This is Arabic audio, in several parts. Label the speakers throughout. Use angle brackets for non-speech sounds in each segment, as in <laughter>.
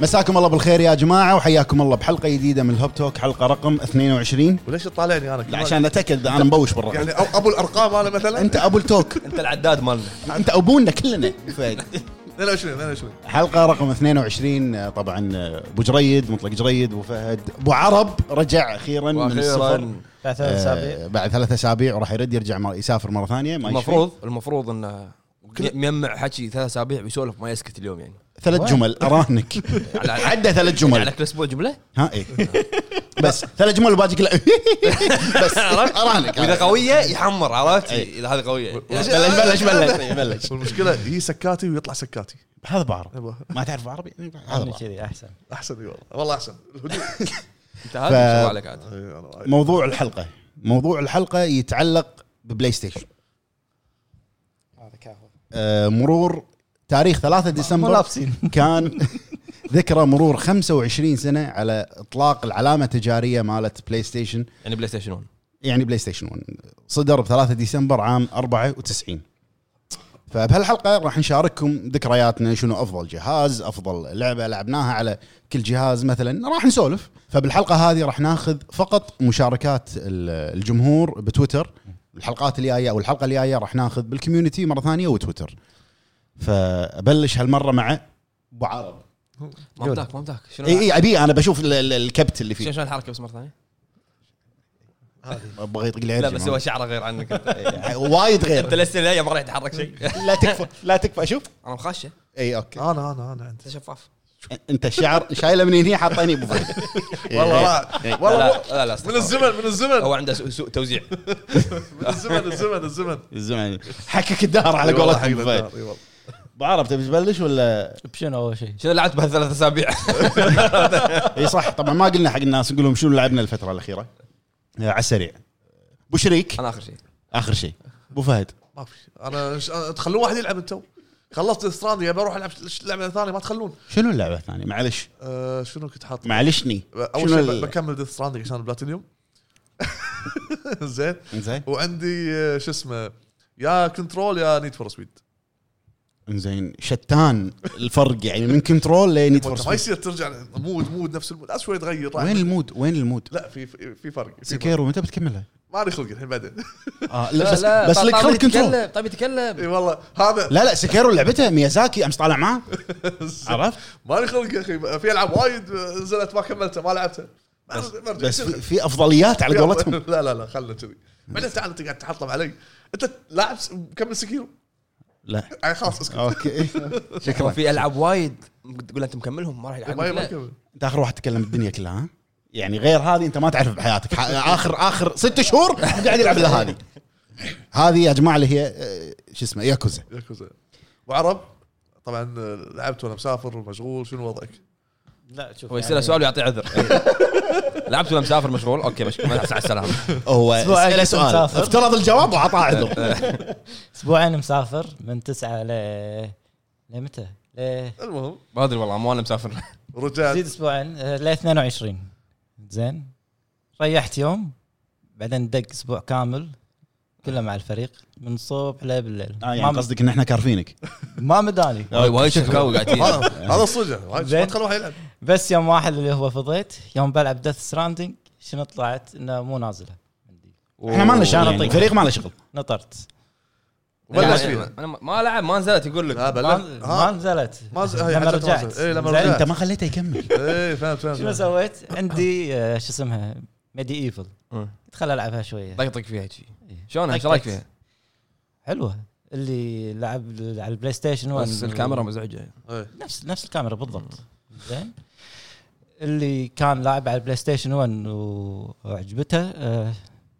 Speaker 1: مساكم الله بالخير يا جماعه وحياكم الله بحلقه جديده من الهوب توك حلقه رقم 22
Speaker 2: وليش تطالعني انا؟
Speaker 1: لا
Speaker 2: كمان؟
Speaker 1: عشان اتاكد إذا انا مبوش بالرقم
Speaker 2: يعني أو- ابو الارقام انا مثلا
Speaker 1: انت ابو التوك
Speaker 3: <laughs> انت العداد مالنا
Speaker 1: انت ابونا كلنا فهد.
Speaker 2: 22 22
Speaker 1: حلقه رقم 22 طبعا ابو جريد مطلق جريد ابو فهد ابو عرب رجع اخيرا من السفر
Speaker 3: واخيرا
Speaker 4: ثلاث
Speaker 1: آه،
Speaker 4: اسابيع
Speaker 1: بعد ثلاث اسابيع وراح يرد يرجع مر- يسافر مره ثانيه ما يشفي.
Speaker 3: المفروض المفروض انه ي- مجمع حكي ثلاث اسابيع بيسولف ما يسكت اليوم يعني
Speaker 1: ثلاث
Speaker 4: وين؟
Speaker 1: جمل اراهنك
Speaker 3: <laughs> على- على-
Speaker 1: عدى ثلاث
Speaker 3: على
Speaker 1: جمل
Speaker 3: كل اسبوع جمله
Speaker 1: ها اي بس ثلاث جمل وباقي كله <laughs>
Speaker 3: <laughs>
Speaker 1: بس اراهنك
Speaker 3: واذا قويه يحمر عرفت
Speaker 1: إي.
Speaker 3: اذا هذه قويه
Speaker 1: بلش بلش بلش بلش
Speaker 2: والمشكله هي سكاتي ويطلع سكاتي
Speaker 1: هذا بعرب
Speaker 2: يبا،
Speaker 1: ما تعرف عربي هذا
Speaker 4: يعني
Speaker 1: بعرب.
Speaker 4: كذي احسن
Speaker 2: احسن والله والله
Speaker 1: <laughs>
Speaker 2: احسن الهدوء.
Speaker 3: انت هذا ما شاء الله عليك عاد
Speaker 2: إي، أنا-
Speaker 1: موضوع الحلقه موضوع الحلقه يتعلق ببلاي ستيشن
Speaker 4: هذا كافو
Speaker 1: آه، مرور تاريخ 3
Speaker 4: مو
Speaker 1: ديسمبر
Speaker 4: لابسين
Speaker 1: <laughs> كان ذكرى مرور 25 سنه على اطلاق العلامه التجاريه مالت بلاي ستيشن
Speaker 3: يعني بلاي ستيشن 1
Speaker 1: يعني بلاي ستيشن 1 صدر ب 3 ديسمبر عام 94 فبهالحلقه راح نشارككم ذكرياتنا شنو افضل جهاز افضل لعبه لعبناها على كل جهاز مثلا راح نسولف فبالحلقه هذه راح ناخذ فقط مشاركات ال- الجمهور بتويتر الحلقات الجايه او الحلقه الجايه راح ناخذ بالكوميونتي مره ثانيه وتويتر فابلش هالمره مع ابو عرب
Speaker 3: ما مداك ما مداك شنو
Speaker 1: اي اي ابي انا بشوف ال- ال- الكبت اللي
Speaker 3: شنو
Speaker 1: فيه
Speaker 3: شنو الحركه بس مره ثانيه؟
Speaker 1: ابغى يطق
Speaker 3: لا بس هو شعره غير عنك انت
Speaker 1: وايد
Speaker 3: <laughs> انت
Speaker 1: غير
Speaker 3: لسه لا ما راح يتحرك شيء
Speaker 1: لا تكفى لا تكفى شوف
Speaker 3: انا مخشه
Speaker 1: اي اوكي
Speaker 2: انا انا انا عندي
Speaker 3: انت شفاف
Speaker 1: انت الشعر آه. شايله من هنا حاطيني ابو فهد إيه،
Speaker 2: والله لا.
Speaker 3: لا
Speaker 2: والله
Speaker 3: لا لا, لا
Speaker 2: من
Speaker 3: استغفر.
Speaker 2: الزمن من الزمن
Speaker 3: هو عنده سوء سوء توزيع
Speaker 2: من الزمن الزمن الزمن
Speaker 1: الزمن حكك الدهر <laughs> على
Speaker 2: إي والله
Speaker 1: قولة
Speaker 2: حق
Speaker 1: ابو فهد
Speaker 2: الدار، إي والله.
Speaker 1: ابو عرب تبي تبلش ولا
Speaker 4: بشنو اول شيء؟
Speaker 3: شنو لعبت بهالثلاث <laughs> اسابيع؟
Speaker 1: اي صح طبعا ما قلنا حق الناس نقول لهم شنو لعبنا الفتره الاخيره آه، على السريع ابو شريك
Speaker 3: انا اخر شيء
Speaker 1: اخر شيء ابو فهد
Speaker 2: ما في انا ش- أنا- تخلون واحد يلعب انتو خلصت استراندي ابي اروح العب ش- لعبه ثانيه ما تخلون
Speaker 1: شنو اللعبه الثانيه معلش
Speaker 2: أه، شنو كنت حاط
Speaker 1: معلشني
Speaker 2: اول
Speaker 1: شنو
Speaker 2: شيء ب-
Speaker 1: ال-
Speaker 2: بكمل ديث ستراندنج عشان البلاتينيوم <laughs> زين
Speaker 1: انزين
Speaker 2: وعندي آه، شو اسمه يا كنترول يا نيد فور سبيد
Speaker 1: انزين شتان الفرق يعني من كنترول لنيد فور
Speaker 2: ما
Speaker 1: سبيد
Speaker 2: يصير ترجع مود مود نفس المود لا شوي تغير راح-
Speaker 1: وين المود وين المود
Speaker 2: لا في في في فرق في فرق.
Speaker 1: سكيرو متى بتكملها؟
Speaker 2: ما لي خلق الحين بعدين <laughs>
Speaker 1: آه لا بس بس لك خلق كنترول
Speaker 3: طيب يتكلم
Speaker 2: اي والله هذا
Speaker 1: لا لا سكيرو لعبته ميازاكي امس طالع معاه عرفت؟
Speaker 2: <laughs> ما لي خلق يا اخي في العاب وايد آه، نزلت ما كملتها ما لعبتها ما برجع.
Speaker 1: بس في, في افضليات على قولتهم
Speaker 2: <laughs> لا لا لا خلنا كذي بعدين تعال انت قاعد تحطم علي انت لاعب س- مكمل سكيرو
Speaker 1: لا
Speaker 2: <laughs> يعني خلاص اسكت
Speaker 1: اوكي شكرا
Speaker 3: في العاب وايد تقول انت مكملهم ما راح يلعبون
Speaker 2: ما- ما
Speaker 3: لا.
Speaker 2: يكمل.
Speaker 1: انت اخر واحد تكلم بالدنيا كلها ها يعني غير هذه انت ما تعرف بحياتك ح- اخر اخر ست شهور قاعد يلعب الا هذه هذه يا جماعه اللي هي آه، شو اسمه ياكوزا
Speaker 2: ياكوزا وعرب طبعا آه، لعبت وانا مسافر ومشغول شنو وضعك؟
Speaker 4: لا شوف يعني
Speaker 3: هو يسأله سؤال ويعطي عذر لعبت ولا مسافر مشغول اوكي مشغول مع السلامه
Speaker 1: هو
Speaker 4: أسبوعين
Speaker 1: اساله
Speaker 4: كنت
Speaker 1: سؤال
Speaker 4: مسافر.
Speaker 1: افترض الجواب واعطاه عذر
Speaker 4: اسبوعين مسافر من تسعة ل لمتى؟ ل-
Speaker 2: المهم
Speaker 3: ما ادري والله مو انا مسافر
Speaker 2: رجعت
Speaker 4: زيد اسبوعين آه، ل 22 زين ريحت يوم بعدين دق اسبوع كامل كله مع الفريق من الصبح لبالليل
Speaker 1: اه
Speaker 4: ما
Speaker 1: يعني
Speaker 4: مد-
Speaker 1: قصدك ان احنا كارفينك
Speaker 4: ما مداني
Speaker 3: وايد وايد
Speaker 2: <laughs>
Speaker 3: شكاوي قاعدين
Speaker 2: هذا آه، هذا الصجة وايد. ما
Speaker 4: يعني. زين. يعني
Speaker 2: تخلوه يلعب
Speaker 4: بس يوم واحد اللي هو فضيت يوم بلعب ديث ستراندنج شنو طلعت انه مو نازله عندي
Speaker 1: احنا ما لنا شغل يعني الفريق ما له شغل
Speaker 4: نطرت
Speaker 2: وبلش
Speaker 3: يعني
Speaker 2: فيها
Speaker 3: انا ما- ما لعب ما نزلت يقول
Speaker 2: لا
Speaker 3: لك
Speaker 4: ما,
Speaker 2: بلش
Speaker 4: ما
Speaker 2: ها
Speaker 4: نزلت
Speaker 2: ما ز- هي
Speaker 4: لما
Speaker 2: حتى ما
Speaker 4: رجعت
Speaker 2: نزلت. إيه، لما
Speaker 4: زين.
Speaker 2: رجعت.
Speaker 1: انت ما خليته يكمل
Speaker 2: اي إيه، فهمت <laughs>
Speaker 4: شنو
Speaker 2: فهمت
Speaker 4: سويت؟ عندي آه، شو اسمها ميدي ايفل
Speaker 3: مم.
Speaker 4: اتخلى العبها شويه
Speaker 3: طقطق طيب، فيها هيجي شلونها ايش رايك فيها؟
Speaker 4: حلوه اللي لعب ال- على البلاي ستيشن
Speaker 3: بس
Speaker 4: 1
Speaker 3: الكاميرا مزعجه
Speaker 2: إيه.
Speaker 4: نفس نفس الكاميرا بالضبط زين اللي كان لاعب على البلاي ستيشن 1 و- وعجبته آه،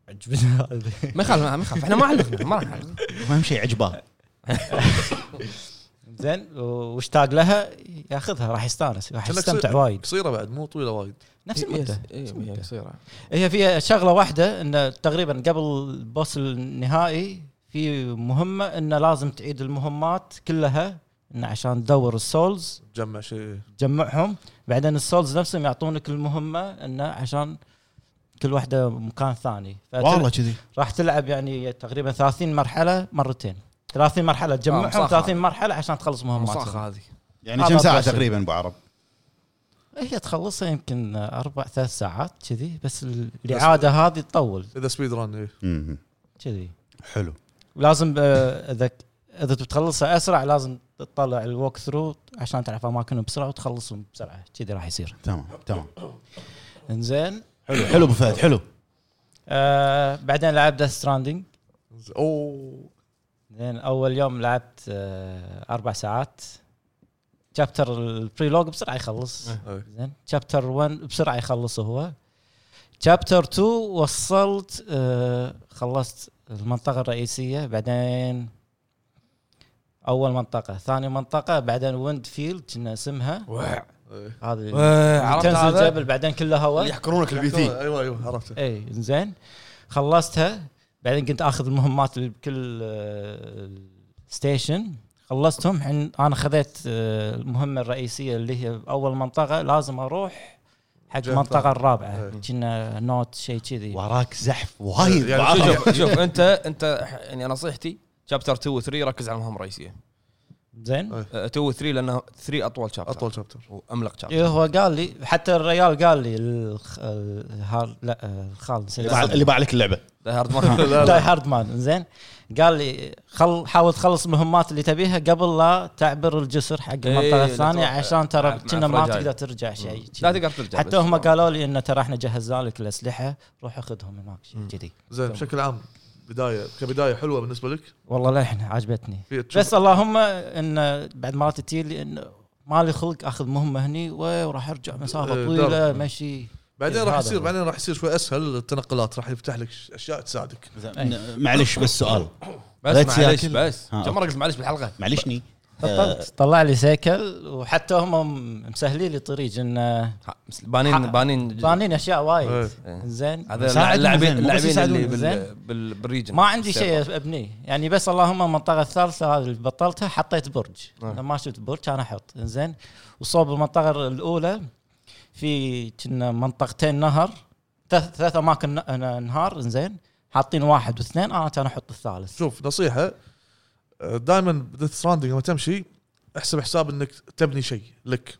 Speaker 4: عجبته <laughs>
Speaker 3: ما يخالف ما يخالف احنا ما علقنا ما راح نعلق
Speaker 1: اهم شيء عجباه
Speaker 4: زين و- واشتاق لها ياخذها راح يستانس راح
Speaker 2: كأنك
Speaker 4: يستمتع
Speaker 2: صير-
Speaker 4: وايد
Speaker 2: قصيرة بعد مو طويلة وايد
Speaker 4: نفس
Speaker 3: إيه،
Speaker 4: المده نفس المدة.
Speaker 3: قصيره
Speaker 4: هي فيها شغله واحده انه تقريبا قبل البوس النهائي في مهمه انه لازم تعيد المهمات كلها انه عشان تدور السولز
Speaker 2: تجمع شيء
Speaker 4: تجمعهم بعدين السولز نفسهم يعطونك المهمه انه عشان كل واحده مكان ثاني فتل-
Speaker 1: والله كذي
Speaker 4: راح تلعب يعني تقريبا 30 مرحله مرتين 30 مرحله
Speaker 3: آه،
Speaker 4: تجمعهم
Speaker 3: مصاخة.
Speaker 4: 30 مرحله عشان تخلص مهماتهم
Speaker 3: مصاخه هذه
Speaker 1: يعني
Speaker 4: هذا
Speaker 1: كم ساعه
Speaker 4: أبغى أشوف.
Speaker 1: تقريبا ابو عرب؟
Speaker 4: هي تخلصها يمكن اربع ثلاث ساعات كذي بس ال- الاعاده هذه تطول
Speaker 2: اذا سبيد ران إيه.
Speaker 1: مم.
Speaker 4: كذي
Speaker 1: حلو
Speaker 4: ولازم آه، اذا اذا بتخلصها اسرع لازم تطلع الوك ثرو عشان تعرف اماكنهم بسرعه وتخلصهم بسرعه كذي راح يصير
Speaker 1: تمام تمام
Speaker 4: انزين
Speaker 1: حلو حلو ابو فهد حلو
Speaker 4: آه بعدين لعبت ديث ستراندنج
Speaker 2: اوه
Speaker 4: زين اول يوم لعبت آه اربع ساعات شابتر البريلوج بسرعه يخلص
Speaker 2: إيه.
Speaker 4: زين شابتر 1 بسرعه يخلص هو شابتر 2 وصلت آه خلصت المنطقه الرئيسيه بعدين اول منطقه ثاني منطقه بعدين ويند فيلد كنا اسمها
Speaker 3: وع-
Speaker 2: إيه.
Speaker 4: هذه
Speaker 3: وع- آه، عرفت
Speaker 4: تنزل
Speaker 3: هذا
Speaker 4: جبل بعدين كله
Speaker 3: اللي
Speaker 4: هواء
Speaker 3: يحكرونك البي تي
Speaker 2: ايوه ايوه عرفته
Speaker 4: اي إيه، زين خلصتها بعدين كنت اخذ المهمات اللي بكل آه، ستيشن خلصتهم حين انا خذيت آه، المهمه الرئيسيه اللي هي اول منطقه لازم اروح حق
Speaker 2: جهة
Speaker 4: المنطقه الرابعه
Speaker 2: إيه.
Speaker 4: كنا نوت شيء كذي
Speaker 1: وراك زحف وايد
Speaker 2: يعني
Speaker 1: وراك-
Speaker 2: شو-
Speaker 3: شوف شوف انت انت ح- يعني نصيحتي شابتر 2 و 3 ركز على المهمه الرئيسيه
Speaker 4: زين
Speaker 2: إيه.
Speaker 3: أه، 2 و 3 لانه 3 اطول شابتر
Speaker 2: اطول شابتر
Speaker 3: واملق شابتر
Speaker 4: إيه هو قال لي حتى الريال قال لي الخ... الهار... لا آه، الخال
Speaker 1: اللي باع- اللي باع لك اللعبه
Speaker 3: هارد مره <laughs>
Speaker 2: لا
Speaker 4: داي
Speaker 2: لا
Speaker 4: هارد مان زين قال لي خل حاول تخلص المهمات اللي تبيها قبل لا تعبر الجسر حق
Speaker 3: إيه،
Speaker 4: المنطقه
Speaker 3: لا
Speaker 4: الثانيه
Speaker 3: تروح-
Speaker 4: عشان
Speaker 3: مع-
Speaker 4: ترى
Speaker 3: مع
Speaker 4: كنا ما
Speaker 3: فرجاي.
Speaker 4: تقدر ترجع شيء
Speaker 3: لا تقدر ترجع
Speaker 4: حتى
Speaker 3: بس.
Speaker 4: هم قالوا لي انه ترى احنا جهزنا لك الاسلحه روح خذهم هناك شيء كذي
Speaker 2: زين بشكل عام بدايه كبدايه حلوه بالنسبه لك
Speaker 4: والله للحين عجبتني
Speaker 2: في تشوف-
Speaker 4: بس اللهم ان بعد ما تتي لي انه ما لي خلق اخذ مهمه هني وي، وراح ارجع مسافه
Speaker 2: إيه،
Speaker 4: طويله
Speaker 2: درب.
Speaker 4: مشي
Speaker 2: بعدين
Speaker 4: إيه، هذا
Speaker 2: راح يصير
Speaker 4: هو.
Speaker 2: بعدين راح يصير شوي اسهل التنقلات راح يفتح لك ش- اشياء تساعدك
Speaker 1: زين، معلش بس سؤال لا
Speaker 3: بس
Speaker 1: تسياكل.
Speaker 3: معلش بس
Speaker 1: ها.
Speaker 3: كم مره قلت معلش بالحلقه
Speaker 1: معلشني آه،
Speaker 4: بطلت طلع لي سيكل وحتى هم مسهلين لي طريق انه
Speaker 3: ها، بس بانين
Speaker 4: حق.
Speaker 3: بانين
Speaker 4: بانين اشياء وايد
Speaker 3: إيه.
Speaker 4: زين
Speaker 3: هذا
Speaker 1: ساعدهم
Speaker 3: اللاعبين
Speaker 1: زين، مو بس
Speaker 3: اللاعبين
Speaker 1: يساعدون،
Speaker 3: اللي بال-
Speaker 4: زين.
Speaker 3: بال- بالريجن
Speaker 4: ما عندي شيء ابنيه يعني بس اللهم المنطقه الثالثه هذه اللي بطلتها حطيت برج
Speaker 3: آه.
Speaker 4: لما ما شفت برج كان احط زين وصوب المنطقه الاولى في كنا منطقتين نهر ثلاث ثلاث اماكن ن- ن- نهار زين حاطين واحد واثنين انا كان احط الثالث
Speaker 2: شوف آه، نصيحه دائما بديث ستراندنج لما تمشي احسب حساب انك تبني شيء لك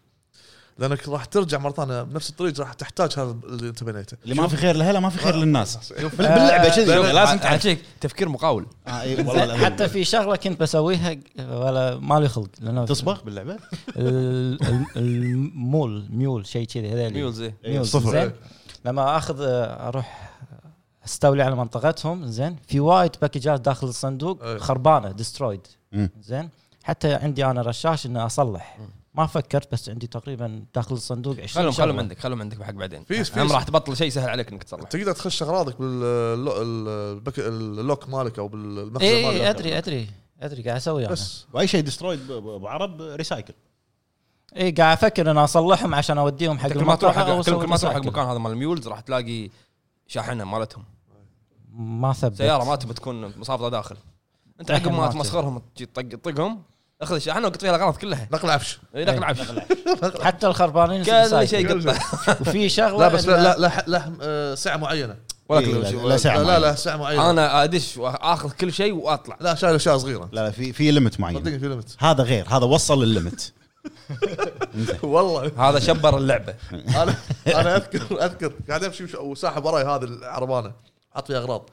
Speaker 2: لانك راح ترجع مره ثانيه بنفس الطريق راح تحتاج هذا اللي انت بنيته
Speaker 1: اللي ما في خير لهلا ما في خير للناس
Speaker 3: شوف. آه،
Speaker 1: بال- باللعبه كذي لازم تعرف
Speaker 3: تعرف تفكير مقاول
Speaker 1: آه، إي، والله
Speaker 4: زين،
Speaker 1: العظيم.
Speaker 4: حتى في شغله كنت بسويها ولا مالي خلق لانه
Speaker 1: تصبغ باللعبه
Speaker 4: ال- ال- المول ميول شيء كذي هذول
Speaker 3: ميولز إيه.
Speaker 1: إيه،
Speaker 4: ميول
Speaker 1: صفر.
Speaker 4: أيوه، زين لما اخذ آه، اروح استولي على منطقتهم زين في وايد باكجات داخل الصندوق
Speaker 2: أي.
Speaker 4: خربانه دسترويد
Speaker 1: مم.
Speaker 4: زين حتى عندي انا رشاش اني اصلح ما فكرت بس عندي تقريبا داخل الصندوق 20
Speaker 3: خلهم
Speaker 4: شغلة.
Speaker 3: خلهم عندك خلهم عندك بحق بعدين
Speaker 2: في- في-
Speaker 3: هم راح تبطل شيء سهل عليك انك تصلح
Speaker 2: تقدر تخش آه، اغراضك باللوك مالك او بالمخزن
Speaker 1: إيه،
Speaker 3: إيه،
Speaker 4: اي
Speaker 2: مالك
Speaker 4: إي، ادري ادري ادري قاعد اسوي انا
Speaker 2: بس
Speaker 1: واي شيء ديسترويد ابو عرب ريسايكل
Speaker 4: اي إيه، قاعد افكر ان اصلحهم عشان اوديهم حق
Speaker 3: كل ما تروح
Speaker 4: المطرحه
Speaker 3: حق-
Speaker 4: او
Speaker 3: كل
Speaker 4: أسوي
Speaker 3: كل ما تروح حق
Speaker 4: ريسايكل.
Speaker 3: مكان هذا مال الميولز راح تلاقي شاحنه مالتهم
Speaker 4: ما ثبت
Speaker 3: سياره ما تبي تكون مصافطه داخل انت
Speaker 1: طيب
Speaker 4: شاحنة
Speaker 3: عقب ما
Speaker 4: ما
Speaker 3: تمسخرهم تجي تطق طقهم اخذ الشاحنه وقط فيها الاغراض كلها
Speaker 2: نقل عفش
Speaker 1: إيه.
Speaker 3: نقل عفش <laughs>
Speaker 4: حتى الخربانين
Speaker 3: كل
Speaker 4: ريسايكل.
Speaker 3: <laughs> شيء قطع
Speaker 4: وفي شغله
Speaker 2: لا بس
Speaker 4: إن-
Speaker 2: لا لا لا آه، ساعه معينه
Speaker 3: ولا
Speaker 1: إيه،
Speaker 3: كل
Speaker 1: لا-
Speaker 3: شيء
Speaker 1: لا ساعه
Speaker 2: لا لا
Speaker 1: معينة.
Speaker 2: لا ساعه
Speaker 1: إيه.
Speaker 2: معينه
Speaker 3: انا ادش واخذ كل شيء واطلع
Speaker 2: لا شايل اشياء صغيره
Speaker 1: لا لا في في ليمت معين
Speaker 2: صدقني في
Speaker 1: <laughs>
Speaker 2: ليمت
Speaker 1: هذا غير هذا وصل للليمت
Speaker 2: والله
Speaker 3: هذا شبر اللعبه
Speaker 2: انا انا اذكر اذكر قاعد امشي وش- وساحب وراي هذه العربانه حاط فيها اغراض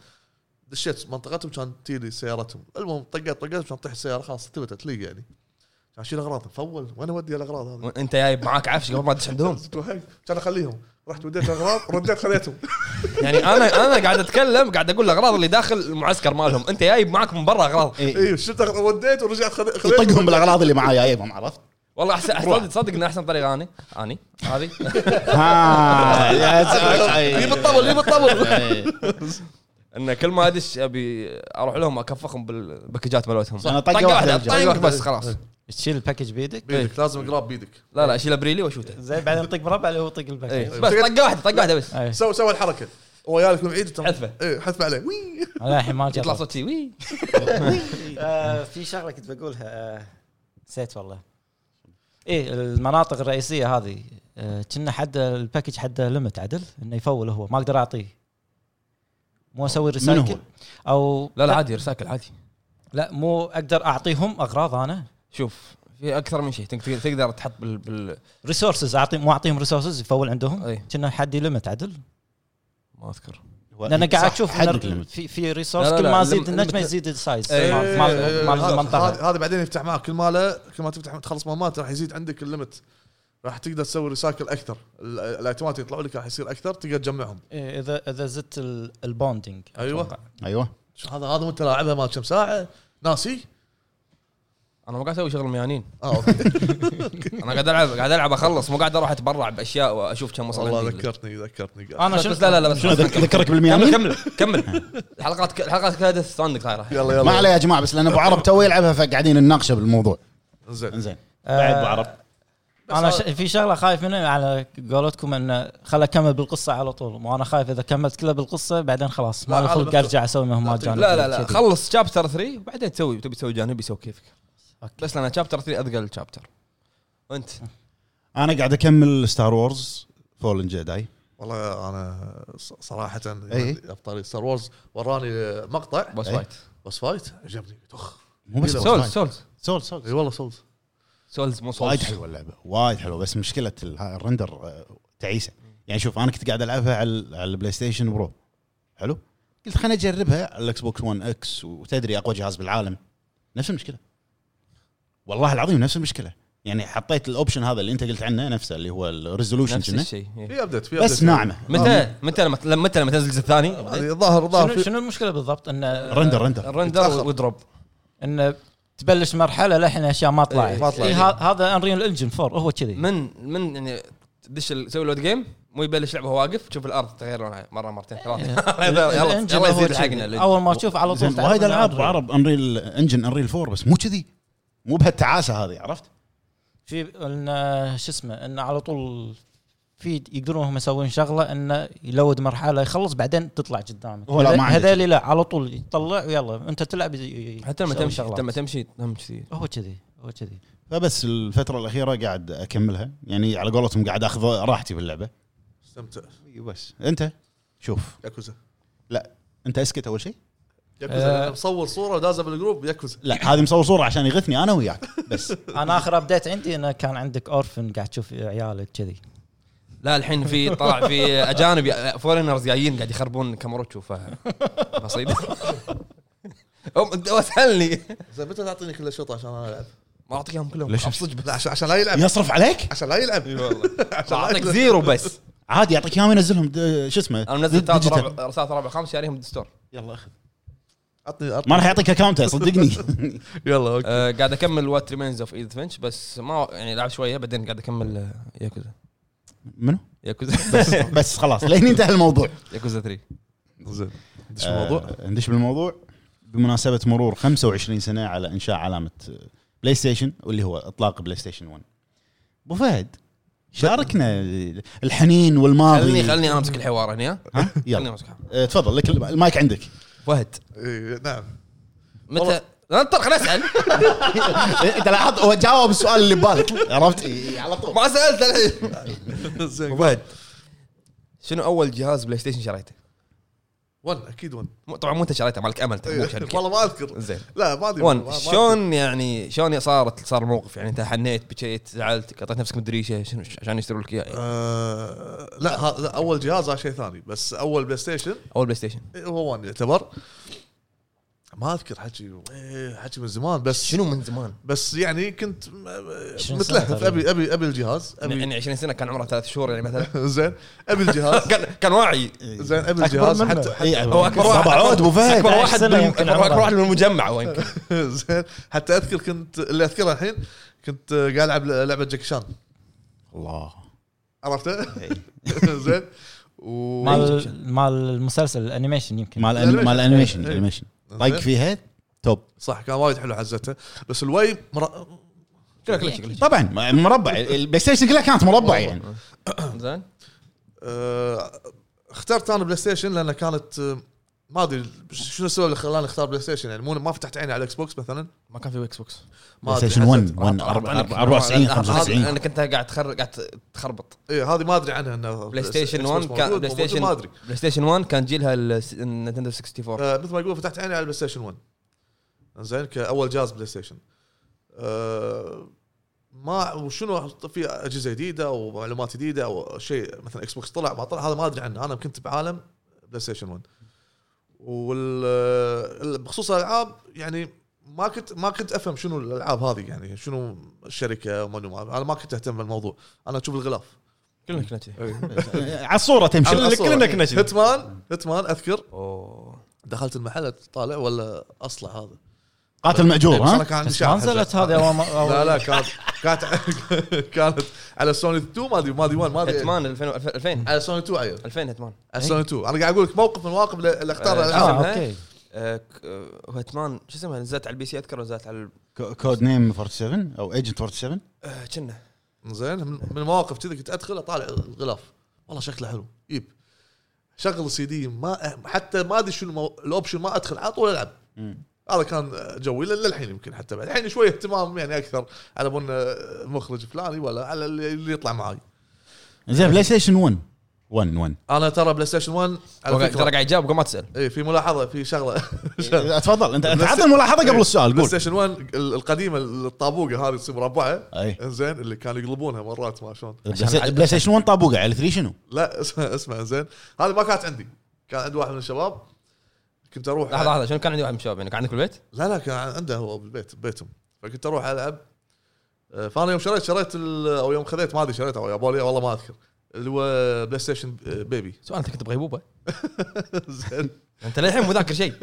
Speaker 2: دشيت منطقتهم كان تيلي سيارتهم المهم طقيت طقيت كان تطيح السياره خلاص ثبتت لي يعني كان اشيل اغراض فول وين اودي الاغراض هذه؟
Speaker 3: انت جايب معاك عفش قبل ما
Speaker 2: <laughs>
Speaker 3: تدش عندهم
Speaker 2: توهقت. كان اخليهم رحت وديت الاغراض رديت خليتهم
Speaker 3: يعني انا انا قاعد اتكلم قاعد اقول الاغراض اللي داخل المعسكر مالهم انت جايب معاك من برا اغراض
Speaker 1: إيه.
Speaker 2: اي شلت إيه، أغراض- وديت ورجعت خلي- خليتهم
Speaker 1: يطقهم بالاغراض اللي معاه جايبهم عرفت؟
Speaker 3: والله احسن تصدق تصدق ان احسن طريقه اني اني
Speaker 1: <laughs>
Speaker 3: هذه
Speaker 1: ها <laughs> يا إيه.
Speaker 2: لي
Speaker 1: زلمة.
Speaker 2: بالطبل لي بالطبل
Speaker 3: ان كل ما ادش ابي اروح لهم اكفخهم بالباكجات مالتهم
Speaker 1: صح. أنا طقة واحدة
Speaker 3: طقه
Speaker 1: بالجو.
Speaker 3: واحدة بس خلاص
Speaker 4: تشيل الباكج بيدك
Speaker 2: بيدك لازم قراب بيدك
Speaker 3: لا لا اشيل ابريلي واشوته
Speaker 4: زين بعدين طق مربع اللي هو طق إيه.
Speaker 3: إيه.
Speaker 4: الباكج
Speaker 3: بس طقه واحده طقه واحده بس
Speaker 4: أي.
Speaker 2: سوي سوي الحركه هو يالك من بعيد
Speaker 3: حذفه.
Speaker 2: اي حذفه عليه وي.
Speaker 4: انا الحين ما
Speaker 3: يطلع
Speaker 4: جربت
Speaker 3: صوت شي، وي
Speaker 4: <laughs> آه، في شغله كنت بقولها آه، نسيت والله ايه المناطق الرئيسيه هذه آه، كنا حد الباكج حده ليمت عدل انه يفول هو ما اقدر اعطيه مو اسوي
Speaker 1: من هو؟
Speaker 4: ريسايكل او
Speaker 3: لا لا عادي رساكل عادي
Speaker 4: لا مو اقدر اعطيهم اغراض انا
Speaker 3: شوف في في اكثر من شيء تقدر تقدر تحط بال, بال...
Speaker 4: ريسورسز اعطي مو اعطيهم ريسورسز يفول عندهم
Speaker 3: أي.
Speaker 4: كنا حد ليمت عدل
Speaker 3: ما اذكر
Speaker 4: لان قاعد
Speaker 1: صح،
Speaker 4: اشوف إن
Speaker 1: حدد
Speaker 4: ال-
Speaker 1: limit.
Speaker 4: في في ريسورس
Speaker 3: لا، لا،
Speaker 4: كل
Speaker 3: لا،
Speaker 4: ما يزيد
Speaker 3: limit-
Speaker 4: النجمه
Speaker 3: limit-
Speaker 4: يزيد السايز
Speaker 3: إيه،
Speaker 4: مال مال- مال
Speaker 2: هذا
Speaker 4: المنطقه
Speaker 2: هذا إيه، بعدين يفتح معك كل ما له كل ما تفتح تخلص مهمات راح يزيد عندك الليمت راح تقدر تسوي ريسايكل اكثر ال- الايتمات اللي يطلعوا لك راح يصير اكثر تقدر تجمعهم
Speaker 4: إيه، اذا اذا زدت ال- البوندينج
Speaker 2: أيوة.
Speaker 4: أتوقع.
Speaker 1: ايوه
Speaker 2: شو هذا هذا وانت لاعبها ما كم ساعه ناسي
Speaker 3: انا ما قاعد اسوي شغل ميانين
Speaker 2: اه
Speaker 4: <laughs>
Speaker 2: أوكي.
Speaker 3: انا قاعد العب قاعد العب اخلص مو قاعد اروح اتبرع باشياء واشوف كم وصل
Speaker 2: والله
Speaker 3: عندي.
Speaker 2: ذكرتني ذكرتني
Speaker 4: انا
Speaker 3: بس
Speaker 4: شنو
Speaker 3: بس لا لا لا بس
Speaker 1: شنو يعني؟
Speaker 3: خلاص،
Speaker 1: ذك- ذكرك
Speaker 3: كمل
Speaker 1: بالميامين؟
Speaker 3: كمل كمل الحلقات ك- الحلقات كلها ديث ستراندنج صايره
Speaker 2: يلا
Speaker 1: ما عليه
Speaker 2: يلا
Speaker 1: يا جماعه بس لان ابو عرب تو يلعبها فقاعدين نناقشه بالموضوع
Speaker 2: زين
Speaker 1: انزين
Speaker 4: آه،
Speaker 1: بعد ابو عرب
Speaker 4: انا ش... في شغله خايف منها على قولتكم انه خل اكمل بالقصه على طول وانا خايف اذا كملت كلها بالقصه بعدين خلاص
Speaker 2: لا،
Speaker 4: ما لي
Speaker 2: هذا
Speaker 4: خلق
Speaker 2: بكره.
Speaker 4: ارجع اسوي مهمات
Speaker 2: لا،
Speaker 4: جانبيه
Speaker 3: لا لا لا
Speaker 4: كذي.
Speaker 3: خلص شابتر 3 وبعدين تسوي تبي تسوي جانبي سوي كيفك
Speaker 4: أوكي.
Speaker 3: بس لان شابتر 3 اثقل شابتر انت
Speaker 1: انا قاعد اكمل ستار وورز فولن جداي
Speaker 2: والله انا ص- يعني صراحه
Speaker 4: إيه.
Speaker 1: إي.
Speaker 2: ابطال ستار وورز وراني مقطع
Speaker 3: بوس
Speaker 1: إيه.
Speaker 3: فايت
Speaker 2: بس فايت عجبني اخ
Speaker 1: مو بس
Speaker 2: سولز،
Speaker 3: سولز سولز
Speaker 1: سول سول
Speaker 2: اي والله صوت
Speaker 3: سولز مو
Speaker 1: وايد
Speaker 3: سولز
Speaker 1: حلوه اللعبه وايد حلوه بس مشكله ال- ها- الرندر آه، تعيسه يعني شوف انا كنت قاعد العبها على ال- على البلاي ستيشن برو حلو قلت خليني اجربها على الاكس بوكس 1 اكس وتدري اقوى جهاز بالعالم نفس المشكله والله العظيم نفس المشكله يعني حطيت الاوبشن هذا اللي انت قلت عنه نفسه اللي هو
Speaker 3: نفس
Speaker 1: الريزولوشن
Speaker 3: الشيء إيه.
Speaker 2: في ابديت في
Speaker 1: بس
Speaker 2: update.
Speaker 4: نعم.
Speaker 1: ناعمه آه.
Speaker 3: متى متى لما لما- متى لما تنزل الثاني
Speaker 2: هذه الظاهر الظاهر
Speaker 4: شنو,
Speaker 2: في-
Speaker 4: شنو المشكله بالضبط انه
Speaker 1: رندر رندر
Speaker 3: الرندر
Speaker 2: يتأخر.
Speaker 3: ودروب
Speaker 4: انه تبلش مرحله للحين اشياء ما طلعت
Speaker 3: إيه،
Speaker 2: ما طلعت.
Speaker 4: إيه، ه- هذا انريل انجن 4 هو
Speaker 3: <laughs>
Speaker 4: كذي
Speaker 3: من من يعني تدش ال- تسوي لود جيم مو يبلش لعبه وهو واقف تشوف الارض تغير لونها مره مرتين ثلاثه
Speaker 1: <laughs>
Speaker 3: <laughs> يلا يلا
Speaker 4: الانجن
Speaker 3: يلا
Speaker 4: إيه، هو
Speaker 3: يصير
Speaker 4: كذي.
Speaker 3: حقنا
Speaker 4: اول ما تشوف على طول
Speaker 1: زين
Speaker 4: تعرف
Speaker 1: وايد
Speaker 4: إنه
Speaker 1: العاب
Speaker 4: Unreal.
Speaker 1: بعرب انريل انجن انريل 4 بس مو كذي مو بهالتعاسه هذه عرفت؟
Speaker 4: في انه شو اسمه انه على طول في يقدرون هم يسوون شغله انه يلود مرحله يخلص بعدين تطلع قدامه
Speaker 1: هو لا، ما عنده
Speaker 4: هذول لا على طول يطلع ويلا انت تلعب ي- ي-
Speaker 3: حتى لما
Speaker 4: يسوي
Speaker 3: تمشي
Speaker 4: شغلات.
Speaker 3: حتى لما تمشي هم كذي
Speaker 4: هو كذي هو كذي
Speaker 1: فبس الفتره الاخيره قاعد اكملها يعني على قولتهم قاعد اخذ راحتي باللعبه
Speaker 2: استمتع
Speaker 4: أيوة،
Speaker 1: بس انت شوف
Speaker 2: ياكوزا
Speaker 1: انت اسكت اول شيء
Speaker 2: ياكوزا
Speaker 4: آه.
Speaker 2: مصور صوره ودازه بالجروب ياكوزا
Speaker 1: لا
Speaker 4: <laughs>
Speaker 1: هذه مصور صوره عشان يغثني انا وياك بس
Speaker 4: انا اخر ابديت عندي انه كان عندك اورفن قاعد تشوف عيالك كذي
Speaker 3: لا الحين في طلع في
Speaker 1: <laughs>
Speaker 3: اجانب فورينرز جايين قاعد يخربون كاموروتشو ف <laughs> بصيد أم- أنت اسالني
Speaker 2: زين متى تعطيني كل الشوط عشان انا العب؟
Speaker 3: ما اعطيك اياهم كلهم
Speaker 1: ليش؟
Speaker 3: <laughs> أبصج بس.
Speaker 2: لا عشان عشان لا يلعب
Speaker 1: يصرف عليك
Speaker 2: عشان لا يلعب
Speaker 3: اي والله
Speaker 2: عشان لا
Speaker 3: اعطيك
Speaker 2: يلعب.
Speaker 3: زيرو بس
Speaker 1: عادي يعطيك اياهم ينزلهم د- شو اسمه
Speaker 3: انا منزل ثلاث
Speaker 1: ديجيتال.
Speaker 3: رابع ثلاث رابع خمس عليهم بالستور
Speaker 1: يلا اخذ
Speaker 2: عطني عطني
Speaker 1: ما راح يعطيك اكونته صدقني
Speaker 2: يلا اوكي
Speaker 3: آه، قاعد اكمل وات ريمينز اوف ايد فينش بس ما يعني لعب شويه بعدين قاعد اكمل آه، ياكوزا
Speaker 1: منو؟
Speaker 2: <laughs>
Speaker 3: ياكوزا
Speaker 1: بس خلاص لين انتهى الموضوع
Speaker 3: ياكوزا 3
Speaker 2: زين ندش الموضوع
Speaker 1: آه، ندش بالموضوع بمناسبه مرور 25 سنه على انشاء علامه آه، بلاي ستيشن واللي هو اطلاق بلاي ستيشن 1 ابو فهد شاركنا الحنين
Speaker 2: آه.
Speaker 1: والماضي
Speaker 3: خلني خلني انا امسك الحوار هنا ها؟
Speaker 1: ها؟
Speaker 3: خلني
Speaker 1: يلا
Speaker 3: امسك
Speaker 1: آه، تفضل لك الم- المايك عندك <laughs>
Speaker 3: فهد
Speaker 2: إيه، نعم
Speaker 3: متى
Speaker 2: والله.
Speaker 3: لا، انطر خليني اسال
Speaker 1: انت لاحظت هو جاوب السؤال اللي ببالك عرفت إي، على طول
Speaker 3: ما سالت
Speaker 2: <laughs>
Speaker 3: الحين
Speaker 2: زين
Speaker 3: فهد شنو اول جهاز بلاي ستيشن شريته؟
Speaker 2: ون اكيد ون
Speaker 3: مو- طبعا مو انت شريته مالك امل انت مو
Speaker 2: إيه،
Speaker 3: شركه
Speaker 2: والله ما اذكر
Speaker 3: زين
Speaker 2: لا ما ادري ما-
Speaker 3: وان
Speaker 2: ما أذكر.
Speaker 3: شلون يعني شلون صارت صار الموقف يعني انت حنيت بكيت زعلت قطعت نفسك من الدريشه شنو عشان يشتروا لك اياه يعني.
Speaker 2: آه، لا ها- لا، اول جهاز هذا شيء ثاني بس اول بلاي ستيشن
Speaker 3: اول بلاي ستيشن
Speaker 2: إيه، هو ون يعتبر ما اذكر حكي إيه، حكي من زمان بس
Speaker 3: شنو من زمان؟
Speaker 2: بس يعني كنت م-
Speaker 4: سنة
Speaker 2: متلهف
Speaker 4: تقريباً.
Speaker 2: ابي ابي ابي الجهاز ابي
Speaker 3: يعني 20 سنه كان عمره ثلاث شهور يعني
Speaker 2: <laughs>
Speaker 3: مثلا
Speaker 2: زين ابي
Speaker 4: <laughs>
Speaker 2: الجهاز
Speaker 3: كان كان واعي
Speaker 2: زين ابي
Speaker 4: إيه. أكبر
Speaker 2: الجهاز
Speaker 4: منه.
Speaker 2: حتى
Speaker 1: إي،
Speaker 3: هو اكبر واحد
Speaker 1: بابا عود ابو فهد
Speaker 3: اكبر
Speaker 4: عشر
Speaker 3: واحد
Speaker 4: سنة
Speaker 3: بالم-
Speaker 4: يمكن
Speaker 3: اكبر
Speaker 4: عمره.
Speaker 3: واحد من المجمع وين كان.
Speaker 2: زين حتى <laughs> اذكر كنت اللي اذكره الحين كنت آه، قاعد العب لعبه جاكشان
Speaker 1: الله
Speaker 2: عرفته؟
Speaker 4: إيه.
Speaker 2: <laughs> زين و
Speaker 4: مال مال المسلسل الانيميشن يمكن
Speaker 1: مال الأني- مال الانيميشن الانيميشن طايق فيها توب
Speaker 2: صح كان وايد حلو حزتها بس الوي مر...
Speaker 3: كلش كلش كلش
Speaker 1: طبعا مربع البلاي ستيشن كلها كانت مربع يعني
Speaker 3: زين
Speaker 2: آه، اخترت انا بلاي ستيشن لان كانت آه، ما ادري شنو السبب اللي خلاني اختار بلاي ستيشن يعني مو ما فتحت عيني على الاكس بوكس مثلا
Speaker 3: ما كان في اكس بوكس
Speaker 1: بلاي
Speaker 2: ما أدري،
Speaker 1: ستيشن
Speaker 2: حسيت-
Speaker 1: 1 1
Speaker 3: عندك-
Speaker 1: 94
Speaker 3: هذا-
Speaker 1: 95
Speaker 3: لانك انت قاعد تخر قاعد تخربط
Speaker 2: إيه، هذه ما ادري عنها انه
Speaker 3: بلاي ستيشن
Speaker 2: إكس بوكس
Speaker 3: 1 كان
Speaker 2: موجود،
Speaker 3: بلاي
Speaker 2: موجود،
Speaker 3: ستيشن
Speaker 2: ما ادري
Speaker 3: بلاي ستيشن 1 كان جيلها الس- النينتندو 64
Speaker 2: آه، مثل ما يقول فتحت عيني على البلاي ستيشن 1 زين كاول جهاز بلاي ستيشن آه، ما وشنو في اجهزه جديده ومعلومات جديده او شيء مثلا اكس بوكس طلع ما طلع هذا ما ادري عنه انا كنت بعالم بلاي ستيشن 1 وال آه، بخصوص الالعاب يعني ما كنت ما كنت افهم شنو الالعاب هذه يعني شنو الشركه وما ما- انا ما كنت اهتم بالموضوع انا اشوف الغلاف
Speaker 3: كلنا كنا كذي
Speaker 1: على الصوره تمشي
Speaker 2: على الصورة. إيه.
Speaker 5: كلنا كنا كذي.
Speaker 2: يعني هيتمان هيتمان اذكر
Speaker 3: اوه
Speaker 2: دخلت المحل طالع ولا اصلع هذا
Speaker 1: قاتل ماجور
Speaker 2: بس انا
Speaker 1: ها
Speaker 2: كان عندي
Speaker 4: بس
Speaker 2: شعر
Speaker 4: ما نزلت
Speaker 2: حزة.
Speaker 4: هذه اول ما- أول-
Speaker 2: لا لا كانت كانت كانت <laughs> على سوني 2 ما ادري ما ادري وين ما ادري
Speaker 3: هيتمان 2000 2000
Speaker 2: على سوني 2
Speaker 4: إيه.
Speaker 2: ايوه
Speaker 3: 2000 هيتمان
Speaker 2: على سوني 2 انا قاعد اقول لك موقف من المواقف اللي اللي اختار
Speaker 3: آه،
Speaker 2: الالعاب
Speaker 4: اه
Speaker 3: اسمها؟
Speaker 4: اوكي
Speaker 3: آه، ك- آه، هيتمان شو اسمها نزلت على البي سي اذكر نزلت على ال-
Speaker 1: كو- كود نيم 47 او ايجنت 47
Speaker 3: آه، كنا
Speaker 2: زين من من المواقف كذا كنت ادخل اطالع الغلاف والله شكله حلو يب شغل السي دي ما حتى ما ادري شنو المو- الاوبشن ما ادخل على طول العب
Speaker 1: مم.
Speaker 2: هذا كان جوي لل- للحين يمكن حتى بعد الحين شوي اهتمام يعني اكثر على بون المخرج فلاني ولا على اللي اللي يطلع معاي
Speaker 1: زين بلاي ستيشن 1 1 1
Speaker 2: انا ترى بلاي ستيشن 1 على
Speaker 3: وقا- ترى
Speaker 2: فكره
Speaker 3: قاعد يجاوب قبل ما تسال
Speaker 2: اي إيه، في ملاحظه في <laughs> شغله
Speaker 1: تفضل انت انت
Speaker 2: بلاي
Speaker 1: عطنا
Speaker 2: ستيشن-
Speaker 1: ملاحظه قبل
Speaker 2: إيه.
Speaker 1: السؤال
Speaker 2: بلاي
Speaker 1: قول
Speaker 2: ستيشن 1 ال- القديمه الطابوقه هذه تصير مربعه
Speaker 1: اي
Speaker 2: زين اللي كانوا يقلبونها مرات ما شلون
Speaker 1: بلاي ستيشن- بلاي ستيشن 1 طابوقه على 3 شنو؟
Speaker 2: لا اسمع اسمع زين هذه ما كانت عندي كان عند واحد من الشباب كنت اروح
Speaker 3: لحظه لحظه شنو كان عندي واحد من الشباب يعني كان عندك بالبيت؟
Speaker 2: لا لا كان عنده هو بالبيت ببيتهم فكنت اروح العب آه، فانا يوم شريت شريت ال- او يوم خذيت ما ادري شريته او يابوا لي والله ما اذكر اللي هو بلاي ستيشن آه، بيبي
Speaker 3: سؤال انت كنت بغيبوبه
Speaker 2: <laughs> زين
Speaker 3: انت للحين مو ذاكر شيء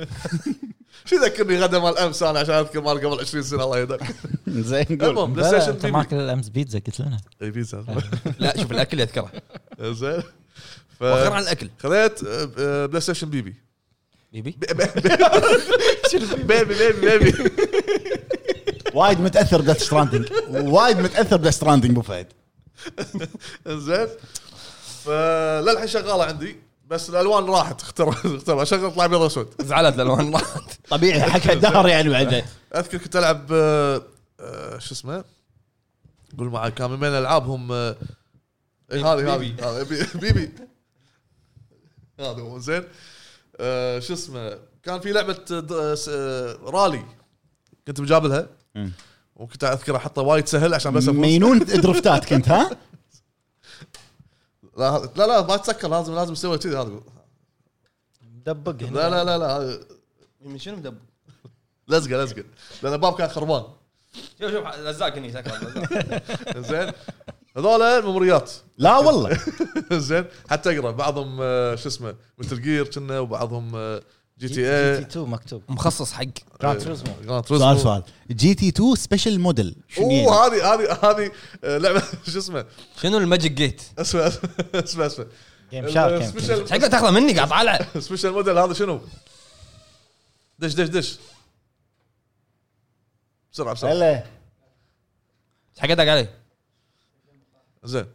Speaker 2: شو يذكرني غدا مال امس انا عشان اذكر مال قبل 20 سنه الله يهداك
Speaker 1: زين
Speaker 2: المهم إيه، بلاي
Speaker 4: بلا،
Speaker 2: ستيشن
Speaker 4: انت
Speaker 2: بيبي
Speaker 4: ماكل الامس بيتزا قلت لنا
Speaker 2: اي بيتزا
Speaker 3: لا شوف الاكل يذكره
Speaker 2: آه، زين ف-
Speaker 3: وخير عن الاكل
Speaker 2: خذيت آه، آه، <laughs> بلاي ستيشن بيبي
Speaker 3: بيبي
Speaker 2: بي- بي- بي- بيبي بيبي بيبي
Speaker 1: وايد متاثر ديث ستراندنج وايد متاثر ديث ستراندنج ابو فهد
Speaker 2: <laughs> زين فللحين شغاله عندي بس الالوان راحت اختار اختار شغل طلع ابيض واسود
Speaker 3: زعلت الالوان راحت
Speaker 1: طبيعي حق الدهر يعني بعد
Speaker 2: اذكر كنت العب آه، آه، شو اسمه قول معي كان من بين العابهم آه، اي هذه هذه
Speaker 3: بيبي.
Speaker 2: هذه بي- بيبي هذا هو زين آه، شو اسمه كان في لعبه آه، د- آه، س- آه، رالي كنت مجابلها
Speaker 1: مم.
Speaker 2: وكنت اذكر احطها وايد سهل عشان بس افوز
Speaker 1: مينون درفتات كنت ها؟
Speaker 2: لا ه- لا لا ما تسكر لازم لازم تسوي كذي هذا
Speaker 4: دبق
Speaker 2: لا لا لا لا هذا
Speaker 3: من شنو مدب؟
Speaker 2: لزقه لزقه لان الباب كان خربان
Speaker 3: شوف شوف لزاق هني ساكر
Speaker 2: زين هذول ميموريات
Speaker 1: لا والله
Speaker 2: <laughs> زين حتى اقرا بعضهم آه، شو اسمه مثل جير كنا وبعضهم آه، جي تي اي
Speaker 4: 2 مكتوب
Speaker 3: مخصص حق
Speaker 4: جراند توريزمو
Speaker 2: جراند
Speaker 1: سؤال
Speaker 2: توريزمو.
Speaker 1: سؤال جي تي 2 سبيشل موديل شنو يعني؟
Speaker 2: اوه هذه هذه هذه آه، لعبه <laughs> شو اسمه
Speaker 3: شنو الماجيك جيت؟
Speaker 2: اسمه اسمه اسمه آه،
Speaker 4: جيم
Speaker 1: يعني
Speaker 4: شارك يمكن.
Speaker 3: ايش
Speaker 1: <laughs>
Speaker 2: سبيشل
Speaker 3: حق تاخذه مني قاعد طالع
Speaker 2: سبيشل موديل هذا شنو؟ دش دش دش بسرعه بسرعه
Speaker 1: هلا
Speaker 3: ايش حق داق علي؟
Speaker 2: زين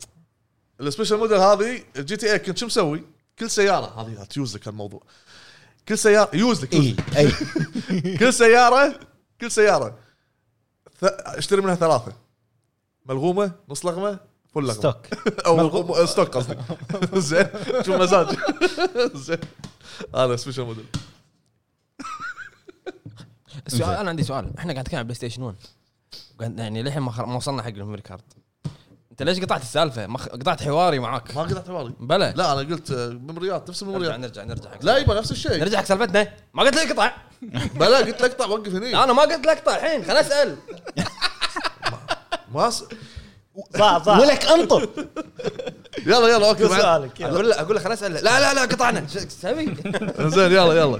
Speaker 2: السبيشل موديل هذه الجي تي اي كنت شو مسوي؟ كل سياره هذه تيوز لك هالموضوع كل سياره يوز لك يوز
Speaker 1: اي
Speaker 2: لك.
Speaker 1: اي
Speaker 2: كل سياره كل سياره ث- اشتري منها ثلاثه ملغومه نص لغمه فل لغمه
Speaker 4: ستوك
Speaker 2: او ملغوم أه، ستوك قصدي <laughs> زين شو مزاج <laughs> زين هذا سبيشل موديل
Speaker 3: السؤال انا عندي سؤال احنا قاعد نتكلم عن بلاي ستيشن 1 قاعد- يعني للحين ما, خر... ما وصلنا حق الميموري كارد انت ليش قطعت السالفه؟ ما خ... قطعت حواري معاك
Speaker 2: ما قطعت حواري
Speaker 3: بلا
Speaker 2: لا انا قلت آه، ميموريات نفس
Speaker 3: نرجع
Speaker 4: يعني
Speaker 2: الميموريات
Speaker 3: نرجع نرجع حق
Speaker 2: لا يبا نفس الشيء
Speaker 3: نرجع حق سالفتنا ما قلت لك اقطع
Speaker 2: بلا قلت لك طع وقف هني
Speaker 3: انا ما قلت لك اقطع الحين خل اسال
Speaker 2: ما أس-
Speaker 4: صح صح
Speaker 1: ولك انطر
Speaker 2: يلا يلا اوكي بعد.
Speaker 4: سؤالك يلا
Speaker 3: اقول له اقول له خل اسال لا لا لا قطعنا شو تسوي؟ <laughs>
Speaker 2: زين يلا يلا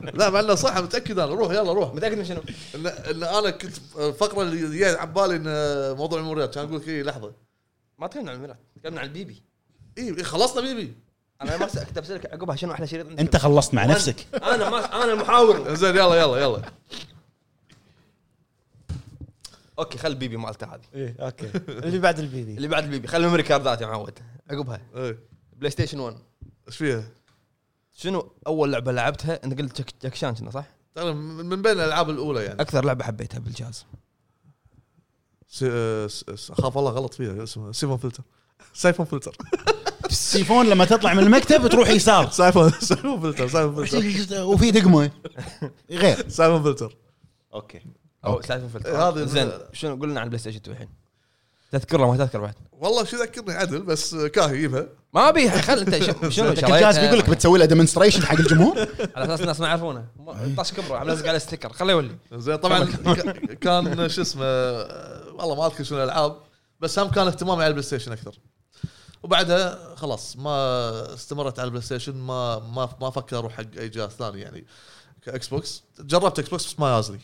Speaker 2: لا مع انه صح متاكد انا روح يلا روح
Speaker 3: متاكد من شنو؟
Speaker 2: ان ان انا كنت الفقره اللي جايه على بالي ان آه، موضوع الميموريات كان اقول لك إيه، اي لحظه
Speaker 3: ما تكلمنا عن الميرات تكلمنا عن البيبي
Speaker 2: اي إيه، خلصنا بيبي
Speaker 3: انا ما كنت بسالك عقبها شنو احلى شريط عندك
Speaker 1: انت خلصت مع نفسك
Speaker 3: انا ما انا المحاور
Speaker 2: زين يلا يلا يلا
Speaker 3: اوكي خل البيبي مالته هذه
Speaker 4: إيه، اوكي اللي بعد البيبي
Speaker 3: اللي بعد البيبي خل الميموري كاردات يا معود عقبها
Speaker 2: إيه.
Speaker 3: بلاي ستيشن 1
Speaker 2: ايش فيها؟
Speaker 3: شنو اول لعبه لعبتها انت قلت جاك- جاكشان كنا صح؟
Speaker 2: ترى من من بين الالعاب الاولى يعني
Speaker 3: اكثر لعبه حبيتها بالجهاز
Speaker 2: س- س- س- اخاف الله غلط فيها اسمها سيفون فلتر سايفون فلتر
Speaker 1: السيفون لما تطلع من المكتب تروح يسار
Speaker 2: <laughs> سايفون سايفون فلتر
Speaker 1: <laughs>
Speaker 2: سايفون فلتر
Speaker 1: وفي دقمه غير
Speaker 2: سايفون فلتر
Speaker 1: اوكي
Speaker 3: او سالفه في
Speaker 2: إيه، هذه
Speaker 3: زين
Speaker 2: ال-
Speaker 3: شنو قلنا عن بلاي ستيشن 2 الحين تذكر له ما تذكر بعد
Speaker 2: والله شو ذكرني عدل بس كاهي يجيبها
Speaker 3: ما ابي خل انت
Speaker 2: <laughs>
Speaker 3: شو- شنو
Speaker 1: لكن جاز بيقول
Speaker 3: آه.
Speaker 1: لك بتسوي له ديمونستريشن حق الجمهور
Speaker 3: على اساس الناس ما يعرفونه ما- طاش كبره عم لزق عليه ستيكر خليه يولي
Speaker 2: زين طبعا ك- كان شو اسمه والله ما اذكر شنو الالعاب بس هم كان اهتمامي على البلاي ستيشن اكثر وبعدها خلاص ما استمرت على البلاي ستيشن ما ما ما افكر اروح حق اي جهاز ثاني يعني كاكس بوكس جربت اكس بوكس بس ما يازلي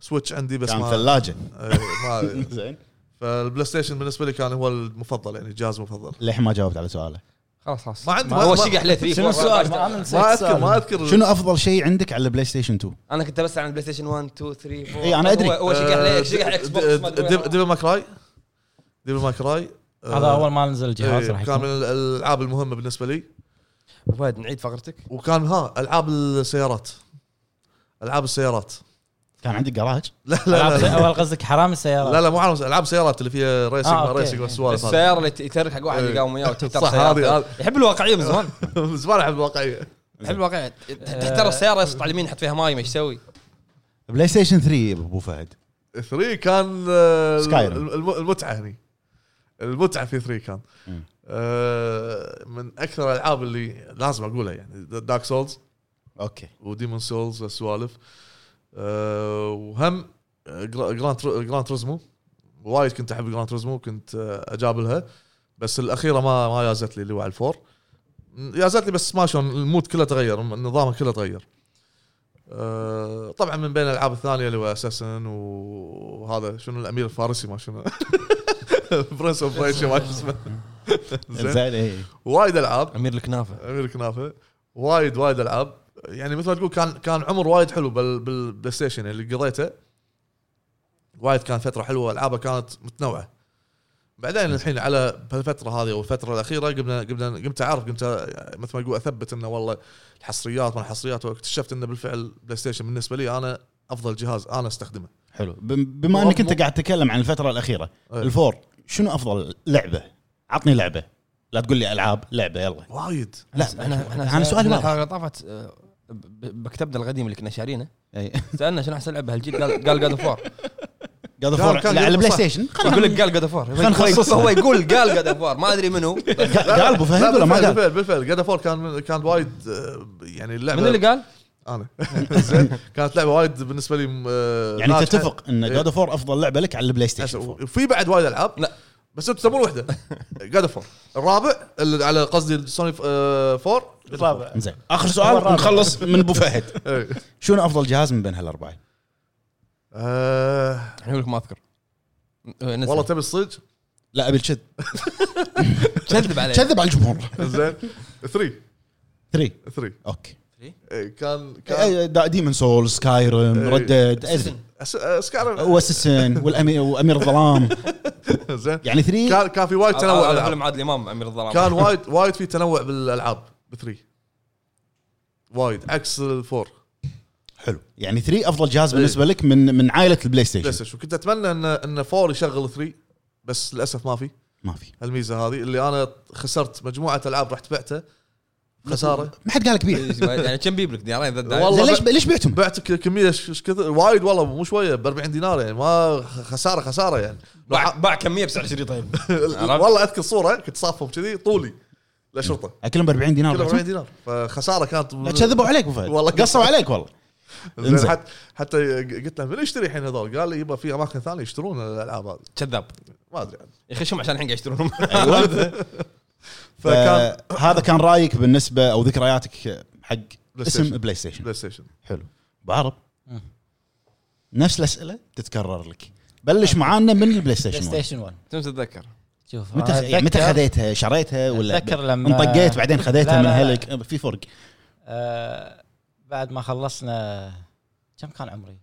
Speaker 2: سويتش عندي بس
Speaker 1: كان
Speaker 2: ما
Speaker 1: ثلاجه
Speaker 2: إيه، ما
Speaker 1: زين
Speaker 2: فالبلاي ستيشن بالنسبه لي كان هو المفضل يعني الجهاز المفضل
Speaker 1: للحين ما جاوبت على سؤاله
Speaker 3: خلاص خلاص
Speaker 2: ما عندي- ما-
Speaker 3: هو
Speaker 2: ما-
Speaker 3: شقح عليه ثري
Speaker 4: شنو
Speaker 3: فور،
Speaker 4: السؤال؟
Speaker 3: فايف.
Speaker 4: ما أنا نسيت
Speaker 2: ما اذكر
Speaker 4: السؤال.
Speaker 2: ما اذكر
Speaker 1: شنو افضل شيء عندك على البلاي ستيشن 2
Speaker 3: انا كنت بس عن بلاي ستيشن 1 2 3 4
Speaker 1: إي، أنا أدري.
Speaker 3: هو هو شقح
Speaker 2: أه، آه،
Speaker 3: عليه شقح اكس بوكس ما أدري وين.
Speaker 2: ديفل ماكراي ديفل ماكراي
Speaker 4: هذا اول ما نزل الجهاز راح
Speaker 2: إيه كان من
Speaker 4: يكون
Speaker 2: الالعاب المهمه بالنسبه لي
Speaker 3: أبو فهد نعيد فقرتك
Speaker 2: وكان ها العاب السيارات العاب السيارات
Speaker 1: كان عندك جراج
Speaker 2: لا لا
Speaker 4: ألعاب
Speaker 2: لا
Speaker 4: سي- اول قصدك حرام السيارات
Speaker 2: لا, لا مو عالم السيارات، العاب سيارات اللي فيها ريسنج
Speaker 4: آه،
Speaker 2: ما
Speaker 4: أوكي.
Speaker 2: ريسنج والسوالف هذه
Speaker 3: السياره اللي يترك حق واحد
Speaker 2: إي.
Speaker 3: يقاوم وياه وتحتار
Speaker 2: صح، هذه-
Speaker 3: السياره
Speaker 2: هذه. إيه.
Speaker 3: يحب الواقعيه من زمان
Speaker 2: <laughs> من زمان احب الواقعيه
Speaker 3: يحب الواقعيه تحتار السياره يسقط على اليمين يحط فيها ماي ما ايش يسوي؟
Speaker 1: بلاي ستيشن 3 ابو فهد
Speaker 2: 3 كان آه،
Speaker 1: Skyrim.
Speaker 2: الم- المتعه هني المتعه في 3 كان
Speaker 1: مم.
Speaker 2: آه، من اكثر الالعاب اللي لازم اقولها يعني دارك سولز
Speaker 1: اوكي
Speaker 2: وديمون سولز والسوالف أه وهم جراند جراند تريزمو وايد كنت احب جراند تريزمو كنت آه، اجابلها بس الاخيره ما ما يازت لي اللي هو على الفور م- يازت لي بس سماش أون، المود كله تغير نظامه كله تغير أه طبعا من بين الالعاب الثانيه اللي هو اساسن وهذا شنو الامير الفارسي ما شنو <laughs> برنس اوف ما شو اسمه زين
Speaker 1: زين إيه.
Speaker 2: وايد العاب
Speaker 3: امير الكنافه
Speaker 2: امير كنافه وايد وايد العاب يعني مثل ما تقول كان كان عمر وايد حلو بال بالبلاي ستيشن اللي قضيته وايد كان فتره حلوه العابه كانت متنوعه بعدين الحين على بهالفتره هذه او الفتره الاخيره قمنا قمنا قمت اعرف قمت أ- مثل ما اقول اثبت انه والله الحصريات ما الحصريات واكتشفت انه بالفعل بلاي ستيشن بالنسبه لي انا افضل جهاز انا استخدمه
Speaker 1: حلو بم- بما انك انت
Speaker 2: مو-
Speaker 1: قاعد تتكلم عن الفتره الاخيره
Speaker 2: إيه.
Speaker 1: الفور شنو افضل لعبه عطني لعبه لا تقول لي العاب لعبه يلا
Speaker 2: وايد
Speaker 1: لا
Speaker 3: انا انا
Speaker 1: انا سؤالي واضح
Speaker 3: الحلقه طافت آه، ب- بكتبنا القديم اللي كنا شارينه
Speaker 1: إي.
Speaker 3: سالنا شنو احسن لعبه هالجيل قال قال جاد اوف وور
Speaker 1: قاعد
Speaker 2: كان-
Speaker 1: أفور-
Speaker 2: كان
Speaker 1: لا على البلاي
Speaker 2: صح.
Speaker 1: ستيشن
Speaker 3: يقول لك قال جاد اوف وور
Speaker 1: خلنا نخصصها.
Speaker 3: هو يقول قال جاد اوف وور ما ادري منو من
Speaker 1: قال ابو فهد ولا ما
Speaker 2: بالفعل
Speaker 1: قال؟
Speaker 2: بالفعل بالفعل جاد فور كان كان وايد آه، يعني اللعبه
Speaker 3: اللي قال؟ <laughs>
Speaker 2: انا زين كانت لعبه وايد بالنسبه لي آه،
Speaker 1: يعني
Speaker 2: ناجحة.
Speaker 1: تتفق ان
Speaker 2: إيه.
Speaker 1: جاد اوف افضل لعبه لك على البلاي ستيشن 4
Speaker 2: في بعد وايد العاب
Speaker 3: لا.
Speaker 2: بس انتم تسمون وحده
Speaker 3: <laughs>
Speaker 2: جاد فور الرابع اللي على قصدي سوني آه، فور
Speaker 4: الرابع
Speaker 1: زين اخر
Speaker 4: هو
Speaker 1: سؤال
Speaker 4: الرابع.
Speaker 1: ونخلص من ابو فهد
Speaker 2: إيه.
Speaker 1: <laughs> شنو افضل جهاز من بين هالاربعه؟
Speaker 2: آه،
Speaker 3: احنا لك ما اذكر
Speaker 2: والله
Speaker 3: والله
Speaker 2: تبي الصدق
Speaker 1: لا ابي الكذب
Speaker 3: كذب عليه
Speaker 1: كذب على الجمهور
Speaker 2: زين 3
Speaker 1: 3
Speaker 2: 3
Speaker 1: اوكي
Speaker 2: كان كان
Speaker 1: إيه، دا- ديمن سول سكايرم
Speaker 2: إيه.
Speaker 1: ردد
Speaker 3: أساسن.
Speaker 2: أس- آه، سكارم
Speaker 1: واسسن والامير وامير الظلام
Speaker 2: زين
Speaker 1: يعني 3
Speaker 2: كان كان في وايد تنوع
Speaker 3: هذا
Speaker 2: بالألعاب.
Speaker 3: فيلم عادل امام امير الظلام <laughs>
Speaker 2: كان وايد وايد في تنوع بالالعاب ب 3 وايد عكس الفور
Speaker 1: حلو يعني 3 افضل جهاز بالنسبه لك من من عائله البلاي
Speaker 2: بلاي
Speaker 1: ستيشن
Speaker 2: ستيشن وكنت اتمنى ان ان فور يشغل 3 بس للاسف ما في
Speaker 1: ما في
Speaker 2: الميزه هذه اللي انا خسرت مجموعه العاب رحت بعتها خساره
Speaker 1: ما حد قال <laughs> لك بيع
Speaker 3: يعني كم بيبلك دينارين ذا
Speaker 2: والله
Speaker 1: زين ليش
Speaker 2: ب-
Speaker 1: ليش بعتهم؟
Speaker 2: بعت ك- كميه ش- ش- كثر وايد والله مو شويه ب 40 دينار يعني ما خ- خساره خساره يعني لو
Speaker 3: باع
Speaker 2: ع-
Speaker 3: باع كميه بسعر شريط طيب <laughs>
Speaker 1: <laughs>
Speaker 3: عرفت؟
Speaker 2: والله اذكر صوره كنت صافهم كذي طولي
Speaker 1: <laughs>
Speaker 2: للشرطه
Speaker 1: اكلهم ب 40 دينار
Speaker 2: كله 40
Speaker 1: بعتهم؟
Speaker 2: دينار فخساره كانت
Speaker 1: لا كذبوا عليك ابو فهد
Speaker 2: والله كذب.
Speaker 1: قصوا عليك والله
Speaker 2: زين
Speaker 1: انزين.
Speaker 2: حتى حتى قلت له من يشتري الحين هذول؟ قال لي يبا في اماكن ثانيه يشترون الالعاب هذه
Speaker 3: كذاب
Speaker 2: ما يعني. ادري عنه.
Speaker 3: يخشهم عشان الحين قاعد يشترونهم <laughs>
Speaker 1: <laughs>
Speaker 2: فكان
Speaker 1: آه، هذا كان رايك بالنسبه او ذكرياتك حق اسم
Speaker 2: ستيشن.
Speaker 1: بلاي ستيشن
Speaker 2: بلاي ستيشن
Speaker 1: حلو بعرب
Speaker 4: مم.
Speaker 1: نفس الاسئله تتكرر لك بلش معانا من البلاي
Speaker 4: بلاي
Speaker 1: ستيشن واحد.
Speaker 4: ستيشن 1
Speaker 3: تم تتذكر
Speaker 4: شوف
Speaker 1: متى
Speaker 4: أنا
Speaker 1: يعني متى
Speaker 4: آه، أتذكر-
Speaker 1: خذيتها شريتها ولا
Speaker 4: أتذكر لما-
Speaker 1: انطقيت بعدين خذيتها
Speaker 4: لا،
Speaker 1: من
Speaker 4: لا، لا.
Speaker 1: هلك في فرق
Speaker 4: آه، بعد ما خلصنا كم كان عمري؟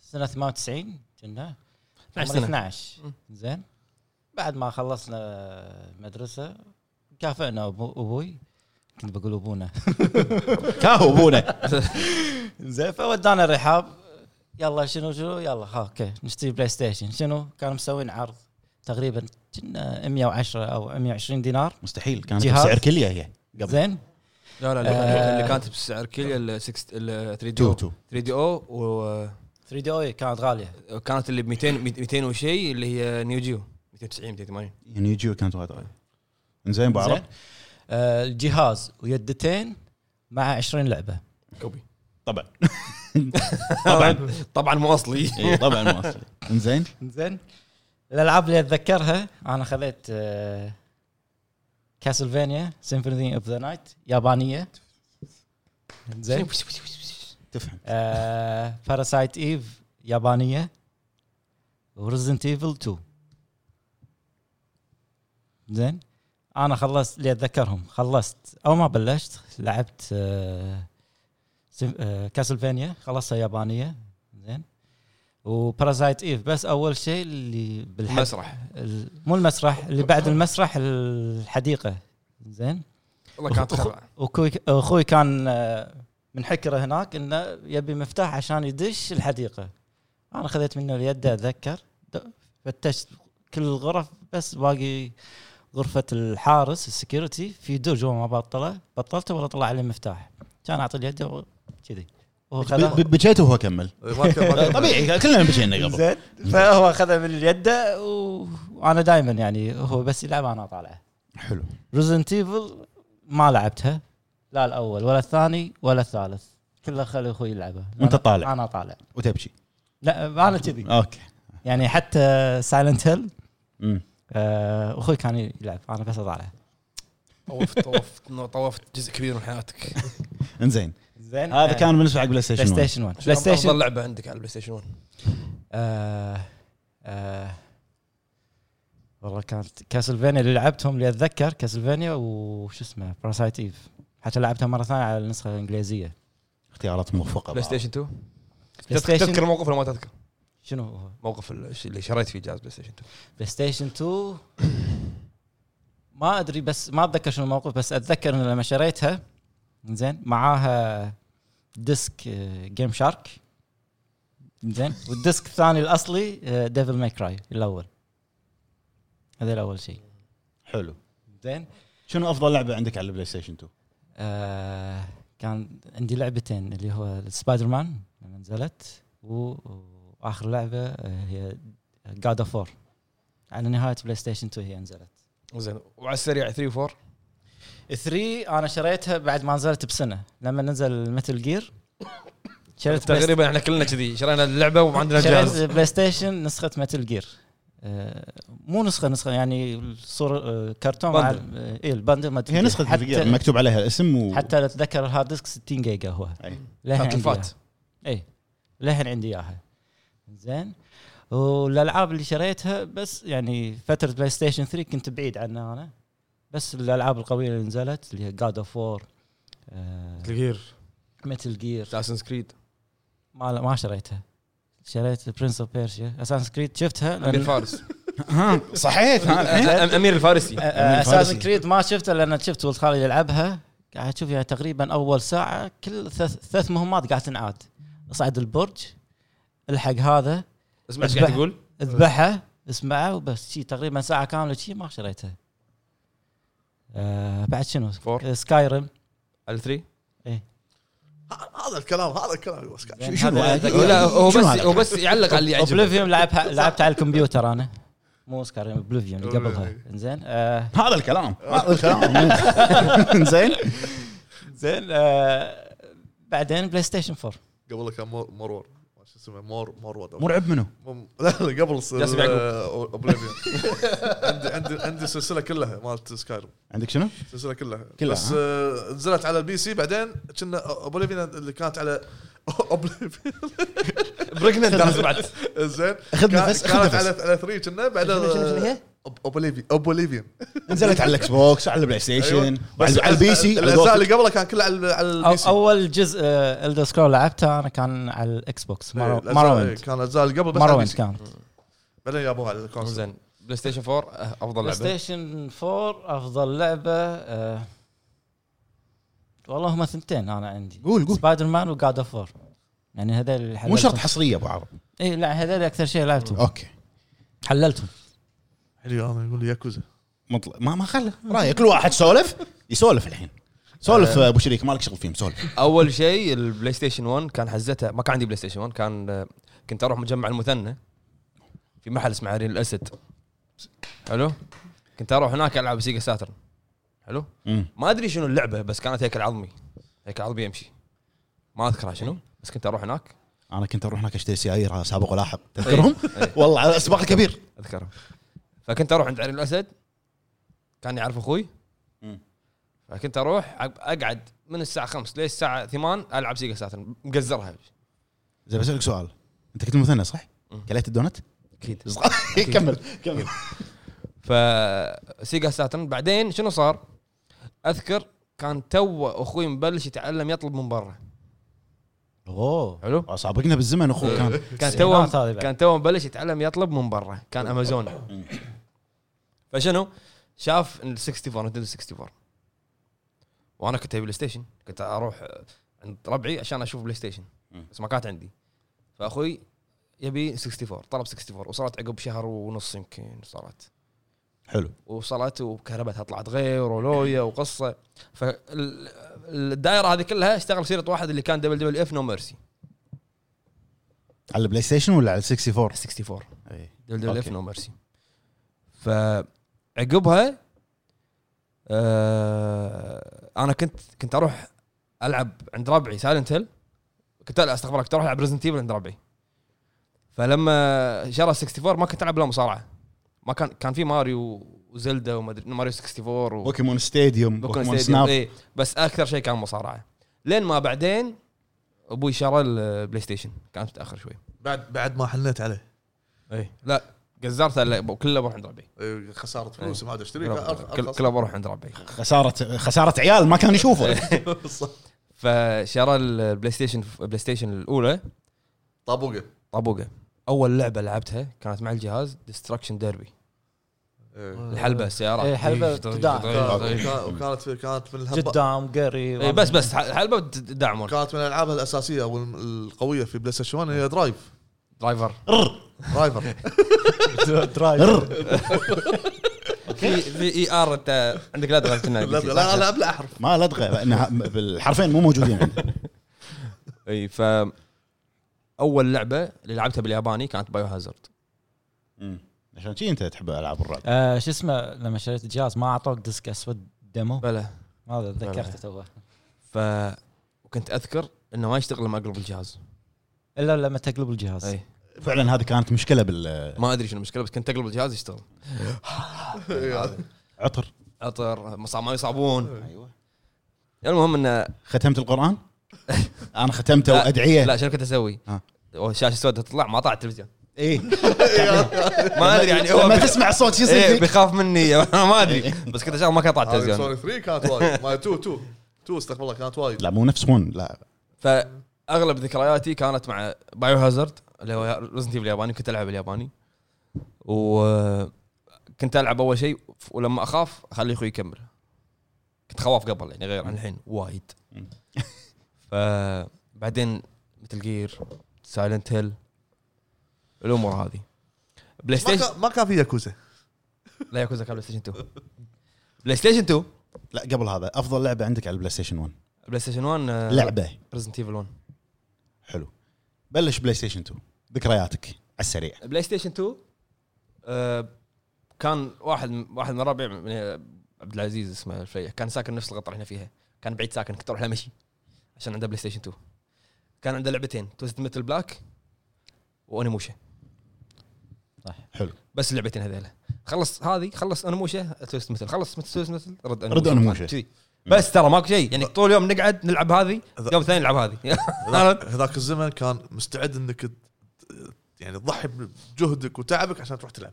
Speaker 4: سنه 98 كنا
Speaker 3: 12
Speaker 4: عمري
Speaker 3: سنة.
Speaker 4: 12
Speaker 3: مم.
Speaker 4: زين بعد ما خلصنا مدرسه كافئنا أبو- ابوي كنت بقول ابونا
Speaker 1: كاهو ابونا
Speaker 4: زين فودانا الرحاب يلا شنو شنو يلا ها اوكي نشتري بلاي ستيشن شنو كانوا مسوين عرض تقريبا كنا 110 او 120 دينار
Speaker 1: مستحيل كانت
Speaker 4: جهاز.
Speaker 1: بسعر كليه هي قبل
Speaker 4: زين
Speaker 3: آه. لا لا اللي- اللي كانت بسعر كيليا ال 3 دي
Speaker 1: تو
Speaker 3: او
Speaker 1: تو
Speaker 3: 3 دي او
Speaker 4: 3 دي اوي كانت غاليه
Speaker 3: كانت اللي ب 200 200 وشيء اللي هي نيو جيو 290 280
Speaker 1: يعني يجيو كانت وايد غاليه زين بعرف
Speaker 4: زين. آه، الجهاز ويدتين مع 20 لعبه
Speaker 3: <laughs> كوبي
Speaker 1: طبعا طبعا
Speaker 3: طبعا مو <laughs> اصلي
Speaker 1: <laughs>
Speaker 4: إيه.
Speaker 1: اي طبعا ما أصلي. انزين
Speaker 4: زين الالعاب اللي اتذكرها انا خذيت آه، كاسلفينيا سيمفوني اوف ذا نايت يابانيه زين
Speaker 1: تفهم
Speaker 4: آه، باراسايت ايف يابانيه وريزنت ايفل 2 زين انا خلصت اللي اتذكرهم خلصت او ما بلشت لعبت آه، كاسلفينيا خلصتها يابانيه زين وباراسايت ايف بس اول شيء اللي بالحق
Speaker 3: المسرح
Speaker 4: ال- مو المسرح اللي بعد المسرح الحديقه زين
Speaker 3: والله كانت خرعه
Speaker 4: واخوي اخوي كان آه، من حكره هناك انه يبي مفتاح عشان يدش الحديقه انا خذيت منه اليد اتذكر د- فتشت كل الغرف بس باقي غرفه الحارس السكيورتي في دور جوا ما بطله بطلته ولا طلع عليه مفتاح كان اعطي اليد وكذي وهو خذها
Speaker 1: ب- ب- بجيت وهو كمل
Speaker 2: إيه، ما
Speaker 1: <laughs>
Speaker 2: كان ما كان-
Speaker 1: طبيعي كلنا بجينا قبل
Speaker 4: زين فهو خذها من اليد و- وانا دائما يعني هو بس يلعب انا طالعه
Speaker 1: حلو
Speaker 4: ريزنت ايفل ما لعبتها لا الاول ولا الثاني ولا الثالث كله خلي اخوي يلعبه
Speaker 1: وأنت
Speaker 4: أنا-
Speaker 1: طالع.
Speaker 4: انا طالع
Speaker 1: وتبكي
Speaker 4: لا انا كذي
Speaker 1: اوكي
Speaker 4: يعني حتى سايلنت هيل
Speaker 1: أمم.
Speaker 4: اخوي كان يلعب انا بس اطالع
Speaker 3: طوفت طوفت طوفت جزء كبير من حياتك
Speaker 1: انزين
Speaker 4: زين
Speaker 1: هذا كان بالنسبه حق بلاي ستيشن
Speaker 4: بلاي
Speaker 1: 1
Speaker 4: ستيشن 1
Speaker 3: بلاي
Speaker 4: بلاي
Speaker 3: افضل
Speaker 4: ستيشن
Speaker 3: لعبه عندك على البلاي ستيشن 1
Speaker 4: آه، آه، والله كانت كاسلفينيا اللي لعبتهم اللي اتذكر كاسلفينيا وش اسمه باراسايت ايف حتى لعبتها مره ثانيه على النسخه الانجليزيه
Speaker 1: اختيارات موفقه
Speaker 3: بلاي
Speaker 1: بعض.
Speaker 3: ستيشن 2
Speaker 4: بلاي
Speaker 3: تذكر
Speaker 4: ستيشن
Speaker 3: تذكر موقف ولا ما تذكر؟
Speaker 4: شنو هو؟
Speaker 3: موقف ال- اللي شريت فيه جهاز بلاي ستيشن 2
Speaker 4: بلاي ستيشن 2 <coughs> ما ادري بس ما اتذكر شنو الموقف بس اتذكر انه لما شريتها زين معاها ديسك آه، جيم شارك زين والديسك الثاني الاصلي آه، ديفل ماي كراي الاول هذا الاول شيء
Speaker 1: حلو
Speaker 4: زين
Speaker 1: شنو افضل لعبه عندك على البلاي ستيشن 2
Speaker 4: آه، كان عندي لعبتين اللي هو سبايدر مان لما نزلت و- واخر لعبه آه، هي جاد اوف 4 على نهايه بلاي ستيشن 2 هي نزلت
Speaker 3: زين وعلى السريع 3 و 4
Speaker 4: 3 انا شريتها بعد ما نزلت بسنه لما نزل متل جير شريت بلاي-
Speaker 3: تقريبا احنا كلنا كذي شرينا اللعبه وما عندنا جهاز
Speaker 4: شريت بلاي ستيشن نسخه متل جير آه، مو نسخه نسخه يعني الصوره آه، كرتون مع
Speaker 3: بندل.
Speaker 4: ال- آه، اي البندل Metal
Speaker 1: هي
Speaker 4: Gear.
Speaker 1: نسخه
Speaker 4: حتى-
Speaker 1: الفيديو مكتوب عليها الاسم و... إيه.
Speaker 4: حتى لو اتذكر الهارد ديسك 60 جيجا هو
Speaker 1: أي.
Speaker 4: للحين عندي
Speaker 3: تلفات
Speaker 4: اي للحين عندي اياها زين والالعاب اللي شريتها بس يعني فتره بلاي ستيشن 3 كنت بعيد عنها انا بس الالعاب القويه اللي نزلت اللي هي جاد اوف وور آه،
Speaker 3: الجير
Speaker 4: متل جير
Speaker 3: اساسن كريد
Speaker 4: ما ما شريتها شريت برنس اوف بيرسيا اساس كريد شفتها
Speaker 3: امير
Speaker 4: لان
Speaker 3: فارس
Speaker 1: ها صحيت ها الحين؟
Speaker 3: أ- امير الفارسي
Speaker 4: اساس
Speaker 1: فارسي.
Speaker 4: كريد ما شفتها لان شفت ولد خالي يلعبها قاعد اشوف يعني تقريبا اول ساعه كل ثلاث ثلاث مهمات قاعد تنعاد اصعد البرج الحق هذا
Speaker 3: اسمع ايش قاعد يقول
Speaker 4: اذبحه اسمعه وبس شي تقريبا ساعه كامله شي ما شريتها آه بعد شنو
Speaker 3: فور.
Speaker 4: سكاي ريم
Speaker 3: على 3
Speaker 2: ه- هذا الكلام هذا الكلام بس قاعد-
Speaker 1: شنو
Speaker 3: لا هو بس
Speaker 1: شنو إيه، هذا؟
Speaker 3: هو بس يعلق على اللي يعجبه
Speaker 4: اوبليفيوم لعبها لعبتها على الكمبيوتر انا مو سكاي ريم اوبليفيوم اللي قبلها
Speaker 2: Oblivion.
Speaker 4: زين آه
Speaker 1: هذا الكلام هذا <laughs> الكلام زين
Speaker 4: زين آه بعدين بلاي ستيشن 4
Speaker 2: قبل كان مور- مرور شو اسمه مور مرور
Speaker 1: مرعب منو؟
Speaker 2: مم- <laughs> لا لا قبل س-
Speaker 3: ياسر يعقوب.
Speaker 2: آه، Oblivion. <laughs> عندي عندي عندي السلسله كلها مالت سكايرم
Speaker 1: عندك شنو؟
Speaker 2: السلسله كلها
Speaker 1: كلها،
Speaker 2: بس
Speaker 1: ها؟
Speaker 2: آه، نزلت على البي سي بعدين كنا اوبليفين اللي كانت على <laughs> اوبليفين
Speaker 3: بريجننت انا بعد
Speaker 2: زين
Speaker 1: خذ
Speaker 2: كان-
Speaker 1: نفس، خذ نفس.
Speaker 2: كانت على على 3 كنا بعدين
Speaker 3: شنو- شنو- شنو هي؟
Speaker 2: اوبليفين اوبليفين
Speaker 1: نزلت على الاكس بوكس على البلاي ستيشن وعلى- على البي سي على
Speaker 2: الاجزاء
Speaker 1: الجوال.
Speaker 2: اللي قبلها كان كلها على على
Speaker 4: أو
Speaker 2: البي سي
Speaker 4: اول جزء الدر سكرول لعبته انا كان على الاكس بوكس
Speaker 2: إيه،
Speaker 4: مارو-
Speaker 2: الأجزاء-
Speaker 4: ماروند
Speaker 2: إيه، كان الاجزاء اللي قبل بس على
Speaker 4: ماروند
Speaker 2: البي سي.
Speaker 4: كان
Speaker 2: بعدين جابوها على الكونسول
Speaker 3: زين بلاي ستيشن 4 أه، افضل
Speaker 4: بلاي
Speaker 3: لعبه
Speaker 4: ستيشن 4 افضل لعبه آه والله هما ثنتين انا عندي
Speaker 1: قول قول
Speaker 4: سبايدر مان وجاد اوف 4 يعني هذول اللي
Speaker 1: مو شرط
Speaker 4: حللتهم.
Speaker 1: حصريه ابو عرب
Speaker 4: اي لا هذول اكثر شيء لعبتهم
Speaker 1: اوكي
Speaker 4: حللتهم
Speaker 2: حلو انا يقول لي ياكوزا
Speaker 1: مطلق ما ما خله رايك كل واحد سولف آه. يسولف الحين سولف ابو شريك مالك شغل فيهم سولف
Speaker 3: اول شيء البلاي ستيشن 1 كان حزتها ما كان عندي بلاي ستيشن 1 كان آه، كنت اروح مجمع المثنى في محل اسمه عرين الاسد حلو كنت اروح هناك العب سيجا ساترن حلو
Speaker 1: مم.
Speaker 3: ما ادري شنو اللعبه بس كانت هيكل عظمي هيكل عظمي يمشي ما اذكرها شنو بس كنت اروح هناك
Speaker 1: انا كنت اروح هناك اشتري سيايير سابق ولاحق تذكرهم؟
Speaker 3: إيه.
Speaker 1: والله على السباق الكبير
Speaker 3: اذكرها فكنت اروح عند عرين الاسد كان يعرف اخوي
Speaker 1: مم.
Speaker 3: فكنت اروح أق- اقعد من الساعه 5 للساعه 8 العب سيجا ساترن مقزرها
Speaker 1: زين بسالك سؤال انت كنت مثنى صح؟
Speaker 3: مم.
Speaker 1: كليت
Speaker 3: <laughs>
Speaker 1: الدونت؟
Speaker 3: اكيد
Speaker 1: كمل كمل
Speaker 3: فسيجا ساترن بعدين شنو صار؟ اذكر كان تو اخوي مبلش يتعلم يطلب من برا
Speaker 4: اوه
Speaker 3: حلو؟
Speaker 1: سابقنا بالزمن اخوك كان
Speaker 3: كان تو
Speaker 4: التسعينات هذه بعد.
Speaker 3: كان تو مبلش يتعلم يطلب من برا كان امازون فشنو؟ شاف ال 64 نتندو 64 وانا كنت ابي بلاي ستيشن كنت اروح آه، عند ربعي عشان اشوف بلاي ستيشن بس ما كانت عندي فاخوي يبي 64 طلب 64 وصارت عقب شهر ونص يمكن صارت
Speaker 1: حلو
Speaker 3: وصلت وكهربتها طلعت غير ولويا وقصه فالدائره هذه كلها اشتغل سيره واحد اللي كان دبل دبل اف نو ميرسي
Speaker 1: على البلاي ستيشن ولا على 64
Speaker 3: 64
Speaker 1: اي
Speaker 3: دبل دبل اف
Speaker 1: أوكي.
Speaker 3: نو ميرسي فعقبها آه انا كنت كنت اروح العب عند ربعي سايلنت هيل كنت لا استغفر الله، كنت اروح العب ريزنت ايفل عند ربعي فلما شرى 64 ما كنت العب لا مصارعه ما كان كان في ماريو وزلدا وما ادري ماريو 64 و...
Speaker 1: بوكيمون ستاديوم
Speaker 3: بوكيمون
Speaker 1: بوكيمون
Speaker 3: ستاديوم
Speaker 1: سناب
Speaker 3: اي إيه، بس اكثر شيء كان مصارعه لين ما بعدين ابوي شرى البلاي ستيشن كانت متاخر شوي
Speaker 2: بعد بعد ما حنيت عليه
Speaker 3: اي لا قزرت لا، كله بروح عند ربعي
Speaker 2: إيه، خساره فلوس ما عاد اشتري
Speaker 3: كله- كله-
Speaker 2: فأرخص.
Speaker 3: كله بروح عند ربعي
Speaker 1: خساره خساره عيال ما كان يشوفه
Speaker 2: <laughs> صح.
Speaker 3: فشرى البلاي ستيشن آه، بلاي ستيشن الاولى
Speaker 2: طابوقه
Speaker 3: طابوقه اول لعبه لعبتها كانت مع الجهاز ديستركشن ديربي
Speaker 2: إيه.
Speaker 3: الحلبه السيارات
Speaker 4: إيه، حلبة ابتداع.
Speaker 3: طيب،
Speaker 2: كان- كان- كانت كانت من الهب-
Speaker 4: قدام قري
Speaker 3: إيه، بس
Speaker 4: <laughs>
Speaker 3: بس حلبه دعمون
Speaker 2: كانت من الالعاب الاساسيه والقويه في بلاي ستيشن 1 هي درايف
Speaker 3: درايفر
Speaker 2: درايفر
Speaker 4: درايف
Speaker 3: في في اي ار انت عندك لا تغلط
Speaker 2: لا لا لا العب
Speaker 1: <laughs>
Speaker 2: لا احرف
Speaker 1: ما لا تغير لأنها بالحرفين مو موجودين عندي
Speaker 3: اي ف اول لعبه اللي لعبتها بالياباني كانت بايو هازارد
Speaker 1: عشان شي انت تحب العاب الرعب
Speaker 4: آه، شو اسمه لما شريت الجهاز ما اعطوك ديسك اسود ديمو
Speaker 3: بلى
Speaker 4: ما أدري، تذكرته توه
Speaker 3: ف وكنت اذكر انه ما يشتغل لما اقلب الجهاز
Speaker 4: الا لما تقلب الجهاز
Speaker 3: اي
Speaker 1: فعلا هذه كانت مشكله بالعطر
Speaker 3: ما ادري شنو المشكله بس كنت اقلب الجهاز يشتغل عطر مصاب ما يصابون
Speaker 1: ايوه
Speaker 3: المهم انه
Speaker 1: ختمت
Speaker 3: <laughs>
Speaker 1: القران انا ختمته
Speaker 3: لا،
Speaker 1: وادعيه
Speaker 3: لا شنو كنت اسوي؟
Speaker 1: ها.
Speaker 3: الشاشه السوداء تطلع ما طلعت التلفزيون
Speaker 1: اي <laughs>
Speaker 3: ما ادري يعني هو
Speaker 1: إيه. لما
Speaker 3: بي-
Speaker 1: تسمع الصوت شو
Speaker 3: إيه،
Speaker 1: يصير فيك
Speaker 3: بيخاف مني <laughs> انا ما ادري بس كنت اشغل ما كان طلعت
Speaker 2: هذه
Speaker 3: التلفزيون
Speaker 2: سوني 3 كانت وايد ما 2 2 2 استغفر الله كانت وايد
Speaker 1: لا مو نفس 1 لا
Speaker 3: فاغلب ذكرياتي كانت مع بايو هازارد اللي هو ريزنت ايفل الياباني كنت العب الياباني وكنت العب اول شيء ولما اخاف اخلي اخوي يكمل كنت خواف قبل يعني غير عن الحين وايد
Speaker 1: مم.
Speaker 3: فبعدين مثل جير سايلنت هيل الامور هذه بلاي
Speaker 2: ما
Speaker 3: ستيشن
Speaker 2: كان- ما كان في ياكوزا
Speaker 3: لا ياكوزا كان بلاي ستيشن
Speaker 2: <laughs>
Speaker 3: 2 بلاي ستيشن 2
Speaker 1: لا قبل هذا افضل لعبه عندك على البلاي ستيشن 1
Speaker 3: بلاي ستيشن 1
Speaker 1: لعبه
Speaker 3: ريزنت ايفل 1
Speaker 1: حلو بلش بلاي ستيشن 2 ذكرياتك على السريع
Speaker 3: بلاي ستيشن 2 آه، كان واحد واحد من ربعي من عبد العزيز اسمه الفريح كان ساكن نفس الغطره اللي احنا فيها كان بعيد ساكن كنت اروح له مشي عشان عنده بلاي ستيشن 2 كان عنده لعبتين توست ميتل بلاك وانيموشا
Speaker 1: حلو
Speaker 3: بس اللعبتين هذيلا خلص هذه خلص انيموشا توست ميتل خلص توست ميتل رد انيموشا
Speaker 1: رد أنموشا.
Speaker 3: كذي. بس ترى ماكو شيء يعني طول اليوم نقعد نلعب هذه
Speaker 2: إذا-
Speaker 3: يوم ثاني نلعب هذه <laughs>
Speaker 2: هذاك- هذاك الزمن كان مستعد انك ت- يعني تضحي بجهدك وتعبك عشان تروح تلعب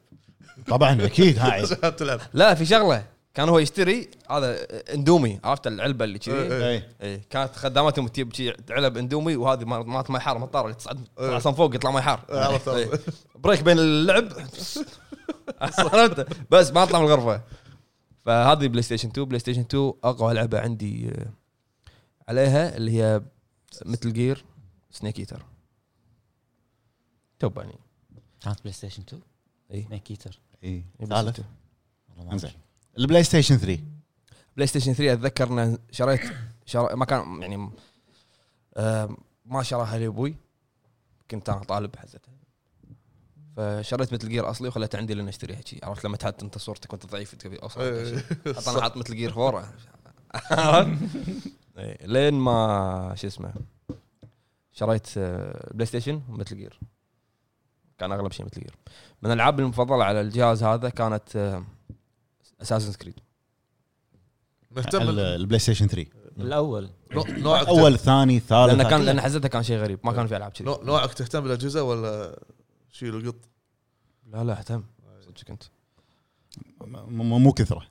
Speaker 1: طبعا اكيد هاي
Speaker 2: <laughs>
Speaker 3: <laughs>
Speaker 2: عشان تلعب
Speaker 3: لا في شغله كان هو يشتري هذا اندومي عرفت العلبه اللي كذي
Speaker 1: إيه.
Speaker 3: اي كانت خدامتهم تجيب شي علب اندومي وهذه مال- مالت ماي حار مطار اللي تصعد
Speaker 2: إيه.
Speaker 3: اصلا فوق يطلع ماي حار
Speaker 2: إيه، عرفت، عرفت.
Speaker 3: إيه. بريك بين اللعب عرفت بس ما اطلع من الغرفه فهذه بلاي ستيشن 2 بلاي ستيشن 2 اقوى لعبه عندي آه، عليها اللي هي مثل جير سنيك ايتر توب يعني
Speaker 4: كانت بلاي ستيشن 2
Speaker 3: اي
Speaker 4: نيكيتر
Speaker 1: إيه.
Speaker 3: ثالث
Speaker 4: والله ما
Speaker 1: انزين البلاي ستيشن 3
Speaker 3: بلاي ستيشن 3 اتذكر ان شريت شر... ما كان يعني آه ما شراها لي ابوي كنت انا طالب حزتها فشريت مثل جير اصلي وخليته عندي لين اشتريها شي عرفت لما تحط انت صورتك وانت ضعيف تبي اوصل حط انا حاط مثل جير فور <laughs> إيه، لين ما شو اسمه شريت آه، بلاي ستيشن ومثل جير كان اغلب شيء مثل جير من الالعاب المفضله على الجهاز هذا كانت آه، اساسن كريد
Speaker 2: مهتم
Speaker 1: ال- البلاي ستيشن 3
Speaker 2: نعم.
Speaker 4: الاول
Speaker 2: نوع- نوعك
Speaker 1: اول ثاني ثالث
Speaker 3: لان كان لان حزتها كان شيء غريب ما كان في العاب كذي
Speaker 2: نوع- نوعك تهتم بالاجهزه ولا شيل قط
Speaker 3: لا لا اهتم صدق كنت
Speaker 1: م- م- مو
Speaker 3: <laughs>
Speaker 1: كثره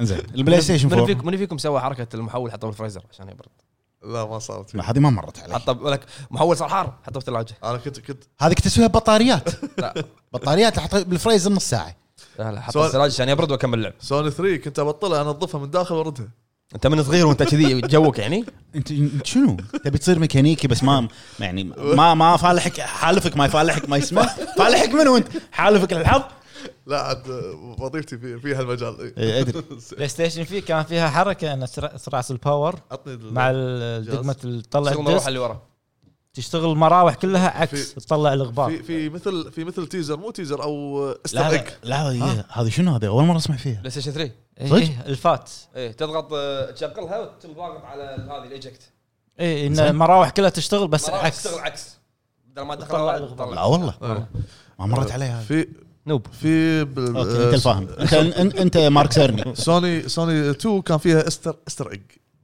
Speaker 1: زين البلاي ستيشن
Speaker 3: من
Speaker 1: 4
Speaker 3: فيكم من فيكم سوى حركه المحول حطه بالفريزر عشان يبرد
Speaker 2: لا ما صارت
Speaker 1: لا،
Speaker 2: فيه.
Speaker 1: هذه ما مرت علي
Speaker 3: حطه لك محول صار حار حطه بالثلاجه
Speaker 2: انا كنت كنت
Speaker 1: هذه كنت اسويها بطاريات
Speaker 3: لا
Speaker 1: بطاريات احطها بالفريزر نص ساعه
Speaker 3: لا لا حطه
Speaker 2: سؤال-
Speaker 3: بالثلاجه عشان يبرد واكمل لعب
Speaker 2: سوني 3 كنت ابطلها انظفها من داخل واردها
Speaker 3: انت من صغير وانت كذي
Speaker 1: <laughs>
Speaker 3: جوك يعني
Speaker 1: انت أنت شنو؟ تبي تصير ميكانيكي بس ما يعني ما ما فالحك حالفك ما يفالحك ما يسمع فالحك منو انت؟ حالفك للحظ؟
Speaker 2: لا عاد آه، وظيفتي في, في هالمجال
Speaker 1: إيه، ادري
Speaker 4: بلاي ستيشن في كان فيها حركه ان سرع- سرعه الباور
Speaker 2: <laughs> عطني ال-
Speaker 4: مع ال- دقمه تطلع
Speaker 3: شغل نروح
Speaker 4: الدست
Speaker 3: اللي ورا
Speaker 4: تشتغل المراوح كلها عكس
Speaker 2: في-
Speaker 4: تطلع الغبار
Speaker 2: في في مثل في مثل تيزر مو تيزر او
Speaker 1: لا
Speaker 2: استر
Speaker 1: لا, لا هذه- هذه شنو هذه اول مره اسمع فيها
Speaker 3: بلاي ستيشن 3
Speaker 1: صدق؟
Speaker 4: ايه الفات
Speaker 3: ايه تضغط آه، تشغلها وتضغط على هذه الايجكت
Speaker 4: ايه ان
Speaker 1: زين.
Speaker 4: المراوح كلها تشتغل بس
Speaker 3: مرات
Speaker 4: عكس
Speaker 3: تشتغل عكس بدل ما تدخل
Speaker 4: طلع
Speaker 3: ورا،
Speaker 4: الغبار.
Speaker 1: لا
Speaker 3: تطلع.
Speaker 1: والله
Speaker 2: آه.
Speaker 1: ما مرت علي هذه
Speaker 2: في
Speaker 3: نوب
Speaker 2: في بال-
Speaker 1: اوكي انت
Speaker 2: آه،
Speaker 1: الفاهم انت أنت- انت مارك
Speaker 2: <laughs>
Speaker 1: سيرني
Speaker 2: سوني سوني 2 كان فيها استر استر ايج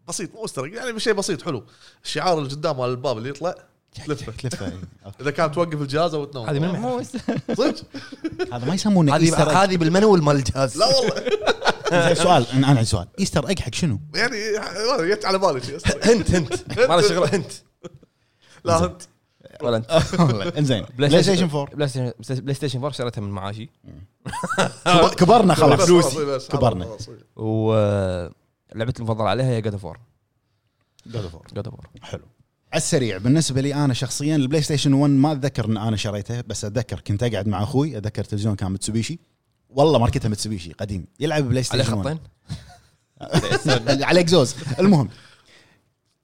Speaker 2: بسيط مو استر ايج يعني شيء بسيط حلو الشعار اللي قدام مال الباب اللي يطلع
Speaker 1: <laughs>
Speaker 2: لفه
Speaker 1: تلفه إي. أوكي.
Speaker 2: اذا كان توقف الجهاز او تنوم
Speaker 3: هذه من
Speaker 4: <laughs>
Speaker 3: المحل.
Speaker 2: <laughs> صدق
Speaker 1: هذا ما يسمونه
Speaker 3: هذه
Speaker 1: ايستر
Speaker 3: هذه بالمنول مال الجهاز
Speaker 2: لا والله
Speaker 1: إيج. سؤال انا عندي سؤال ايستر ايج حق
Speaker 2: <laughs>
Speaker 1: شنو؟
Speaker 2: يعني ما أدري، جت على بالي شيء أستر إيج.
Speaker 3: هنت هنت ما له شغل هنت
Speaker 1: <laughs>
Speaker 2: لا انت
Speaker 3: ولا انت
Speaker 1: والله، انزين بلاي ستيشن 4
Speaker 3: بلاي ستيشن بلاي ستيشن 4 شريتها من معاشي
Speaker 1: كبر- كبرنا خلاص
Speaker 2: فلوسي <laughs> بس،
Speaker 1: كبرنا.
Speaker 2: خلاص، خلاص.
Speaker 3: ولعبتي المفضله عليها هي جاد اوف وور
Speaker 1: God of War.
Speaker 3: جاد اوف وور
Speaker 1: حلو على السريع بالنسبه لي انا شخصيا البلاي ستيشن 1 ما اتذكر ان انا شريته بس اتذكر كنت اقعد مع اخوي اتذكر التلفزيون كان متسوبيشي والله ماركتها متسوبيشي قديم يلعب بلاي
Speaker 3: عليه
Speaker 1: ستيشن 1
Speaker 3: خطين
Speaker 1: <laughs>
Speaker 3: <laughs>
Speaker 1: على اكزوز المهم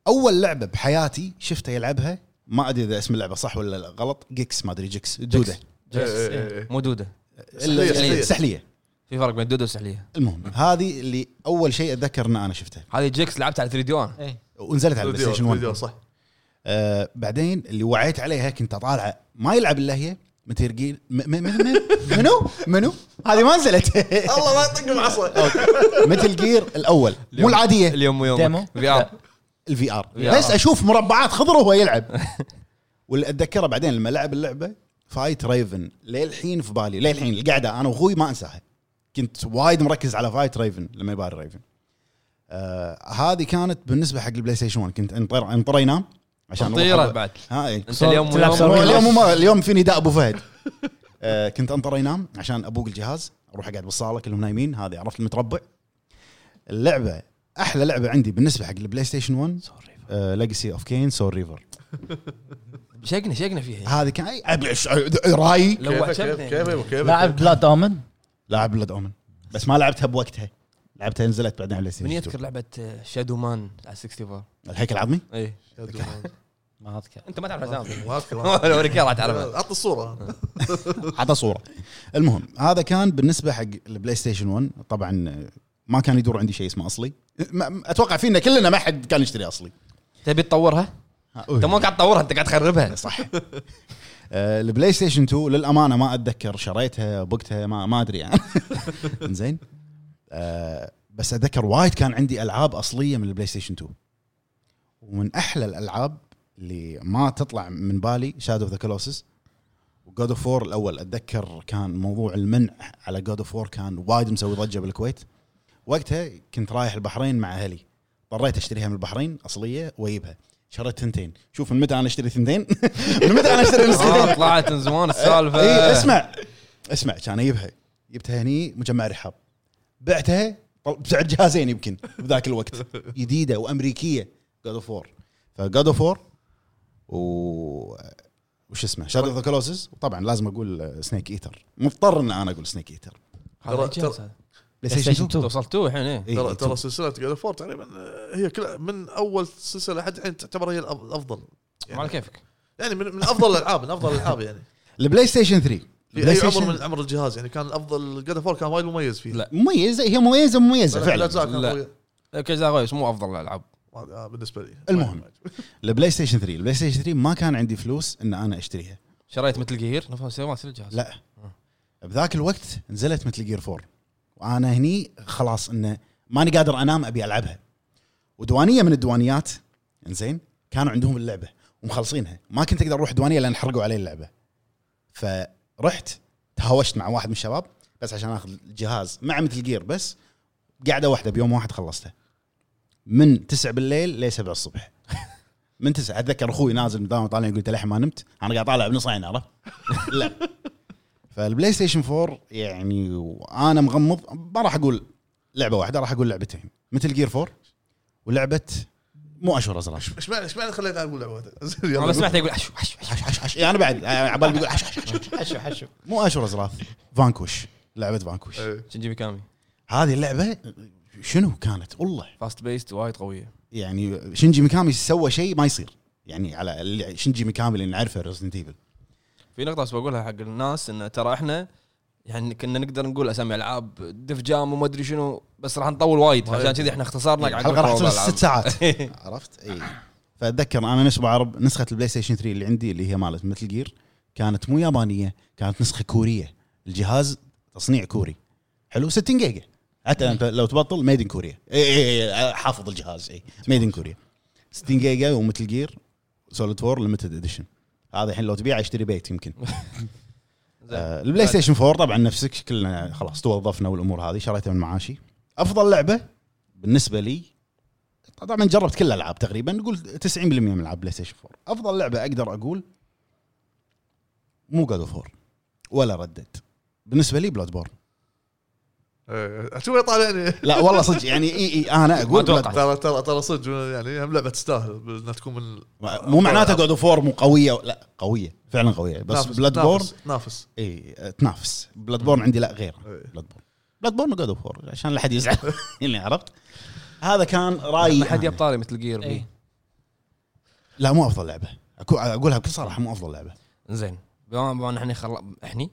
Speaker 1: اول لعبه بحياتي شفته يلعبها ما ادري اذا اسم اللعبه صح ولا لا غلط جيكس ما ادري جيكس دوده
Speaker 2: إيه، إيه، إيه.
Speaker 3: مو دوده
Speaker 2: سحلية، سحلية.
Speaker 1: سحليه
Speaker 3: في فرق بين دوده وسحليه
Speaker 1: المهم هذه اللي اول شيء اتذكر ان انا شفته
Speaker 3: هذه جيكس لعبتها على 3 دي
Speaker 4: <laughs>
Speaker 2: إيه.
Speaker 3: انا
Speaker 4: ايه
Speaker 1: ونزلت على البلاي
Speaker 2: فيديو-
Speaker 1: ستيشن
Speaker 2: فيديو،
Speaker 1: 1
Speaker 2: صح
Speaker 1: آه بعدين اللي وعيت عليها كنت اطالعه ما يلعب الا هي متير جيل م- م- م- م- منو منو هذه ما نزلت <laughs>
Speaker 2: الله ما يطق العصا
Speaker 1: متل جير الاول مو العاديه
Speaker 3: اليوم ويوم <laughs>
Speaker 4: ديمو؟
Speaker 3: في ار
Speaker 1: الفي ار
Speaker 3: VR.
Speaker 1: بس اشوف مربعات خضره وهو يلعب <laughs> واللي اتذكره بعدين لما لعب اللعبه فايت ريفن للحين في بالي للحين القعده انا واخوي ما انساها كنت وايد مركز على فايت ريفن لما يباري ريفن آه هذه كانت بالنسبه حق البلاي ستيشن 1 كنت انطر انطر ينام <laughs> عشان
Speaker 3: طيره بعد
Speaker 1: ها إيه.
Speaker 3: انت اليوم
Speaker 4: تلعب
Speaker 3: ويوم
Speaker 4: سولو.
Speaker 1: اليوم
Speaker 4: سوري.
Speaker 1: اليوم ما اليوم في نداء ابو فهد <laughs> آه كنت انطر ينام عشان ابوق الجهاز اروح اقعد بالصاله كلهم نايمين هذه عرفت المتربع اللعبه احلى لعبه عندي بالنسبه حق آه، البلاي ستيشن 1 ليجسي اوف كين سول ريفر
Speaker 3: إيه. شقنا شقنا فيها
Speaker 1: هذه كان إيه، أي- أبي- أش- راي
Speaker 3: لو
Speaker 2: كيف كيف-
Speaker 3: عجبني
Speaker 2: كيف كيف
Speaker 4: لاعب بلاد اومن
Speaker 1: لاعب بلاد اومن بس ما لعبتها بوقتها لعبتها نزلت بعدين على
Speaker 3: من
Speaker 1: ستيشن
Speaker 3: يذكر لعبه شادو مان آه، على 64
Speaker 1: الهيكل العظمي
Speaker 3: اي
Speaker 4: ما <laughs> اذكر
Speaker 3: انت ما تعرف اسامي
Speaker 2: ما اذكر
Speaker 3: <laughs> ولا
Speaker 2: <laughs>
Speaker 3: رجال تعرف
Speaker 2: عطني الصوره
Speaker 1: عطى صوره المهم هذا كان بالنسبه حق البلاي ستيشن 1 طبعا آه، ما كان يدور عندي شيء اسمه اصلي ما- اتوقع فينا كلنا ما حد كان يشتري اصلي
Speaker 3: تبي تطورها؟ انت مو قاعد تطورها انت قاعد
Speaker 1: <laughs>
Speaker 3: تخربها
Speaker 1: صح آه، البلاي ستيشن 2 للامانه ما اتذكر شريتها بوقتها ما ما ادري يعني <laughs> زين آه، بس اتذكر وايد كان عندي العاب اصليه من البلاي ستيشن 2 ومن احلى الالعاب اللي ما تطلع من بالي شادو اوف ذا كلوسس وجود اوف وور الاول اتذكر كان موضوع المنع على جود اوف وور كان وايد مسوي ضجه بالكويت وقتها كنت رايح البحرين مع اهلي اضطريت اشتريها من البحرين اصليه واجيبها شريت ثنتين شوف من متى انا اشتري ثنتين <laughs> من متى انا اشتري
Speaker 3: آه،
Speaker 1: نسختين
Speaker 3: طلعت من زمان السالفه
Speaker 1: اي إيه، اسمع اسمع كان اجيبها جبتها هني مجمع رحاب بعتها طل- بسعر جهازين يمكن بذاك الوقت جديده وامريكيه جاد اوف وور فجاد اوف وور و وش اسمه شادو اوف ذا كلوسز وطبعا لازم اقول سنيك ايتر مضطر ان انا اقول سنيك ايتر
Speaker 3: هذا
Speaker 2: ترى-
Speaker 3: جهاز هذا.
Speaker 1: بلاي
Speaker 4: ستيشن
Speaker 1: ستيشن 2
Speaker 3: انت وصلت تو الحين ايه
Speaker 1: إي،
Speaker 2: ترى
Speaker 1: 2.
Speaker 2: ترى سلسله جاد فور تقريبا آه، هي كلها من اول سلسله لحد الحين تعتبر هي الأف- الافضل
Speaker 3: ما على كيفك
Speaker 2: يعني من, من افضل الالعاب من افضل الالعاب يعني
Speaker 1: البلاي ستيشن 3
Speaker 2: في
Speaker 1: البلاي
Speaker 2: اي عمر
Speaker 1: ستيشن
Speaker 2: من عمر الجهاز يعني كان الافضل جاد فور كان وايد مميز فيه
Speaker 3: لا،
Speaker 1: مميزه هي مميزه مميزه
Speaker 2: لا
Speaker 1: فعلا
Speaker 2: الاجزاء كان
Speaker 3: لا.
Speaker 2: قوية.
Speaker 3: إيه، كذا غويس مو افضل الالعاب
Speaker 2: آه، بالنسبه لي
Speaker 1: المهم. البلاي ستيشن 3 البلاي ستيشن 3 ما كان عندي فلوس ان انا اشتريها
Speaker 3: شريت مثل جير نفس ما سوى الجهاز
Speaker 1: لا بذاك الوقت نزلت مثل جير 4 وانا هني خلاص انه ماني قادر انام ابي العبها وديوانيه من الديوانيات انزين كانوا عندهم اللعبه ومخلصينها ما كنت اقدر اروح ديوانيه لان حرقوا علي اللعبه فرحت تهاوشت مع واحد من الشباب بس عشان اخذ الجهاز مع مثل جير بس قاعده واحده بيوم واحد خلصتها من 9 بالليل ل 7 الصبح <laughs> من 9 اتذكر اخوي نازل من الدوام طالع يقول "أنت للحين ما نمت انا قاعد طالع بنص عين عرفت لا فالبلاي ستيشن 4 يعني وانا مغمض ما راح اقول لعبه واحده راح اقول لعبتين مثل جير 4 ولعبه مو اشهر ازرق
Speaker 2: ايش معنى ايش معنى خليك اقول لعبه <laughs>
Speaker 3: انا بس سمعته يقول حشو حشو
Speaker 1: حش حش حش يعني انا بعد عبالي بيقول حش حش حش
Speaker 4: حشو حشو
Speaker 1: مو اشهر ازرق فانكوش لعبه فانكوش
Speaker 2: إيه،
Speaker 3: شنجي ميكامي
Speaker 1: هذه اللعبه شنو كانت والله
Speaker 3: فاست بيست وايد قويه
Speaker 1: يعني شنجي ميكامي سوى شيء ما يصير يعني على اللي- شنجي ميكامي اللي نعرفه ريزنت ايفل
Speaker 3: في نقطه بس بقولها حق الناس انه ترى احنا يعني كنا نقدر نقول اسامي العاب ديف جام وما ادري شنو بس راح نطول وايد
Speaker 2: وايد.
Speaker 3: عشان كذي احنا اختصرنا قاعد
Speaker 1: الحلقه إيه، راح تصير
Speaker 3: نقول موضوع الألعاب.
Speaker 1: ست ساعات عرفت؟ اي فاتذكر انا نسبة عرب نسخه البلاي ستيشن 3 اللي عندي اللي هي مالت مثل جير كانت مو يابانيه كانت نسخه كوريه الجهاز تصنيع كوري حلو 60 جيجا حتى انت لو تبطل ميد ان كوريا اي اي اي إيه، حافظ الجهاز إيه. اي ميد ان كوريا 60 جيجا ومثل جير سوليد وور ليمتد اديشن هذا الحين لو تبيعه اشتري بيت يمكن
Speaker 3: زين.
Speaker 1: آه، البلاي ستيشن 4 طبعا نفسك كلنا خلاص توظفنا والامور هذه شريتها من معاشي افضل لعبه بالنسبه لي طبعا جربت كل الالعاب تقريبا نقول 90% من العاب بلاي ستيشن 4 افضل لعبه اقدر اقول مو جاد اوف ولا ردد بالنسبه لي بلاد بورن
Speaker 2: شوف يطالعني
Speaker 1: لا والله صدق يعني اي اي انا
Speaker 3: ما
Speaker 1: اقول
Speaker 3: أتوقع.
Speaker 1: Blood-
Speaker 2: ترى ترى ترى صدق يعني هم لعبه تستاهل انها تكون من
Speaker 1: مو معناته جاد اوف مو قويه لا قويه فعلا قويه بس
Speaker 2: نافس-
Speaker 1: بلاد بورن
Speaker 2: نافس- نافس
Speaker 1: اي آه، تنافس بلاد بورن عندي لا غير
Speaker 2: إيه.
Speaker 1: بلاد بورن بلاد بورن وجود اوف وور عشان لا حد
Speaker 3: <laughs>
Speaker 1: يزعل يعني عرفت هذا كان رايي
Speaker 3: ما حد
Speaker 1: أنا.
Speaker 3: يب طاري مثل جير
Speaker 4: إيه.
Speaker 3: بي
Speaker 1: لا مو افضل لعبه أكو- اقولها بكل صراحه مو افضل لعبه
Speaker 3: زين بما بما ان احنا خل... احني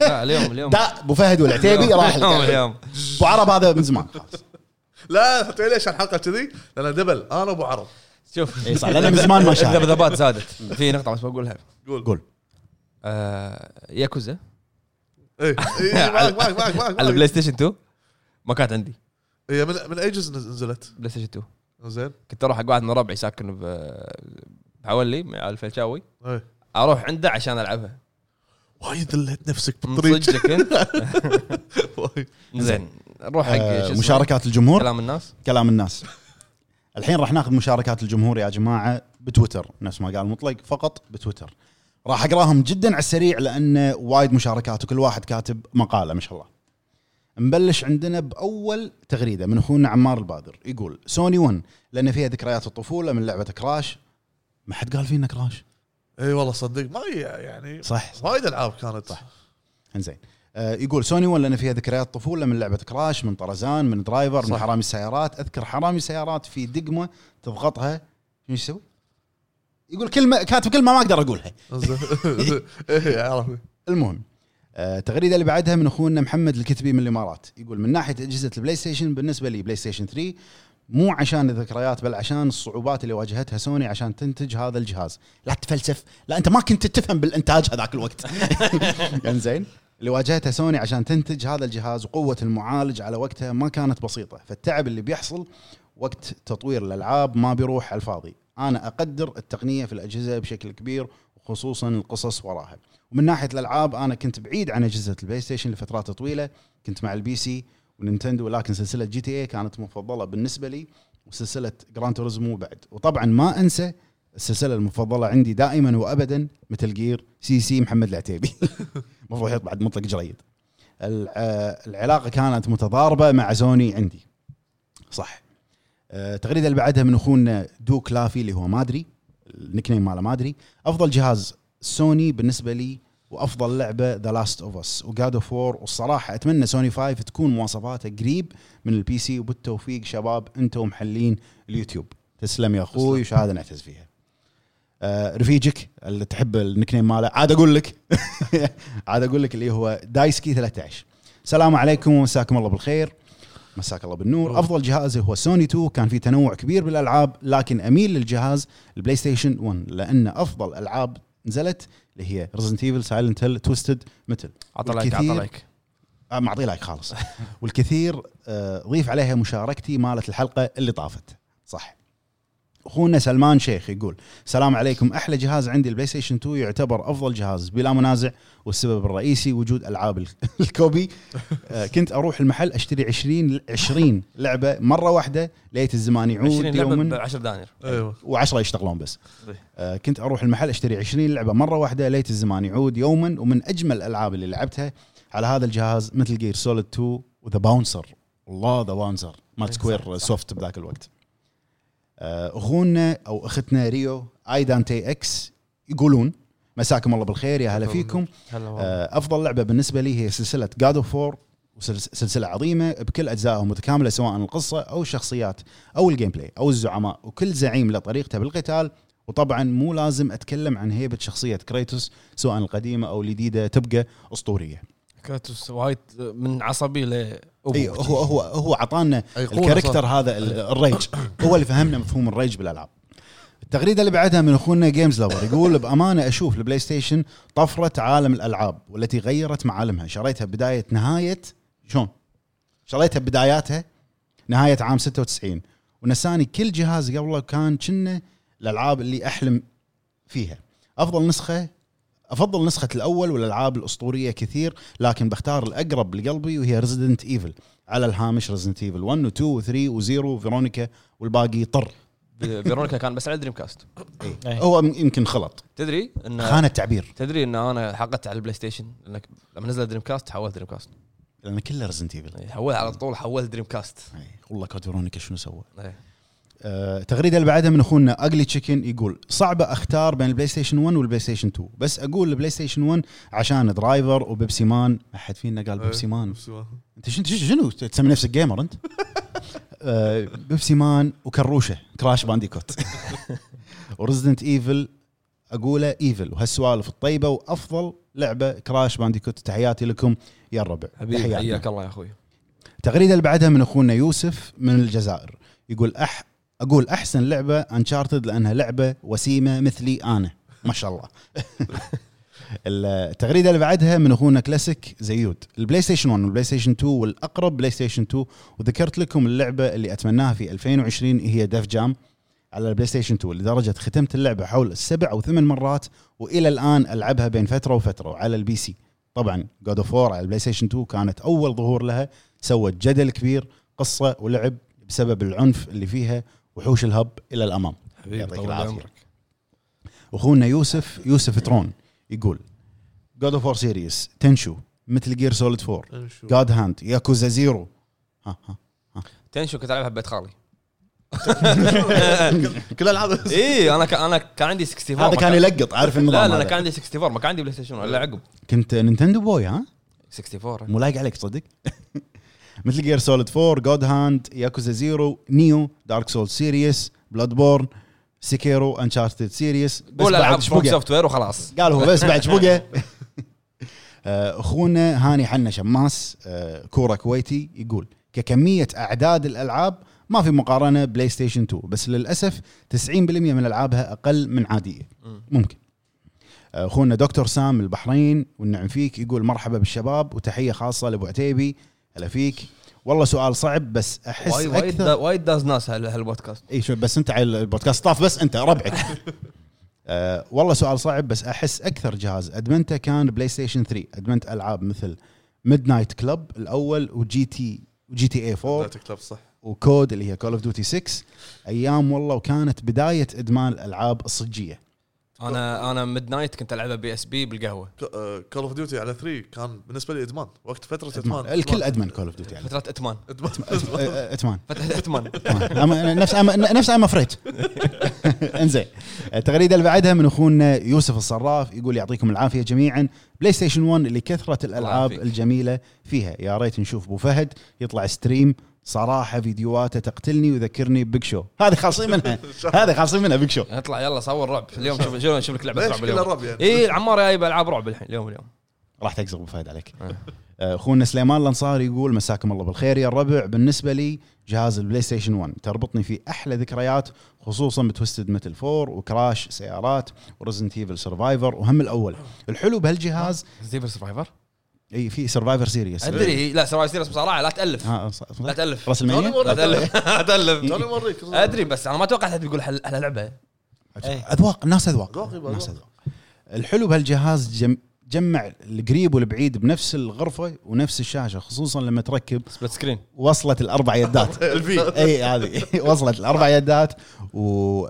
Speaker 3: لا اليوم اليوم
Speaker 1: دا ابو فهد
Speaker 3: <laughs>
Speaker 1: والعتيبي
Speaker 3: اليوم-
Speaker 1: راح
Speaker 3: اليوم
Speaker 1: ابو
Speaker 3: اليوم
Speaker 1: عرب هذا من
Speaker 3: <laughs>
Speaker 1: زمان خلاص
Speaker 2: لا حطوا ليش الحلقه كذي لان دبل انا ابو عرب
Speaker 3: شوف
Speaker 1: إيه صح، لأن من زمان ما
Speaker 3: <laughs>
Speaker 1: شاف.
Speaker 3: الذبذبات زادت في نقطه بس بقولها
Speaker 2: قول
Speaker 1: قول
Speaker 3: آه، ياكوزا <laughs>
Speaker 2: ايه إيه، معك معك معك معك
Speaker 3: على البلاي
Speaker 2: معك.
Speaker 3: ستيشن 2 ما كانت عندي
Speaker 2: هي من من اي جزء نزلت؟
Speaker 3: بلاي ستيشن 2
Speaker 2: زين
Speaker 3: كنت اروح حق واحد من ربعي ساكن ب بعولي مع الفلشاوي
Speaker 2: إيه.
Speaker 3: اروح عنده عشان العبها
Speaker 2: وايد لهت نفسك
Speaker 3: من
Speaker 2: بالطريق
Speaker 3: صدقك أنت؟
Speaker 2: <laughs>
Speaker 1: <laughs>
Speaker 2: وايد.
Speaker 3: زين نروح حق
Speaker 1: آه،
Speaker 3: شو اسمه؟
Speaker 1: مشاركات الجمهور
Speaker 3: كلام الناس
Speaker 1: كلام الناس الحين راح ناخذ مشاركات الجمهور يا جماعه بتويتر نفس ما قال مطلق فقط بتويتر راح اقراهم جدا على السريع لان وايد مشاركات وكل واحد كاتب مقاله ما شاء الله نبلش عندنا باول تغريده من اخونا عمار البادر يقول سوني 1 لان فيها ذكريات الطفوله من لعبه كراش ما حد قال فينا كراش
Speaker 2: اي إيه، والله صدق ما هي يعني
Speaker 1: صح
Speaker 2: وايد العاب كانت
Speaker 1: صح. انزين آه، يقول سوني 1 لان فيها ذكريات طفوله من لعبه كراش من طرزان من درايفر من
Speaker 2: صح.
Speaker 1: حرامي السيارات اذكر حرامي السيارات في دقمه تضغطها شو يسوي؟ يقول كلمه كاتب كلمه ما اقدر اقولها
Speaker 2: زين.
Speaker 3: <laughs>
Speaker 2: ايه عرفت
Speaker 1: المهم آه، التغريده اللي بعدها من اخونا محمد الكتبي من الامارات يقول من ناحيه اجهزه البلاي ستيشن بالنسبه لي بلاي ستيشن 3 مو عشان الذكريات بل عشان الصعوبات اللي واجهتها سوني عشان تنتج هذا الجهاز لا تفلسف لا انت ما كنت تفهم بالانتاج هذاك الوقت <laughs> انزين اللي واجهتها سوني عشان تنتج هذا الجهاز وقوه المعالج على وقتها ما كانت بسيطه فالتعب اللي بيحصل وقت تطوير الالعاب ما بيروح على الفاضي انا اقدر التقنيه في الاجهزه بشكل كبير وخصوصا القصص وراها ومن ناحيه الالعاب انا كنت بعيد عن اجهزه البلاي ستيشن لفترات طويله كنت مع البي سي ونينتندو لكن سلسله جي تي اي كانت مفضله بالنسبه لي وسلسله جران توريزمو بعد وطبعا ما انسى السلسله المفضله عندي دائما وابدا مثل جير سي سي محمد العتيبي <laughs> المفروض يحط بعد مطلق جريد الع- العلاقه كانت متضاربه مع زوني عندي صح آه، التغريده اللي بعدها من اخونا دوك لافي اللي هو ما ادري النكنيم ماله ما ادري افضل جهاز سوني بالنسبه لي وافضل لعبه ذا لاست اوف اس وجاد اوف وور والصراحه اتمنى سوني 5 تكون مواصفاتها قريب من البي سي وبالتوفيق شباب انتم محلين اليوتيوب تسلم يا اخوي وش هذا نعتز فيها آه، رفيجك اللي تحب النكنيم ماله عاد اقول لك <laughs> عاد اقول لك اللي هو دايسكي 13 السلام عليكم ومساكم الله بالخير مساك الله بالنور افضل جهاز هو سوني 2 كان في تنوع كبير بالالعاب لكن اميل للجهاز البلاي ستيشن 1 لان افضل العاب نزلت اللي هي ريزنت ايفل سايلنت هيل توستد متل
Speaker 3: عطى لايك عطى لايك
Speaker 1: آه، معطي لايك خالص والكثير آه، ضيف عليها مشاركتي مالت الحلقه اللي طافت صح اخونا سلمان شيخ يقول السلام عليكم احلى جهاز عندي البلاي ستيشن 2 يعتبر افضل جهاز بلا منازع والسبب الرئيسي وجود العاب ال- <laughs> الكوبي آه، كنت اروح المحل اشتري 20 20 لعبه مره واحده ليت الزمان
Speaker 3: 20
Speaker 1: يعود
Speaker 3: لعبه ب
Speaker 1: يوما
Speaker 3: 10 دنانير
Speaker 2: ايوه
Speaker 1: و10 يشتغلون بس
Speaker 3: صحيح.
Speaker 1: آه كنت اروح المحل اشتري 20 لعبه مره واحده ليت الزمان يعود يوما ومن اجمل الالعاب اللي لعبتها على هذا الجهاز مثل جير سوليد 2 وذا باونسر والله ذا باونسر مالت سكوير سوفت بذاك الوقت آه، اخونا او اختنا ريو اي دانتي اكس يقولون مساكم الله بالخير يا هلا فيكم
Speaker 3: هلا والله
Speaker 1: آه، افضل لعبه بالنسبه لي هي سلسله جاد اوف وور سلسله عظيمه بكل اجزائها متكامله سواء القصه او الشخصيات او الجيم بلاي او الزعماء وكل زعيم له طريقته بالقتال وطبعا مو لازم اتكلم عن هيبه شخصيه كريتوس سواء القديمه او الجديده تبقى اسطوريه
Speaker 3: كاتوس وايد من عصبي ل
Speaker 1: اي إيه، هو هو هو عطانا
Speaker 2: أيقونة
Speaker 1: الكاركتر هذا ال- الريج هو اللي فهمنا مفهوم الريج بالالعاب التغريده اللي بعدها من اخونا جيمز لوفر يقول بامانه اشوف البلاي ستيشن طفره عالم الالعاب والتي غيرت معالمها شريتها بدايه نهايه شلون؟ شريتها بداياتها نهايه عام 96 ونساني كل جهاز قبله كان كنا الالعاب اللي احلم فيها افضل نسخه افضل نسخه الاول والالعاب الاسطوريه كثير لكن بختار الاقرب لقلبي وهي ريزيدنت ايفل على الهامش ريزنت ايفل 1 و2 و3 و0 فيرونيكا والباقي طر
Speaker 3: فيرونيكا كان بس على دريم كاست
Speaker 4: أي.
Speaker 1: هو م- يمكن خلط
Speaker 3: تدري ان
Speaker 1: خان التعبير
Speaker 3: تدري ان انا حقدت على البلاي ستيشن لانك لما نزل دريم كاست حولت دريم كاست
Speaker 1: لان كله ريزنت ايفل
Speaker 3: إي، حول على طول حولت إيه. دريم كاست
Speaker 1: والله كود فيرونيكا شنو سوى
Speaker 3: إي.
Speaker 1: آه، التغريده اللي بعدها من اخونا اجلي تشيكن يقول صعبه اختار بين البلاي ستيشن 1 والبلاي ستيشن 2 بس اقول البلاي ستيشن 1 عشان درايفر وبيبسي مان ما حد فينا قال بيبسي
Speaker 3: آه.
Speaker 1: مان
Speaker 2: بيبسي مان.
Speaker 1: انت شنو شنو تسمي نفسك جيمر انت؟ <laughs> آه، بيبسي مان وكروشه كراش <laughs> بانديكوت ورزدنت ايفل اقوله ايفل وهالسوالف الطيبه وافضل لعبه كراش بانديكوت تحياتي لكم يا الربع
Speaker 3: حبيبي
Speaker 1: تحياتنا.
Speaker 3: حياك الله يا اخوي
Speaker 1: التغريده اللي بعدها من اخونا يوسف من الجزائر يقول أح اقول احسن لعبه انشارتد لانها لعبه وسيمه مثلي انا ما شاء الله <laughs> التغريده اللي بعدها من اخونا كلاسيك زيود البلاي ستيشن 1 والبلاي ستيشن 2 والاقرب بلاي ستيشن 2 وذكرت لكم اللعبه اللي اتمناها في 2020 هي ديف جام على البلاي ستيشن 2 لدرجه ختمت اللعبه حول سبع او ثمان مرات والى الان العبها بين فتره وفتره على البي سي طبعا جود اوف على البلاي ستيشن 2 كانت اول ظهور لها سوت جدل كبير قصه ولعب بسبب العنف اللي فيها وحوش الهب الى الامام يعطيك
Speaker 3: طول
Speaker 1: العافية.
Speaker 3: عمرك
Speaker 1: اخونا يوسف يوسف ترون يقول جود اوف سيريس تنشو مثل جير سوليد 4
Speaker 2: انشو.
Speaker 1: جاد هاند ياكوزا زيرو ها ها
Speaker 3: تنشو كنت العبها ببيت خالي
Speaker 2: كل العاب
Speaker 1: <laughs>
Speaker 3: اي انا كان انا كان عندي 64
Speaker 1: هذا
Speaker 3: ما
Speaker 1: كان يلقط عارف
Speaker 3: لا
Speaker 1: النظام
Speaker 3: لا انا
Speaker 1: هذا.
Speaker 3: كان عندي 64 ما كان عندي بلاي ستيشن الا عقب
Speaker 1: كنت نينتندو بوي ها
Speaker 3: 64
Speaker 1: مو لايق عليك تصدق <laughs> مثل جير سوليد 4 جود هاند ياكوزا زيرو نيو دارك سول سيريس بلاد بورن سيكيرو انشارتد سيريس
Speaker 3: قول العاب فروم سوفت وير وخلاص
Speaker 1: قال هو بس بعد <laughs> شبقه اخونا هاني حنا شماس آه، كوره كويتي يقول ككميه اعداد الالعاب ما في مقارنه بلاي ستيشن 2 بس للاسف 90% من العابها اقل من عاديه ممكن آه، اخونا دكتور سام من البحرين والنعم فيك يقول مرحبا بالشباب وتحيه خاصه لابو عتيبي هلا فيك والله سؤال صعب بس احس
Speaker 3: وايد وايد
Speaker 1: اكثر
Speaker 3: دا- وايد داز ناس هال- هالبودكاست
Speaker 1: اي شوف بس انت على البودكاست طاف بس انت ربعك آه والله سؤال صعب بس احس اكثر جهاز ادمنته كان بلاي ستيشن 3 ادمنت العاب مثل ميد نايت كلب الاول وجي تي وجي تي اي 4
Speaker 2: لا تكلب صح
Speaker 1: وكود اللي هي كول اوف ديوتي 6 ايام والله وكانت بدايه ادمان الالعاب الصجيه
Speaker 3: انا انا ميد نايت كنت العبها بي اس بي بالقهوه
Speaker 2: كول اوف ديوتي على 3 كان بالنسبه لي ادمان وقت فتره
Speaker 1: إدمان.
Speaker 2: ادمان
Speaker 3: إيه،
Speaker 1: الكل ادمن كول اوف ديوتي
Speaker 3: فتره اتمان <laughs>
Speaker 2: ادمان
Speaker 1: اتمان
Speaker 3: فتره <laughs> اتمان
Speaker 1: أما- نفس أما- نفس ام <laughs> افريد انزين التغريده اللي بعدها من اخونا يوسف الصراف يقول يعطيكم العافيه جميعا بلاي ستيشن 1 لكثره الالعاب
Speaker 3: يعافيك.
Speaker 1: الجميله فيها يا ريت نشوف ابو فهد يطلع ستريم صراحه فيديوهاته تقتلني وذكرني ببيك شو هذه خالصين منها هذه خالصين منها بيك شو
Speaker 3: اطلع يلا صور رعب اليوم شوف شوف نشوف لك لعبه
Speaker 2: ليش
Speaker 3: رعب
Speaker 2: كل
Speaker 3: اليوم إيه،
Speaker 2: الرب يعني
Speaker 3: اي العمار جايب العاب رعب الحين اليوم اليوم
Speaker 1: راح تقزغ ابو فهد عليك
Speaker 3: آه.
Speaker 1: آه، اخونا سليمان الانصاري يقول مساكم الله بالخير يا الربع بالنسبه لي جهاز البلاي ستيشن 1 تربطني في احلى ذكريات خصوصا بتوستد متل 4 وكراش سيارات ورزنت ايفل سرفايفر وهم الاول الحلو بهالجهاز
Speaker 3: ستيفن سرفايفر
Speaker 1: اي في سرفايفر سيريس أه،
Speaker 3: ادري لا سرفايفر سيريس بصراحه لا تالف
Speaker 1: آه.
Speaker 3: لا تالف
Speaker 1: راس المانيا
Speaker 3: لا تالف <laughs> لا
Speaker 2: توني
Speaker 3: تالف
Speaker 2: موريك
Speaker 3: ادري بس انا ما توقعت حد بيقول حل- احلى لعبه
Speaker 4: إيه.
Speaker 1: اذواق الناس اذواق
Speaker 2: أذواق يبقى
Speaker 1: الناس
Speaker 2: أذواق.
Speaker 1: اذواق الحلو بهالجهاز جم... جمع القريب والبعيد بنفس الغرفه ونفس الشاشه خصوصا لما تركب
Speaker 3: سبلت سكرين
Speaker 1: وصلت الاربع يدات
Speaker 2: الفي
Speaker 1: اي هذه <laughs> وصلت الاربع يدات و...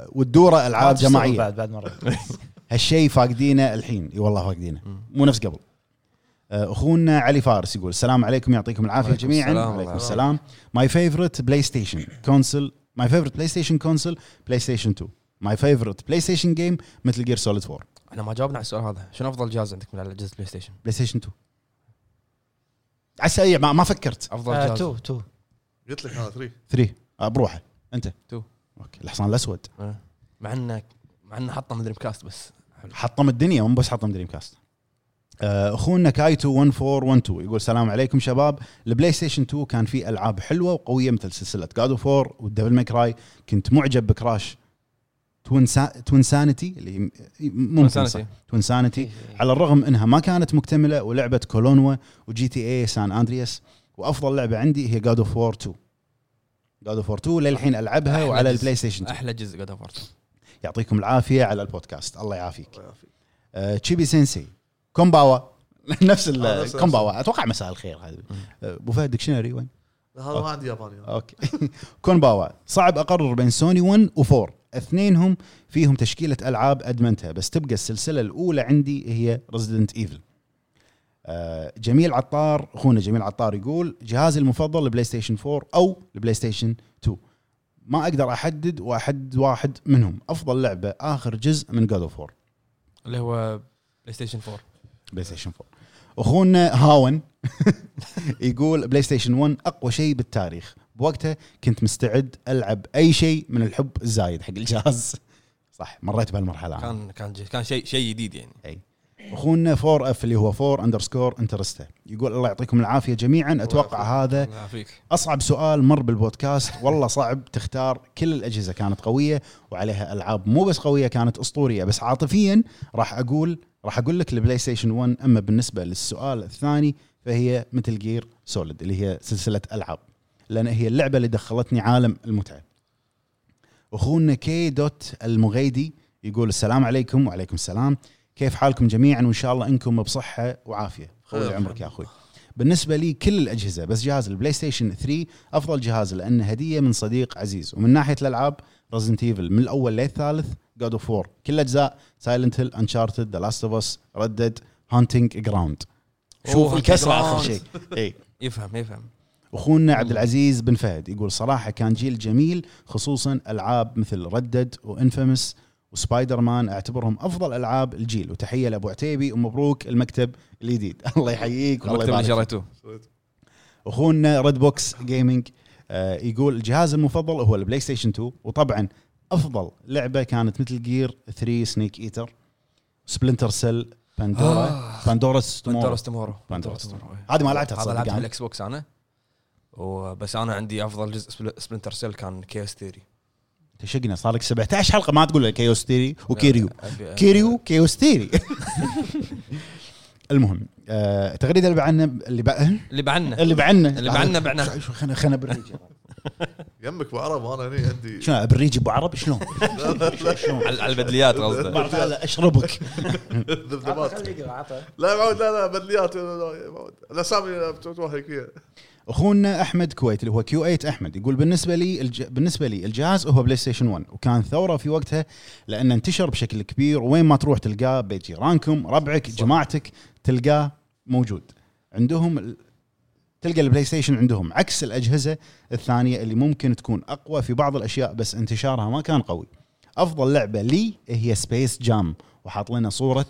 Speaker 1: والدوره العاب
Speaker 4: تشتغل
Speaker 1: جماعيه
Speaker 4: بعد بعد مره
Speaker 2: <laughs>
Speaker 1: هالشيء فاقدينه الحين اي والله فاقدينه مو نفس قبل آه، اخونا علي فارس يقول السلام عليكم يعطيكم العافيه
Speaker 3: وعليكم
Speaker 1: جميعا
Speaker 3: السلام
Speaker 1: وعليكم
Speaker 3: الله
Speaker 1: السلام ماي فيفرت بلاي ستيشن كونسل ماي فيفرت بلاي ستيشن كونسل بلاي ستيشن 2 ماي فيفرت بلاي ستيشن جيم مثل جير سوليد 4
Speaker 3: احنا ما جاوبنا على السؤال هذا شنو افضل جهاز عندك من اجهزه بلاي ستيشن
Speaker 1: بلاي ستيشن 2 على السريع ما, ما فكرت
Speaker 3: افضل
Speaker 4: آه،
Speaker 3: جهاز
Speaker 4: تو تو
Speaker 2: قلت لك انا 3
Speaker 1: 3 آه، بروحه انت
Speaker 3: 2.
Speaker 1: اوكي الحصان الاسود
Speaker 3: آه. مع انه مع انه حطه من دريم كاست بس
Speaker 1: حطم الدنيا مو بس حطم دريم كاست آه، اخونا كايتو 1412 يقول السلام عليكم شباب البلاي ستيشن 2 كان فيه العاب حلوه وقويه مثل سلسله جاد اوف وور والدبل ماكراي كنت معجب بكراش توين سا... توين سانتي اللي ممكن
Speaker 3: Insanity.
Speaker 1: توين سانتي على الرغم انها ما كانت مكتمله ولعبه كولونوا وجي تي اي سان اندرياس وافضل لعبه عندي هي جاد اوف وور 2 جاد اوف وور 2 للحين العبها
Speaker 3: أحلى
Speaker 1: وعلى
Speaker 3: جزء.
Speaker 1: البلاي ستيشن 2
Speaker 3: احلى جزء قد اوفرت
Speaker 1: يعطيكم العافيه على البودكاست الله يعافيك
Speaker 2: طيب،
Speaker 1: آه، تشيبي سينسي كومباوا <laughs> نفس
Speaker 2: آه،
Speaker 1: ال-
Speaker 2: نفس-
Speaker 1: كومباوا اتوقع مساء الخير هذا آه، ابو فهد ديكشنري وين؟
Speaker 2: هذا ما عندي ياباني أنا.
Speaker 1: <laughs> اوكي كونباوا صعب اقرر بين سوني 1 و4 اثنينهم فيهم تشكيله العاب ادمنتها بس تبقى السلسله الاولى عندي هي ريزدنت ايفل جميل عطار اخونا جميل عطار يقول جهازي المفضل البلاي ستيشن 4 او البلاي ستيشن 2 ما اقدر احدد واحدد واحد منهم افضل لعبه اخر جزء من جاد اوف 4
Speaker 3: اللي هو بلاي ستيشن 4
Speaker 1: بلاي ستيشن 4 اخونا هاون <laughs> يقول بلاي ستيشن 1 اقوى شيء بالتاريخ بوقتها كنت مستعد العب اي شيء من الحب الزايد حق الجهاز صح مريت بهالمرحله أنا.
Speaker 3: كان كان جي- كان شيء شيء جديد يعني
Speaker 1: اخونا 4 اف اللي هو 4 اندرسكور انترستا يقول الله يعطيكم العافيه جميعا اتوقع هذا
Speaker 3: الله يعافيك
Speaker 1: اصعب سؤال مر بالبودكاست والله صعب تختار كل الاجهزه كانت قويه وعليها العاب مو بس قويه كانت اسطوريه بس عاطفيا راح اقول راح اقول لك البلاي ستيشن 1 اما بالنسبه للسؤال الثاني فهي مثل جير سوليد اللي هي سلسله العاب لان هي اللعبه اللي دخلتني عالم المتعه اخونا كي دوت المغيدي يقول السلام عليكم وعليكم السلام كيف حالكم جميعا وان شاء الله انكم بصحه وعافيه
Speaker 2: خير.
Speaker 1: طول عمرك يا اخوي بالنسبه لي كل الاجهزه بس جهاز البلاي ستيشن 3 افضل جهاز لانه هديه من صديق عزيز ومن ناحيه الالعاب رزنت ايفل من الاول للثالث جاد اوف وور كل اجزاء سايلنت هيل انشارتد ذا لاست اوف اس ردد هانتنج جراوند شوف
Speaker 3: أوه،
Speaker 1: الكسره
Speaker 3: Oh, Hunting
Speaker 1: اخر
Speaker 3: Ground.
Speaker 1: شيء اي
Speaker 3: يفهم يفهم
Speaker 1: اخونا عبد العزيز بن فهد يقول صراحه كان جيل جميل خصوصا العاب مثل ردد وانفيمس وسبايدر مان اعتبرهم افضل العاب الجيل وتحيه لابو عتيبي ومبروك المكتب الجديد <laughs> الله يحييك والله
Speaker 3: المكتب اللي
Speaker 1: يبارك فيك.
Speaker 3: شريته
Speaker 1: اخونا ريد بوكس جيمنج آه، يقول الجهاز المفضل هو البلاي ستيشن 2 وطبعا افضل لعبه كانت مثل جير 3 سنيك ايتر سبلنتر سيل باندورا
Speaker 3: آه.
Speaker 1: باندورا
Speaker 3: بانتورس تمورو
Speaker 1: Pandora's هذه ما لعبتها
Speaker 3: هذا
Speaker 1: تصدق يعني
Speaker 3: لعبتها
Speaker 1: أنا.
Speaker 3: بالاكس بوكس انا وبس انا عندي افضل جزء سبل- سبلنتر سيل كان كيوس ثيري
Speaker 1: تشقنا صار لك 17 حلقه ما تقول لك كيوس تيري وكيريو
Speaker 3: آه.
Speaker 1: كيريو كيوس تيري <laughs> المهم آه، التغريده اللي بعنا اللي بع-
Speaker 3: اللي بعنا
Speaker 1: اللي بعنا
Speaker 3: اللي بعنا بعنا.
Speaker 1: شو- شو- خلنا خلنا بريجي
Speaker 2: يمك بعرب انا هني عندي
Speaker 1: شنو بريجي ابو عرب شلون؟
Speaker 3: <laughs>
Speaker 1: شلون؟
Speaker 3: على على البدليات قصدي
Speaker 1: بعد هذا اشربك
Speaker 2: <laughs> ذبذبات
Speaker 4: يقرا عطى
Speaker 2: لا معود لا لا بدليات لا، لا، يا معود. الاسامي بتوهق فيها
Speaker 1: اخونا احمد كويت اللي هو كيو 8 احمد يقول بالنسبه لي الج... بالنسبه لي الجهاز هو بلاي ستيشن 1 وكان ثوره في وقتها لانه انتشر بشكل كبير وين ما تروح تلقاه بيت جيرانكم ربعك جماعتك تلقاه موجود عندهم ال... تلقى البلاي ستيشن عندهم عكس الاجهزه الثانيه اللي ممكن تكون اقوى في بعض الاشياء بس انتشارها ما كان قوي افضل لعبه لي هي سبيس جام وحاط لنا صوره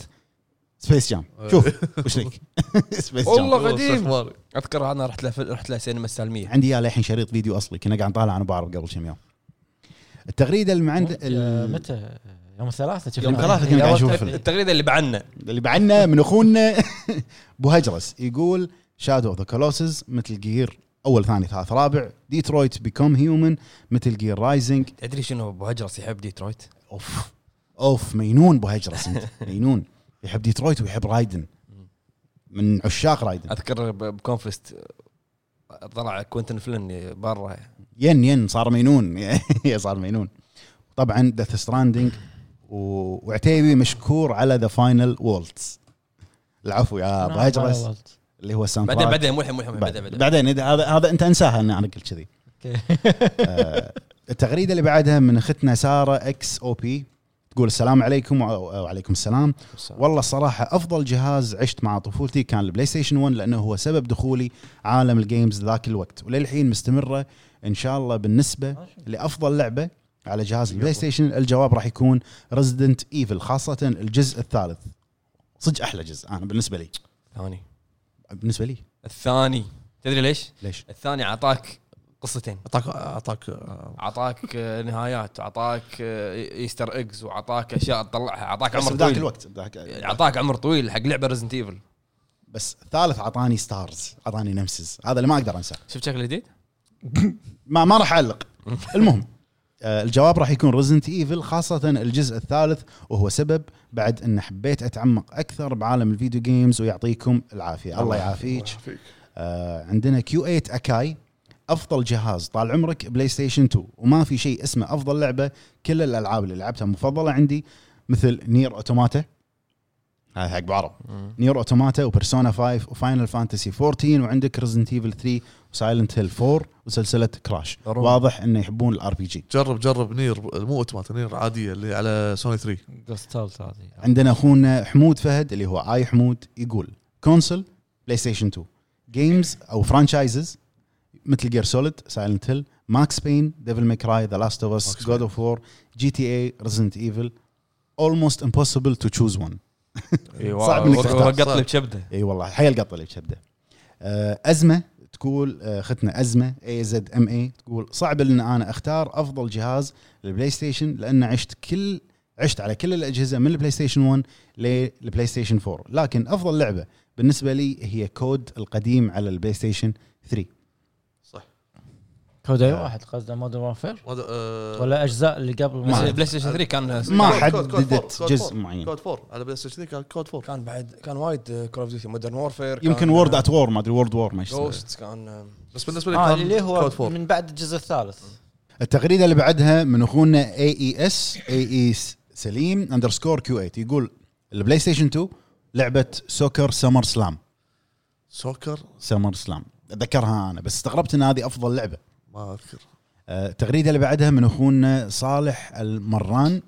Speaker 1: سبيس جام شوف وش لك <laughs> سبيس جام
Speaker 3: والله. قديم.
Speaker 2: استثماري.
Speaker 3: اذكر انا رحت له رحت له سينما السالميه
Speaker 1: عندي يا للحين شريط فيديو اصلي كنا قاعد نطالع انا بعرف قبل كم يوم التغريده اللي معند
Speaker 4: آه،
Speaker 1: ال-
Speaker 4: متى يوم الثلاثاء شفنا.
Speaker 1: يوم ثلاثة كنا قاعد نشوف فيلم.
Speaker 3: التغريده اللي بعنا
Speaker 1: اللي بعنا من <laughs> اخونا ابو هجرس يقول شادو اوف ذا كولوسز مثل جير اول ثاني ثالث رابع ديترويت بيكوم هيومن مثل جير رايزنج
Speaker 3: تدري شنو ابو هجرس يحب ديترويت؟
Speaker 1: اوف اوف مينون ابو هجرس انت مينون يحب ديترويت ويحب رايدن من عشاق رايدن
Speaker 3: اذكر ب- بكونفلست آه، طلع كوينتن فلن برا
Speaker 1: ين ين صار مينون <laughs> يا صار مينون طبعا ذا ستراندنج وعتيبي مشكور على ذا فاينل وولتس العفو يا
Speaker 4: نعم،
Speaker 1: ابو هجرس اللي هو الساوند
Speaker 3: بعدين
Speaker 1: تراك.
Speaker 3: بعدين مو الحين مو الحين بعدين بعدين
Speaker 1: بعدين إذا هذا هذا انت انساها ان انا قلت كذي
Speaker 4: <laughs>
Speaker 1: آه، التغريده اللي بعدها من اختنا ساره اكس او بي تقول السلام عليكم وع- وعليكم السلام والله الصراحه افضل جهاز عشت مع طفولتي كان البلاي ستيشن 1 لانه هو سبب دخولي عالم الجيمز ذاك الوقت وللحين مستمره ان شاء الله بالنسبه لافضل لعبه على جهاز البلاي ستيشن الجواب راح يكون ريزدنت ايفل خاصه الجزء الثالث صدق احلى جزء انا بالنسبه لي
Speaker 3: الثاني
Speaker 1: بالنسبه لي
Speaker 3: الثاني تدري ليش؟
Speaker 1: ليش
Speaker 3: الثاني اعطاك قصتين
Speaker 2: اعطاك اعطاك آه،
Speaker 3: اعطاك آه، نهايات اعطاك آه، ايستر ايجز واعطاك اشياء تطلعها اعطاك
Speaker 1: بس
Speaker 3: عمر
Speaker 1: بذاك
Speaker 3: طويل
Speaker 1: الوقت بذاك
Speaker 3: اعطاك عمر طويل حق لعبه ريزنت ايفل
Speaker 1: بس الثالث اعطاني ستارز اعطاني نمسز هذا اللي ما اقدر انساه
Speaker 3: شفت شكل جديد؟
Speaker 1: ما ما راح اعلق المهم آه، الجواب راح يكون ريزنت ايفل خاصة الجزء الثالث وهو سبب بعد ان حبيت اتعمق اكثر بعالم الفيديو جيمز ويعطيكم العافية الله يعافيك
Speaker 2: فيك.
Speaker 1: آه، عندنا كيو 8 اكاي افضل جهاز طال عمرك بلاي ستيشن 2 وما في شيء اسمه افضل لعبه كل الالعاب اللي لعبتها مفضله عندي مثل نير اوتوماتا هذا حق بعرب نير اوتوماتا وبرسونا 5 وفاينل فانتسي 14 وعندك ريزنت ايفل 3 وسايلنت هيل 4 وسلسله كراش
Speaker 3: ضروري.
Speaker 1: واضح انه يحبون الار بي جي
Speaker 2: جرب جرب نير مو اوتومات نير عاديه اللي على سوني 3
Speaker 4: جوستالت هذه
Speaker 1: عندنا اخونا حمود فهد اللي هو اي حمود يقول كونسل بلاي ستيشن 2 جيمز او فرانشايزز مثل جير سوليد سايلنت هيل ماكس بين ديفل ماي كراي ذا لاست اوف اس
Speaker 2: Max
Speaker 1: جود اوف وور جي تي اي ريزنت ايفل almost impossible to choose one صعب إنك تختار.
Speaker 3: وقط لي بشبده
Speaker 1: اي والله حيل قطه اللي بشده آه، ازمه تقول آه، اختنا ازمه اي زد ام اي تقول صعب ان انا اختار افضل جهاز للبلاي ستيشن لان عشت كل عشت على كل الاجهزه من البلاي ستيشن 1 للبلاي ستيشن 4 لكن افضل لعبه بالنسبه لي هي كود القديم على البلاي ستيشن 3
Speaker 2: صح
Speaker 4: كود
Speaker 1: آه.
Speaker 4: اي واحد قصده مودرن وارفير
Speaker 2: وهذا، آه،
Speaker 4: ولا اجزاء اللي قبل
Speaker 3: بس
Speaker 1: ما-
Speaker 4: ما
Speaker 3: بلاي ستيشن 3 كان
Speaker 1: ما
Speaker 2: كود- كود- كود فور،
Speaker 1: حددت
Speaker 2: كود
Speaker 1: جزء
Speaker 2: فور،
Speaker 1: معين
Speaker 2: كود 4 على بلاي ستيشن كان كود 4
Speaker 3: كان بعد كان وايد آه، كول اوف ديوتي مودرن وورفير
Speaker 1: يمكن وورد ات وور ما ادري وورد وور ما يسمونه.
Speaker 3: جوست آه، كان
Speaker 2: بس بالنسبه لي
Speaker 4: آه
Speaker 2: كان
Speaker 4: اللي هو
Speaker 2: كود 4
Speaker 4: من بعد الجزء الثالث
Speaker 2: <laughs>
Speaker 1: التغريده اللي بعدها من E اخونا اي اي اس اي اي سليم اندرسكور كيو 8 يقول البلاي ستيشن 2 لعبه سوكر سمر سلام
Speaker 2: سوكر
Speaker 1: سمر سلام اتذكرها انا بس استغربت ان هذه افضل لعبه
Speaker 2: ما اذكر
Speaker 1: آه، التغريده اللي بعدها من اخونا صالح المران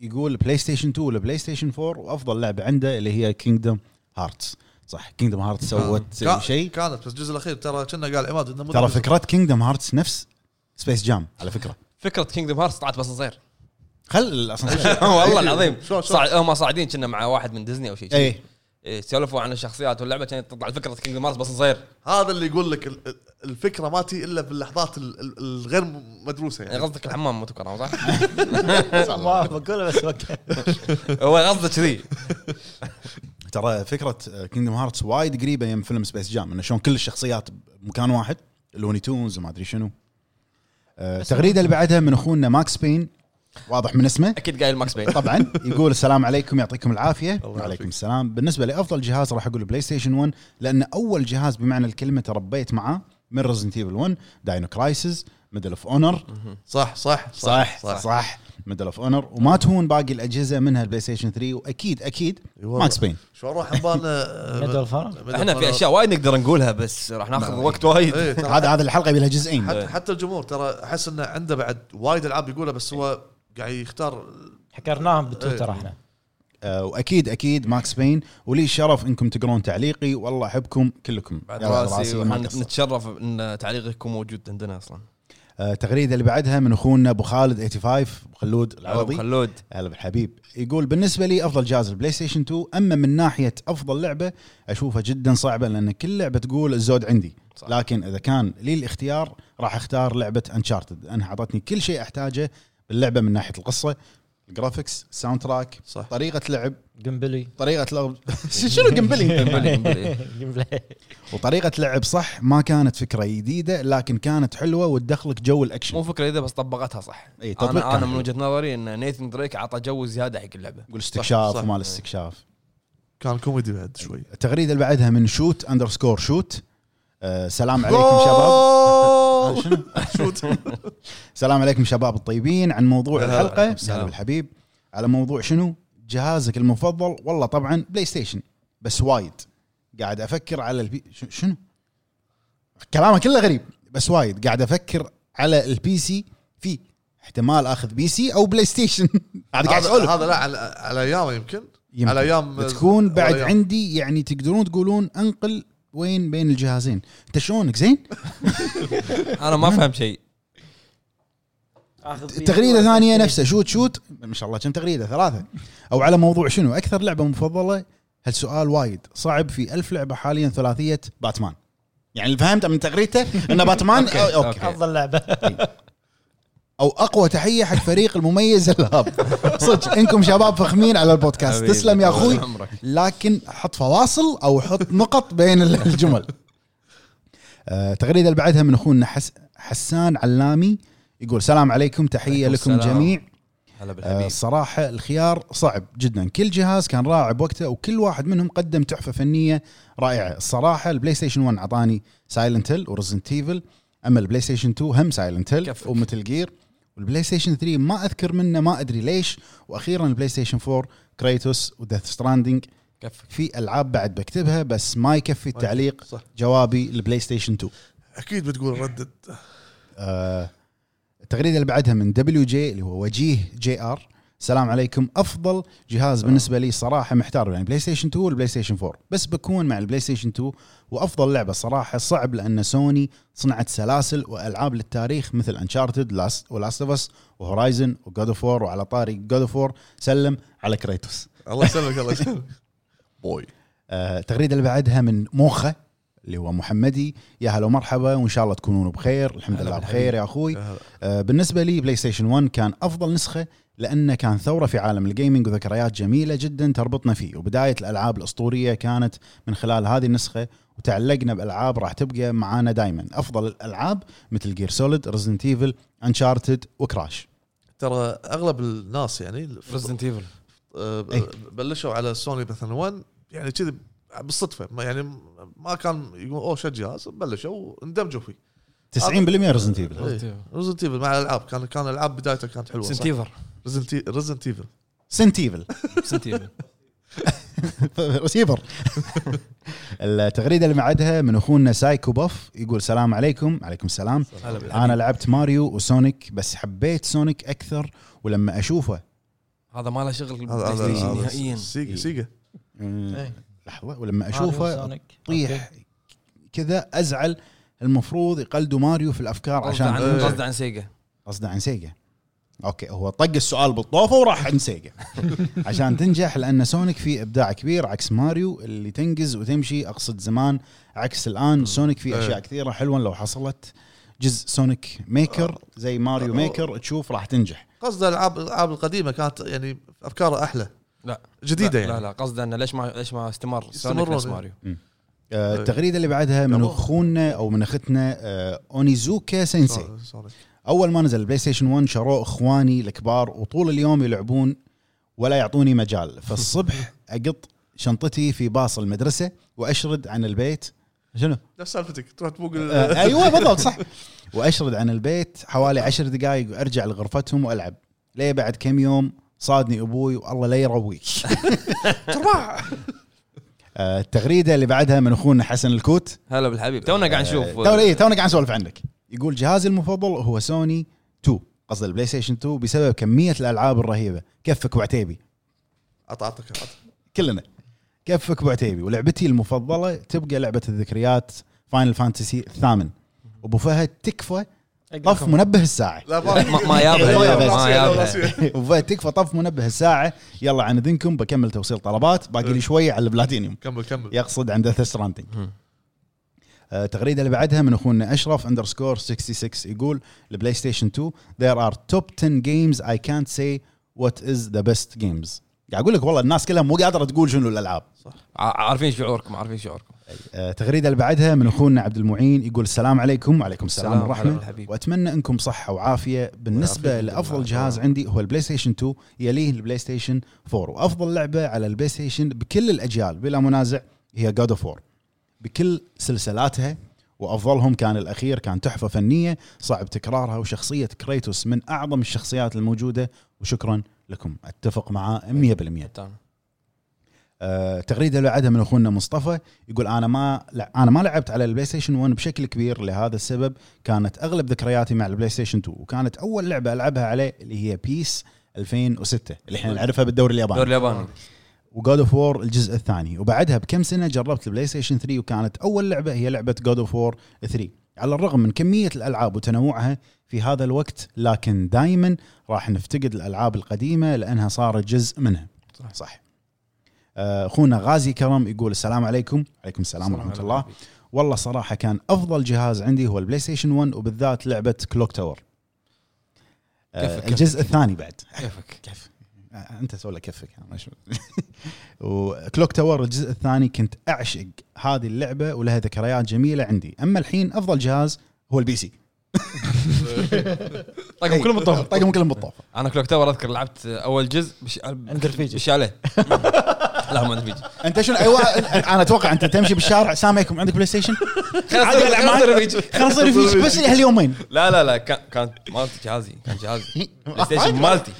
Speaker 1: يقول بلاي ستيشن 2 والبلاي ستيشن 4 وافضل لعبه عنده اللي هي كينجدم هارتس صح كينجدم هارتس سوت
Speaker 2: كان-
Speaker 1: شيء
Speaker 2: كانت بس الجزء الاخير ترى كنا قال عماد إنه مو
Speaker 1: ترى
Speaker 2: جزء.
Speaker 1: فكره كينجدم هارتس نفس سبيس جام على فكره
Speaker 3: فكره كينجدم هارتس طلعت بس
Speaker 2: <laughs>
Speaker 3: صغير <laughs>
Speaker 1: خل الاسانسير
Speaker 3: والله العظيم
Speaker 2: شلون- شلون؟
Speaker 3: صاع- هم صاعدين كنا مع واحد من ديزني او شيء
Speaker 1: اي
Speaker 3: إيه، سولفوا عن الشخصيات واللعبه كانت تطلع فكره كينجدم هارتس بس
Speaker 2: <laughs>
Speaker 3: صغير
Speaker 2: هذا اللي يقول لك ال- ال- الفكره ما تي الا باللحظات ال- ال- الغير مدروسه
Speaker 3: يعني
Speaker 2: يعني
Speaker 3: قصدك الحمام مو تكرم صح؟ <laughs>
Speaker 4: ما بقوله بس وقت
Speaker 3: هو قصده كذي
Speaker 1: ترى فكره كينجدم هارتس وايد قريبه يم فيلم سبيس جام انه شلون كل الشخصيات بمكان واحد لوني تونز وما ادري شنو آه، التغريده اللي بعدها من اخونا ماكس بين واضح من اسمه
Speaker 3: اكيد قايل ماكس بين
Speaker 1: طبعا يقول السلام عليكم يعطيكم العافيه
Speaker 2: الله يعافيك.
Speaker 1: وعليكم السلام بالنسبه لافضل جهاز راح اقول بلاي ستيشن 1 لانه اول جهاز بمعنى الكلمه تربيت معاه من ريزنت ايفل 1 داينو كرايسز ميدل اوف اونر
Speaker 2: صح صح
Speaker 1: صح صح, صح. ميدل اوف اونر وما تهون باقي الاجهزه منها البلاي ستيشن 3 واكيد اكيد
Speaker 2: إي والله.
Speaker 1: ماكس بين
Speaker 2: شو نروح عبالنا
Speaker 4: ميدل فار
Speaker 3: احنا في اشياء وايد نقدر نقولها بس راح ناخذ وقت
Speaker 2: إيه.
Speaker 3: وايد
Speaker 1: هذا هذا الحلقه بلها جزئين
Speaker 2: حتى حتى الجمهور ترى احس انه عنده بعد وايد العاب يقولها بس هو قاعد يختار
Speaker 4: حكرناهم بالتويتر احنا
Speaker 1: آه، واكيد اكيد ماكس بين ولي الشرف انكم تقرون تعليقي والله احبكم كلكم
Speaker 3: بعد
Speaker 1: يا راسي
Speaker 3: راسي
Speaker 1: ما
Speaker 3: وإحنا
Speaker 1: قصرت.
Speaker 3: نتشرف ان تعليقكم موجود عندنا اصلا
Speaker 1: آه، آه، التغريده اللي بعدها من اخونا ابو خالد 85 ابو خلود العربي <laughs>
Speaker 3: خلود
Speaker 1: هلا بالحبيب يقول بالنسبه لي افضل جهاز البلاي ستيشن 2 اما من ناحيه افضل لعبه اشوفها جدا صعبه لان كل لعبه تقول الزود عندي
Speaker 3: صح.
Speaker 1: صح. لكن اذا كان لي الاختيار راح اختار لعبه انشارتد لانها اعطتني كل شيء احتاجه باللعبه من ناحيه القصه الجرافكس ساوند تراك
Speaker 2: صح
Speaker 1: طريقه لعب
Speaker 4: <laughs> قنبلي
Speaker 1: طريقه لعب شنو <laughs> قنبلي
Speaker 3: قنبلي، قنبلي.
Speaker 4: قنبلي
Speaker 1: وطريقه لعب صح ما كانت فكره جديده لكن كانت حلوه وتدخلك جو
Speaker 3: مو
Speaker 1: الاكشن
Speaker 3: فكره اذا بس طبقتها صح
Speaker 1: اي تطبيق
Speaker 3: انا انا
Speaker 1: كان
Speaker 3: من
Speaker 1: حلو.
Speaker 3: وجهه نظري ان نيثن دريك عطى جو زياده حق <laughs> اللعبه
Speaker 1: يقول استكشاف
Speaker 2: صح.
Speaker 1: ومال استكشاف
Speaker 2: كان كوميدي بعد شوي
Speaker 1: التغريده اللي بعدها من شوت اندرسكور شوت آه سلام عليكم شباب
Speaker 2: شباب
Speaker 1: <laughs> شنو؟ سلام عليكم شباب الطيبين عن موضوع
Speaker 2: هلا،
Speaker 1: الحلقه
Speaker 3: وعليكم السلام.
Speaker 1: هلا بالحبيب على موضوع شنو جهازك المفضل والله طبعا بلاي ستيشن بس وايد قاعد افكر على البي ش- شنو كلامه كله غريب بس وايد قاعد افكر على البي سي في احتمال اخذ بي سي او بلاي <laughs> ستيشن قاعد قاعد
Speaker 2: هذا
Speaker 1: اسولف
Speaker 2: هذا لا على على ايامه يمكن
Speaker 1: يمكن.
Speaker 2: على ايام
Speaker 1: بتكون
Speaker 2: على
Speaker 1: بعد
Speaker 2: أيام.
Speaker 1: عندي يعني تقدرون تقولون انقل وين بين الجهازين انت شلونك زين
Speaker 3: انا ما فهم شيء
Speaker 1: تغريده ثانيه نفسها شوت شوت ما شاء الله كم تغريده ثلاثه او على موضوع شنو اكثر لعبه مفضله هالسؤال وايد صعب في ألف لعبه حاليا ثلاثيه باتمان يعني اللي فهمت من تغريدته ان باتمان
Speaker 3: <laughs> أوكي،
Speaker 1: أو, أوكي. أمم،
Speaker 3: أوكي.
Speaker 4: افضل لعبه
Speaker 1: او اقوى تحيه حق فريق المميز الهاب صدق انكم شباب فخمين على البودكاست
Speaker 3: حبيبي،
Speaker 1: تسلم يا اخوي
Speaker 3: طول عمرك.
Speaker 1: لكن حط فواصل او حط نقط بين الجمل آه، التغريده اللي بعدها من اخونا حس حسان علامي يقول سلام عليكم تحيه
Speaker 3: عليكم
Speaker 1: لكم
Speaker 3: السلام.
Speaker 1: جميع
Speaker 3: هلا
Speaker 1: آه،
Speaker 3: بالحبيب
Speaker 1: الصراحة الخيار صعب جدا كل جهاز كان رائع بوقته وكل واحد منهم قدم تحفة فنية رائعة الصراحة البلاي ستيشن 1 عطاني سايلنت هيل ورزنت ايفل أما البلاي ستيشن 2 هم سايلنت هيل
Speaker 3: كفك.
Speaker 1: ومتل جير والبلاي ستيشن 3 ما أذكر منه ما أدري ليش وأخيرا البلاي ستيشن 4 كريتوس وديث ستراندنج
Speaker 3: كفك
Speaker 1: في ألعاب بعد بكتبها بس ما يكفي التعليق
Speaker 2: صح
Speaker 1: جوابي البلاي ستيشن 2
Speaker 2: اكيد بتقول ردد
Speaker 1: آه، التغريده اللي بعدها من دبليو جي اللي هو وجيه جي ار السلام عليكم افضل جهاز بالنسبه لي صراحه محتار بين بلاي ستيشن 2 والبلاي ستيشن 4 بس بكون مع البلاي ستيشن 2 وافضل لعبه صراحه صعب لان سوني صنعت سلاسل والعاب للتاريخ مثل انشارتد لاست ولاست اوف اس وهورايزن وجود اوف وور وعلى طاري جود اوف وور سلم على كريتوس
Speaker 2: الله يسلمك
Speaker 1: <laughs>
Speaker 2: الله يسلمك بوي
Speaker 1: آه، التغريده اللي بعدها من موخه اللي هو محمدي يا هلا ومرحبا وان شاء الله تكونون بخير الحمد
Speaker 3: هلا
Speaker 1: لله
Speaker 3: بالحبيب.
Speaker 1: بخير يا اخوي
Speaker 2: يا هلا.
Speaker 1: آه، بالنسبه لي بلاي ستيشن 1 كان افضل نسخه لانه كان ثوره في عالم الجيمنج وذكريات جميله جدا تربطنا فيه وبدايه الالعاب الاسطوريه كانت من خلال هذه النسخه وتعلقنا بالعاب راح تبقى معانا دائما افضل الالعاب مثل جير سوليد ريزنت ايفل انشارتد وكراش
Speaker 2: ترى اغلب الناس يعني
Speaker 3: ريزدنت ايفل
Speaker 2: آه،
Speaker 1: إيه.
Speaker 2: بلشوا على سوني مثلا 1 يعني كذي بالصدفه ما- يعني ما كان يقول اوه شو جهاز بلشوا واندمجوا فيه
Speaker 1: 90% ريزنت ايفل
Speaker 3: Resident
Speaker 2: إيه. ريزنت ايفل مع الالعاب كان كان الالعاب بدايته كانت حلوه
Speaker 3: سنت
Speaker 2: صح؟
Speaker 3: <laughs> ايفل
Speaker 2: ريزنت ايفل
Speaker 1: سنت ايفل
Speaker 3: سنت ايفل
Speaker 1: <laughs> رسيفر التغريده اللي بعدها من اخونا سايكو بوف يقول السلام عليكم عليكم السلام
Speaker 3: هلا بالحبيب
Speaker 1: انا لعبت ماريو وسونيك بس حبيت سونيك اكثر ولما اشوفه
Speaker 3: هذا ما له شغل
Speaker 2: هذا
Speaker 3: بالبلاي
Speaker 2: هذا-
Speaker 3: ستيشن
Speaker 2: هذا
Speaker 3: نهائيا
Speaker 2: سيجا
Speaker 1: إيه.
Speaker 2: سيجا
Speaker 1: أمم،
Speaker 4: إيه.
Speaker 1: لحظه ولما
Speaker 4: ماريو
Speaker 1: اشوفه
Speaker 4: سونيك. أوكي.
Speaker 1: طيح كذا ازعل المفروض يقلدوا ماريو في الافكار
Speaker 3: قصد عن
Speaker 1: عشان
Speaker 2: إيه.
Speaker 3: قصد عن سيجا
Speaker 1: قصده عن سيجا اوكي هو طق السؤال بالطوفه وراح عند
Speaker 2: <laughs>
Speaker 1: سيجا عشان تنجح لان سونيك فيه ابداع كبير عكس ماريو اللي تنقز وتمشي اقصد زمان عكس الان سونيك فيه
Speaker 2: إيه.
Speaker 1: اشياء كثيره حلوه لو حصلت جزء سونيك ميكر زي
Speaker 2: آه.
Speaker 1: ماريو ميكر تشوف راح تنجح
Speaker 2: قصد الالعاب الالعاب القديمه كانت يعني افكارها احلى
Speaker 3: لا.
Speaker 2: جديده
Speaker 3: لا-
Speaker 2: يعني
Speaker 3: لا لا قصد انه ليش ما ليش ما استمر سونيك
Speaker 2: يستمرون.
Speaker 3: نفس ماريو
Speaker 1: آه،
Speaker 2: إيه.
Speaker 1: التغريده اللي بعدها من
Speaker 2: يلا.
Speaker 1: اخونا او من اختنا آه، اونيزوكا سينسي
Speaker 2: سوني- سوني.
Speaker 1: اول ما نزل البلاي ستيشن 1 شروه اخواني الكبار وطول اليوم يلعبون ولا يعطوني مجال فالصبح اقط شنطتي في باص المدرسه واشرد عن البيت شنو؟
Speaker 2: نفس سالفتك تروح تبوق ال-
Speaker 1: آه ايوه بالضبط صح واشرد عن البيت حوالي عشر دقائق وارجع لغرفتهم والعب ليه بعد كم يوم صادني ابوي والله لا يرويك آه التغريده اللي بعدها من اخونا حسن الكوت
Speaker 3: هلا بالحبيب تونا قاعد نشوف
Speaker 1: تونا إيه، تونا قاعد نسولف عنك يقول جهازي المفضل هو سوني 2 قصد البلاي ستيشن 2 بسبب كميه الالعاب الرهيبه كفك وعتيبي
Speaker 2: عط عطك عط
Speaker 1: كلنا كفك بعتيبي ولعبتي المفضله تبقى لعبه الذكريات فاينل فانتسي الثامن ابو فهد تكفى طف منبه <laughs> الساعه
Speaker 2: لا ما
Speaker 3: ما-
Speaker 2: <laughs>
Speaker 3: ما يابها،
Speaker 2: لا،
Speaker 1: ما
Speaker 2: راسية، لا،
Speaker 3: يابها.
Speaker 2: راسية.
Speaker 1: وتكفى طف منبه الساعه يلا عن اذنكم بكمل توصيل طلبات باقي لي شويه على البلاتينيوم
Speaker 2: كمل كمل
Speaker 1: يقصد عند ديث ستراندنج التغريده آه، اللي بعدها من اخونا اشرف اندرسكور 66 يقول البلاي ستيشن 2 there are top 10 games I can't say what is the best games قاعد اقول لك والله الناس كلها مو قادره تقول شنو الالعاب
Speaker 3: ع- عارفين شعوركم عارفين شعوركم
Speaker 1: آه، التغريده اللي بعدها من اخونا عبد المعين يقول السلام عليكم وعليكم السلام
Speaker 3: السلام
Speaker 1: ورحمه
Speaker 3: هلا بالحبيب.
Speaker 1: واتمنى انكم صحه وعافيه بالنسبه
Speaker 3: ويعافيكم
Speaker 1: لافضل
Speaker 3: بالله.
Speaker 1: جهاز عندي هو البلاي ستيشن 2 يليه البلاي ستيشن 4 وافضل لعبه على البلاي ستيشن بكل الاجيال بلا منازع هي جاد اوف 4 بكل سلسلاتها وافضلهم كان الاخير كان تحفه فنيه صعب تكرارها وشخصيه كريتوس من اعظم الشخصيات الموجوده وشكرا لكم اتفق معاه 100%
Speaker 3: التاني.
Speaker 1: آه، تغريده اللي بعدها من اخونا مصطفى يقول انا ما لا انا ما لعبت على البلاي ستيشن 1 بشكل كبير لهذا السبب كانت اغلب ذكرياتي مع البلاي ستيشن 2 وكانت اول لعبه العبها عليه اللي هي بيس 2006 اللي احنا نعرفها بالدوري
Speaker 3: دور
Speaker 1: الياباني
Speaker 3: الياباني
Speaker 1: وجود اوف وور الجزء الثاني وبعدها بكم سنه جربت البلاي ستيشن 3 وكانت اول لعبه هي لعبه جود اوف وور 3 على الرغم من كميه الالعاب وتنوعها في هذا الوقت لكن دائما راح نفتقد الالعاب القديمه لانها صارت جزء منها
Speaker 3: صح.
Speaker 1: صح آه، اخونا غازي كرم يقول السلام عليكم عليكم السلام
Speaker 3: السلام
Speaker 1: ورحمه
Speaker 3: عليكم.
Speaker 1: الله والله صراحه كان افضل جهاز عندي هو البلاي ستيشن 1 وبالذات لعبه كلوك تاور
Speaker 3: كيفك،
Speaker 1: آه
Speaker 3: كيفك.
Speaker 1: الجزء الثاني بعد
Speaker 3: كيفك
Speaker 1: كيف آه، انت سوى لك كفك أنا شو- <laughs> وكلوك تاور الجزء الثاني كنت اعشق هذه اللعبه ولها ذكريات جميله عندي اما الحين افضل جهاز هو البي سي إيه.
Speaker 3: طقم كلهم الطفل
Speaker 1: طقم طيب، طيب، كلهم بالطوفه
Speaker 3: انا كلوك تاور اذكر لعبت اول جزء بش...
Speaker 4: اندر فيجي
Speaker 3: بش عليه <laughs> لا ما ادري
Speaker 1: انت شنو ايوه انا اتوقع انت تمشي بالشارع سامعكم عندك بلاي <laughs> ستيشن عادي ألعب معاك.
Speaker 3: لا
Speaker 1: خلاص صير فيك بس هاليومين
Speaker 3: لا لا كان كان مالتي جهازي كان جهازي بلاي ستيشن
Speaker 1: عادي.
Speaker 3: مالتي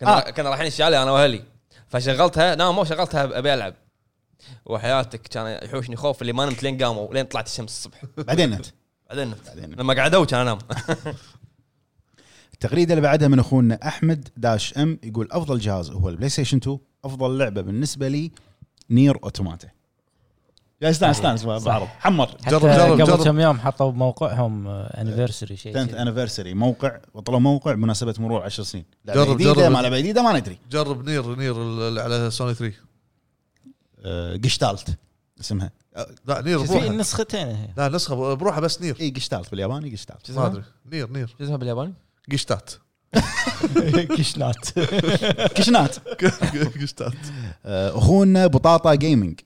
Speaker 3: كنا
Speaker 1: آه.
Speaker 3: كنا رايحين الشاليه انا واهلي فشغلتها لا مو شغلتها ابي العب وحياتك كان يحوشني خوف اللي ما نمت لين قاموا لين طلعت الشمس الصبح
Speaker 1: بعدين انت
Speaker 3: بعدين نمت
Speaker 1: بعدين نمت.
Speaker 3: لما قعدوا كان انام
Speaker 1: التغريده اللي بعدها من اخونا احمد داش ام يقول افضل جهاز هو البلاي ستيشن 2 افضل لعبه بالنسبه لي نير اوتوماتا يا استانس استانس بعرض حمر
Speaker 4: حتى
Speaker 2: جرب- جرب-
Speaker 4: قبل
Speaker 2: جرب.
Speaker 4: كم يوم حطوا بموقعهم انيفرسري إيه شيء
Speaker 1: 10th
Speaker 4: كذي.
Speaker 1: anniversary موقع وطلعوا موقع بمناسبه مرور 10 سنين لعبه
Speaker 2: جرب-
Speaker 1: جديده
Speaker 2: جرب.
Speaker 1: ما لعبه جديده ما ندري
Speaker 2: جرب نير نير اللي على سوني 3
Speaker 1: آه، قشتالت اسمها
Speaker 2: لا نير
Speaker 4: في
Speaker 2: بروحه
Speaker 4: نسختين
Speaker 1: <laughs>
Speaker 4: هي
Speaker 2: لا نسخه بروحه بس نير
Speaker 1: اي قشتالت إيه، بالياباني قشتالت
Speaker 2: ما ادري نير نير
Speaker 3: شو اسمها بالياباني؟
Speaker 2: قشتات
Speaker 4: كشنات
Speaker 1: كشنات
Speaker 2: قشتات
Speaker 1: آه، اخونا بطاطا جيمنج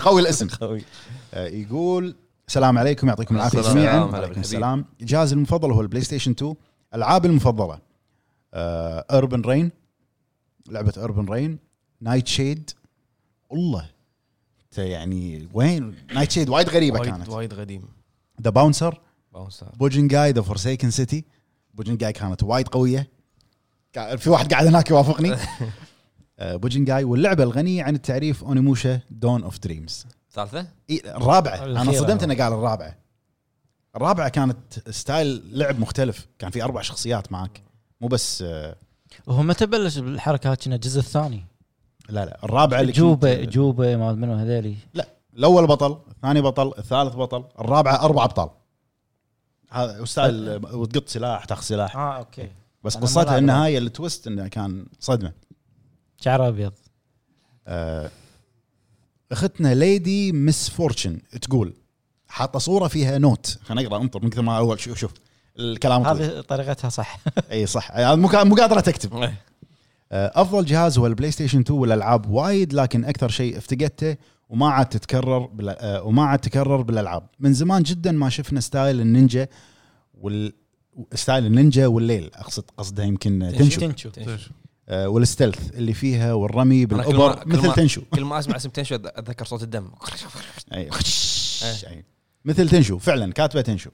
Speaker 1: قوي الاسم
Speaker 4: قوي.
Speaker 1: آه، يقول السلام عليكم يعطيكم العافيه
Speaker 2: السلام،
Speaker 1: جميعا
Speaker 3: هلا
Speaker 1: وعليكم
Speaker 3: بالحبيب.
Speaker 1: السلام جهازي المفضل هو البلاي ستيشن 2 العابي المفضله اربن رين لعبه اربن رين نايت شيد الله أنت يعني وين نايت شيد وايد غريبه كانت
Speaker 3: وايد قديم
Speaker 1: ذا باونسر
Speaker 3: باونسر
Speaker 1: بوجنجاي ذا فورسيكن سيتي بوجنجاي كانت وايد قويه كا- في واحد قاعد هناك
Speaker 4: <laughs>
Speaker 1: يوافقني آه، بوجنجاي واللعبه الغنيه عن التعريف اونيموشا دون اوف دريمز
Speaker 3: ثالثه؟
Speaker 1: إي، الرابعه انا
Speaker 4: الأخيرة.
Speaker 1: انصدمت انه قال الرابعه الرابعه كانت ستايل لعب مختلف كان في اربع شخصيات معك مو بس آه،
Speaker 4: وهو متى بلش بالحركه هاي كنا الجزء الثاني
Speaker 1: لا لا الرابعه اللي
Speaker 4: جوبه
Speaker 1: كنت-
Speaker 4: جوبه ما منو هذيلي
Speaker 1: الاول بطل الثاني بطل الثالث بطل الرابعه اربع ابطال هذا وستايل آه، وتقط سلاح تاخذ سلاح
Speaker 4: اه اوكي
Speaker 1: بس
Speaker 4: أه. أنا ما
Speaker 1: قصتها
Speaker 4: لعب
Speaker 1: انها هاي التويست انه كان صدمه
Speaker 4: شعر ابيض
Speaker 1: آه، اختنا ليدي مس فورتشن تقول حاطه صوره فيها نوت خلينا نقرا انطر من كثر ما اول شوف شوف الكلام طويل.
Speaker 4: هذه طريقتها صح
Speaker 1: اي صح أنا مو مو قادره تكتب آه، افضل جهاز هو البلاي ستيشن 2 والالعاب وايد لكن اكثر شيء افتقدته وما عاد تتكرر بال- آه، وما عاد تكرر بالالعاب من زمان جدا ما شفنا ستايل النينجا وال ستايل النينجا والليل اقصد قصده يمكن تنشو
Speaker 4: تنشو
Speaker 1: آه، والستلث اللي فيها والرمي
Speaker 3: كل ما-
Speaker 1: بالابر
Speaker 3: كل ما-
Speaker 1: مثل تنشو
Speaker 3: كل ما اسمع اسم تنشو اتذكر صوت الدم
Speaker 1: <laughs> أي. أي. مثل تنشو فعلا كاتبه تنشو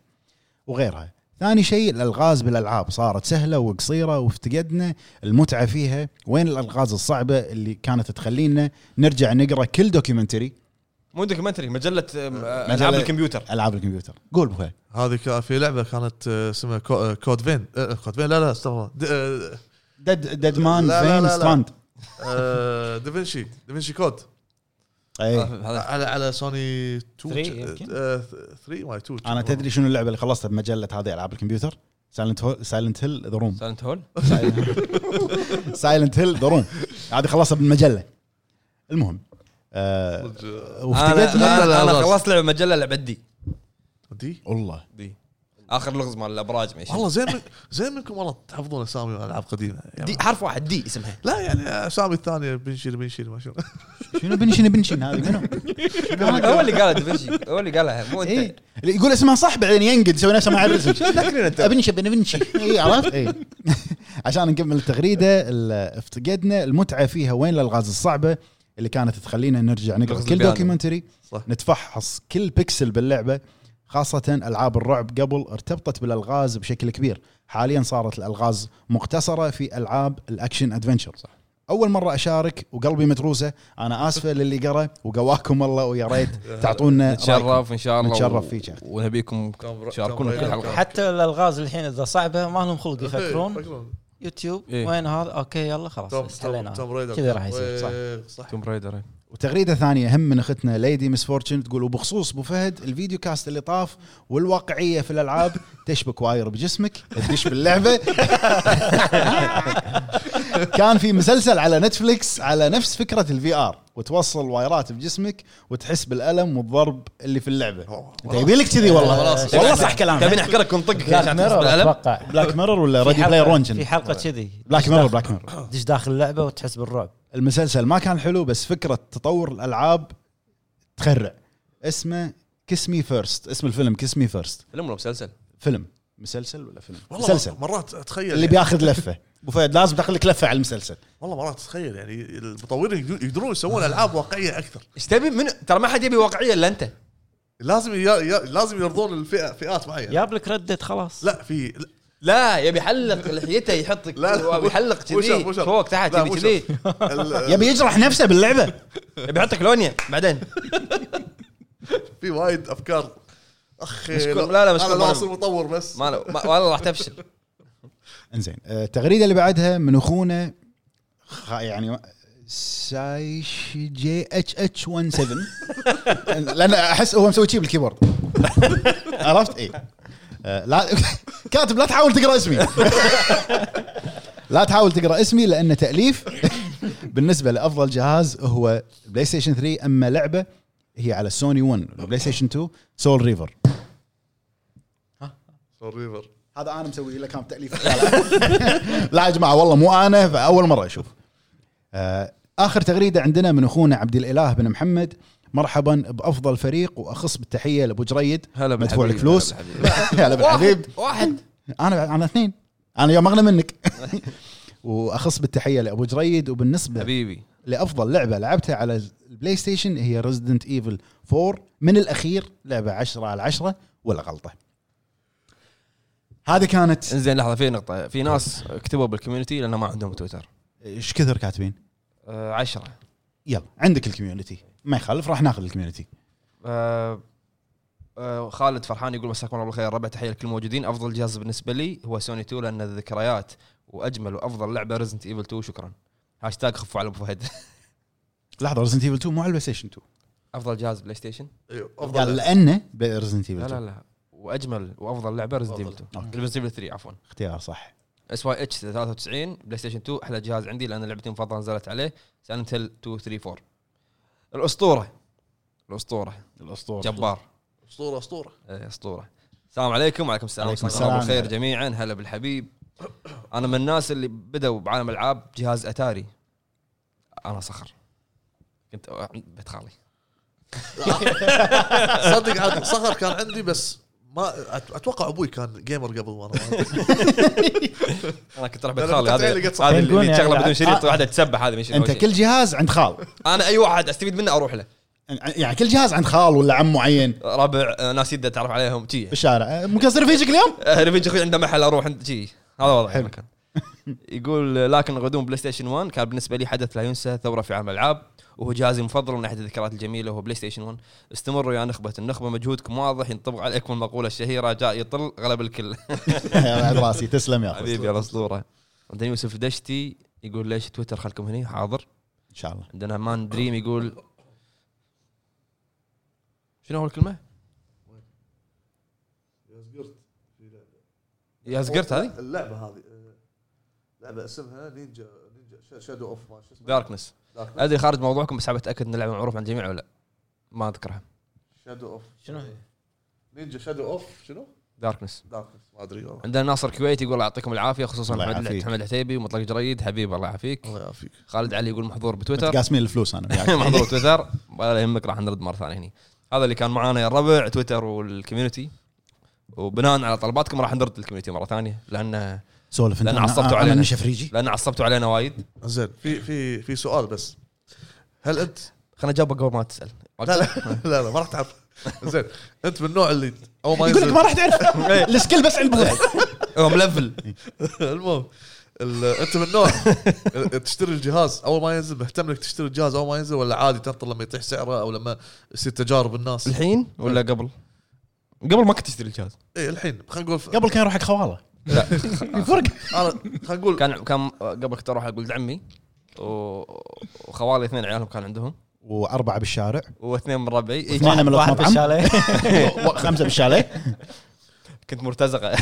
Speaker 1: وغيرها ثاني شيء الالغاز بالالعاب صارت سهله وقصيره وافتقدنا المتعه فيها وين الالغاز الصعبه اللي كانت تخلينا نرجع نقرا كل دوكيومنتري
Speaker 3: مو دوكيومنتري مجله آم، آه،
Speaker 1: مجلة-
Speaker 3: العاب الكمبيوتر
Speaker 1: العاب الكمبيوتر قول بها
Speaker 2: هذه كان في لعبه كانت آه، اسمها كو- آه، كود فين آه، كود فين لا لا استغفر الله د- آه،
Speaker 1: ديد ديد مان
Speaker 2: لا، لا،
Speaker 1: فين
Speaker 2: لا، لا. <laughs>
Speaker 1: ستراند
Speaker 2: آه، دافنشي دافنشي كود
Speaker 1: اي
Speaker 3: هذا
Speaker 2: على على سوني آه، 2
Speaker 4: 3 يمكن.
Speaker 2: 3 ما 2
Speaker 1: انا تدري شنو اللعبه اللي خلصتها بمجله هذه العاب الكمبيوتر سايلنت هول سايلنت هيل ذا روم
Speaker 3: سالنت هول
Speaker 1: سايلنت هيل ذا روم هذه خلصها بالمجله المهم آه
Speaker 3: انا
Speaker 1: وافتقدنا
Speaker 3: أنا- انا خلصت لعبه مجله لعبه دي
Speaker 2: دي
Speaker 1: والله
Speaker 3: دي اخر لغز مال الابراج ما يشوف.
Speaker 2: والله زين من <laughs> زين منكم والله تحفظون اسامي العاب قديمه يعني
Speaker 3: دي حرف واحد دي اسمها
Speaker 2: لا يعني اسامي الثانيه بنشيل بنشيل ما شنو
Speaker 1: شنو بنشن بنشن هذه منو؟
Speaker 3: <laughs> هو اللي قالها دافنشي هو اللي قالها مو
Speaker 1: اي
Speaker 3: انت
Speaker 1: إيه. يقول اسمها صح بعدين ينقد يسوي نفسه ما يعرف اسمه
Speaker 3: شو تذكرين انت
Speaker 1: ابنشي بنبنشي اي عرفت اي إيه. <laughs> عشان نكمل التغريده ال- افتقدنا المتعه فيها وين الالغاز الصعبه اللي كانت تخلينا نرجع نقرا
Speaker 3: لغز
Speaker 1: كل
Speaker 3: البيانو.
Speaker 1: دوكيومنتري
Speaker 2: صح.
Speaker 1: نتفحص كل بيكسل باللعبه خاصة العاب الرعب قبل ارتبطت بالالغاز بشكل كبير، حاليا صارت الالغاز مقتصرة في العاب الاكشن ادفنشر. صح. اول مرة اشارك وقلبي متروسة، انا اسفة للي قرا وقواكم الله ويا ريت تعطونا رأيكم.
Speaker 3: نتشرف ان شاء الله
Speaker 1: نتشرف فيك يا أخي.
Speaker 3: ونبيكم
Speaker 2: كم-
Speaker 3: تشاركونا
Speaker 2: كم-
Speaker 3: في الحلقه
Speaker 4: حتى الالغاز الحين اذا صعبه ما لهم
Speaker 2: إيه.
Speaker 4: خلق يفكرون يوتيوب
Speaker 3: إيه.
Speaker 4: وين هذا اوكي يلا خلاص
Speaker 2: توم
Speaker 4: استحلينا.
Speaker 2: توم توم ريدر إيه.
Speaker 4: كذا راح يصير صح
Speaker 2: صح
Speaker 3: توم رايدر
Speaker 1: وتغريده ثانيه هم من اختنا ليدي مس فورتشن تقول وبخصوص ابو فهد الفيديو كاست اللي طاف والواقعيه في الالعاب تشبك واير بجسمك تدش باللعبه <laughs> كان في مسلسل على نتفليكس على نفس فكره الفي ار وتوصل وايرات بجسمك وتحس بالالم والضرب اللي في اللعبه انت يبي لك كذي والله
Speaker 4: خلاص.
Speaker 1: والله صح كلامك
Speaker 3: تبي احكي لك ونطقك
Speaker 4: بلاك
Speaker 3: عشان تحس
Speaker 4: ميرور
Speaker 3: بالألم؟
Speaker 4: اتوقع
Speaker 1: بلاك ميرور ولا
Speaker 4: في
Speaker 1: ريدي
Speaker 4: حلقة-
Speaker 1: بلاي رونجن
Speaker 4: في حلقه كذي
Speaker 1: بلاك ميرور بلاك ميرور
Speaker 4: تدش داخل اللعبه وتحس بالرعب
Speaker 1: المسلسل ما كان حلو بس فكره تطور الالعاب تخرع اسمه كسمي فيرست اسم الفيلم كسمي فيرست
Speaker 3: فيلم ولا مسلسل؟
Speaker 1: فيلم مسلسل ولا فيلم
Speaker 2: والله
Speaker 1: مسلسل
Speaker 2: مرات اتخيل
Speaker 1: اللي
Speaker 2: يعني-
Speaker 1: بياخذ لفه ابو فهد لازم تاخذ لك لفه على المسلسل
Speaker 2: والله مرات اتخيل يعني المطورين يقدر- يقدرون يسوون العاب واقعيه اكثر
Speaker 3: ايش تبي من ترى ما حد يبي واقعيه الا انت
Speaker 2: لازم يا- يا- لازم يرضون الفئه فئات معينه
Speaker 4: جاب لك ردت خلاص
Speaker 2: لا في لا
Speaker 3: لا يبي يحلق لحيته يحطك
Speaker 2: لا، لا، مو-
Speaker 3: يحلق
Speaker 2: مو شرط،
Speaker 3: كذي
Speaker 2: مو شرط.
Speaker 3: فوق تحت
Speaker 2: لا،
Speaker 3: يبي
Speaker 2: مو
Speaker 3: كذي
Speaker 2: ال-
Speaker 1: يبي يجرح نفسه باللعبه
Speaker 3: يبي يحطك لونيا بعدين
Speaker 2: في وايد افكار اخي
Speaker 3: مشكور.
Speaker 2: لو-
Speaker 3: لا، لا، مشكور.
Speaker 2: انا لو
Speaker 3: ما-
Speaker 2: اصير مطور بس
Speaker 3: ما له- ما- والله راح تفشل
Speaker 1: انزين آه، التغريده اللي بعدها من اخونا خ- يعني سايش جي اتش اتش 17 <laughs> لان احس هو مسوي شي بالكيبورد <laughs> عرفت اي آه، لا <laughs> كاتب لا تحاول تقرا اسمي <laughs> لا تحاول تقرا اسمي لان <laughs> تاليف بالنسبه لافضل جهاز هو بلاي ستيشن 3 اما لعبه هي على سوني 1 بلاي ستيشن 2 سول ريفر
Speaker 2: ريفر
Speaker 1: هذا انا مسوي له كان تاليف لا, لا. <laughs> لا يا جماعه والله مو انا فاول مره اشوف آه، اخر تغريده عندنا من اخونا عبد الاله بن محمد مرحبا بافضل فريق واخص بالتحيه لابو جريد مدفوع لك فلوس هلا بالحبيب
Speaker 3: واحد- واحد
Speaker 1: انا انا اثنين انا يوم اغنى منك <laughs> واخص بالتحيه لابو جريد وبالنسبه
Speaker 3: حبيبي
Speaker 1: لافضل لعبه لعبتها على البلاي ستيشن هي ريزدنت ايفل 4 من الاخير لعبه 10 على 10 ولا غلطه هذه كانت
Speaker 3: انزين لحظه في نقطه في ناس كتبوا بالكوميونتي لان ما عندهم تويتر
Speaker 1: ايش كثر كاتبين؟
Speaker 3: آه، عشرة
Speaker 1: يلا عندك الكوميونتي ما يخالف راح ناخذ الكوميونتي
Speaker 3: آه، آه، خالد فرحان يقول مساكم الله بالخير ربع تحيه لكل الموجودين افضل جهاز بالنسبه لي هو سوني 2 لان الذكريات واجمل وافضل لعبه ريزنت ايفل 2 شكرا هاشتاج خفوا على ابو فهد <laughs>
Speaker 1: لحظه ريزنت ايفل 2 مو على البلاي ستيشن 2
Speaker 3: افضل جهاز بلاي ستيشن
Speaker 2: ايوه
Speaker 1: قال
Speaker 2: افضل
Speaker 1: لانه ريزنت
Speaker 3: لا
Speaker 1: ايفل
Speaker 3: لا
Speaker 1: 2
Speaker 3: لا واجمل وافضل لعبه ريزنت ايفل 2
Speaker 1: أوكي.
Speaker 3: ريزنت ايفل 3 عفوا
Speaker 1: اختيار صح
Speaker 3: اس واي اتش 93 بلاي ستيشن 2 احلى جهاز عندي لان لعبتي المفضله نزلت عليه سايلنت هيل 2 3 4 الاسطوره الاسطوره
Speaker 1: الاسطوره
Speaker 3: جبار
Speaker 2: اسطوره اسطوره
Speaker 3: إيه، اسطوره السلام عليكم وعليكم السلام
Speaker 1: عليكم
Speaker 3: مساكم الله
Speaker 1: السلام.
Speaker 3: بالخير جميعا هلا بالحبيب انا من الناس اللي بدوا بعالم العاب جهاز اتاري انا صخر كنت عند بيت خالي
Speaker 2: صدق عاد صخر كان عندي بس ما أت- اتوقع ابوي كان جيمر قبل ما
Speaker 3: <laughs>
Speaker 2: انا
Speaker 3: انا كنت اروح بيت
Speaker 2: لا، لا،
Speaker 3: خالي
Speaker 2: كنت
Speaker 3: هذا
Speaker 2: عيلي قد صخر.
Speaker 3: هذا
Speaker 4: يقول
Speaker 3: اللي
Speaker 4: يعني
Speaker 3: شغله
Speaker 4: لا.
Speaker 3: بدون شريط
Speaker 1: آه.
Speaker 3: واحده تسبح هذا ما يشيل
Speaker 1: انت
Speaker 3: وجهي.
Speaker 1: كل جهاز عند خال
Speaker 3: انا اي واحد استفيد منه اروح له
Speaker 1: يعني كل جهاز عند خال ولا عم معين
Speaker 3: ربع آه، ناس يده تعرف عليهم شي
Speaker 1: بالشارع أه، مكسر فيجك اليوم <laughs>
Speaker 3: آه، ريفنج اخوي عنده محل اروح عند شي هذا وضعي
Speaker 1: حلو.
Speaker 3: المكان يقول آه، لكن غدوم بلاي ستيشن 1 كان بالنسبه لي حدث لا ينسى ثوره في عالم الالعاب وهو جهازي المفضل من احد الذكريات الجميله وهو بلاي ستيشن 1 استمروا يا نخبه النخبه مجهودكم واضح ينطبق عليكم المقوله الشهيره جاء يطل غلب الكل
Speaker 1: يا بعد راسي تسلم يا اخوي
Speaker 3: حبيبي الاسطوره عندنا يوسف دشتي يقول ليش تويتر خلكم هني حاضر
Speaker 1: ان شاء الله
Speaker 3: عندنا مان دريم يقول شنو اول كلمه؟
Speaker 2: يازقرت في لعبه
Speaker 3: يازقرت هذه؟
Speaker 2: اللعبه هذه آه، لعبه اسمها نينجا نينجا شادو اوف ما شو اسمه
Speaker 3: داركنس
Speaker 2: دارك
Speaker 3: ادري خارج موضوعكم بس حاب اتاكد ان اللعبه معروفه عند الجميع ولا لا ما اذكرها
Speaker 2: شادو اوف
Speaker 4: شنو هي؟
Speaker 2: نينجا شادو اوف شنو؟
Speaker 3: داركنس
Speaker 2: داركنس ما ادري والله
Speaker 3: عندنا ناصر كويتي يقول يعطيكم العافيه خصوصا
Speaker 1: الله
Speaker 3: محمد
Speaker 1: يعافيك.
Speaker 3: محمد العتيبي ومطلق جريد حبيب الله يعافيك
Speaker 2: الله يعافيك
Speaker 3: خالد علي يقول محظور بتويتر
Speaker 1: قاسمين الفلوس
Speaker 3: <laughs>
Speaker 1: يعني. انا وياك.
Speaker 3: محظور تويتر ولا يهمك راح نرد مره ثانيه هنا هذا اللي كان معانا يا الربع تويتر والكوميونتي وبناء على طلباتكم راح نرد للكوميونتي مره ثانيه لان
Speaker 1: سولف انت
Speaker 3: لأن عصبتوا
Speaker 1: أنا-
Speaker 3: علينا.
Speaker 1: انا شفريجي
Speaker 3: لان عصبتوا علينا وايد
Speaker 2: زين في في في سؤال بس هل انت
Speaker 3: خلنا اجاوبك قبل ما تسال
Speaker 2: لا لا <laughs> لا لا ما راح تعرف زين انت من النوع اللي اول ما
Speaker 1: يقول لك
Speaker 2: ينزل
Speaker 1: ما راح تعرف
Speaker 3: إيه.
Speaker 1: السكيل بس عند بوحي
Speaker 3: هو ملفل
Speaker 2: <laughs> المهم ال- انت من النوع ال- تشتري الجهاز اول ما ينزل مهتم انك تشتري الجهاز اول ما ينزل ولا عادي تنطر لما يطيح سعره او لما يصير تجارب الناس
Speaker 3: <laughs> الحين ولا قبل؟ قبل ما كنت تشتري الجهاز
Speaker 2: اي إيه، الحين خلينا نقول ف-
Speaker 1: قبل كان يروح حق خواله
Speaker 3: لا
Speaker 1: الفرق
Speaker 2: أنا- خلينا نقول
Speaker 3: كان كان قبل كنت اروح اقول عمي و- وخوالي اثنين عيالهم كان عندهم
Speaker 1: واربعه بالشارع
Speaker 3: واثنين من ربعي إي،
Speaker 1: واحد من
Speaker 4: واحد
Speaker 1: المطعم
Speaker 4: بالشاليه <laughs>
Speaker 1: خمسه بالشاليه
Speaker 3: <laughs> كنت مرتزقه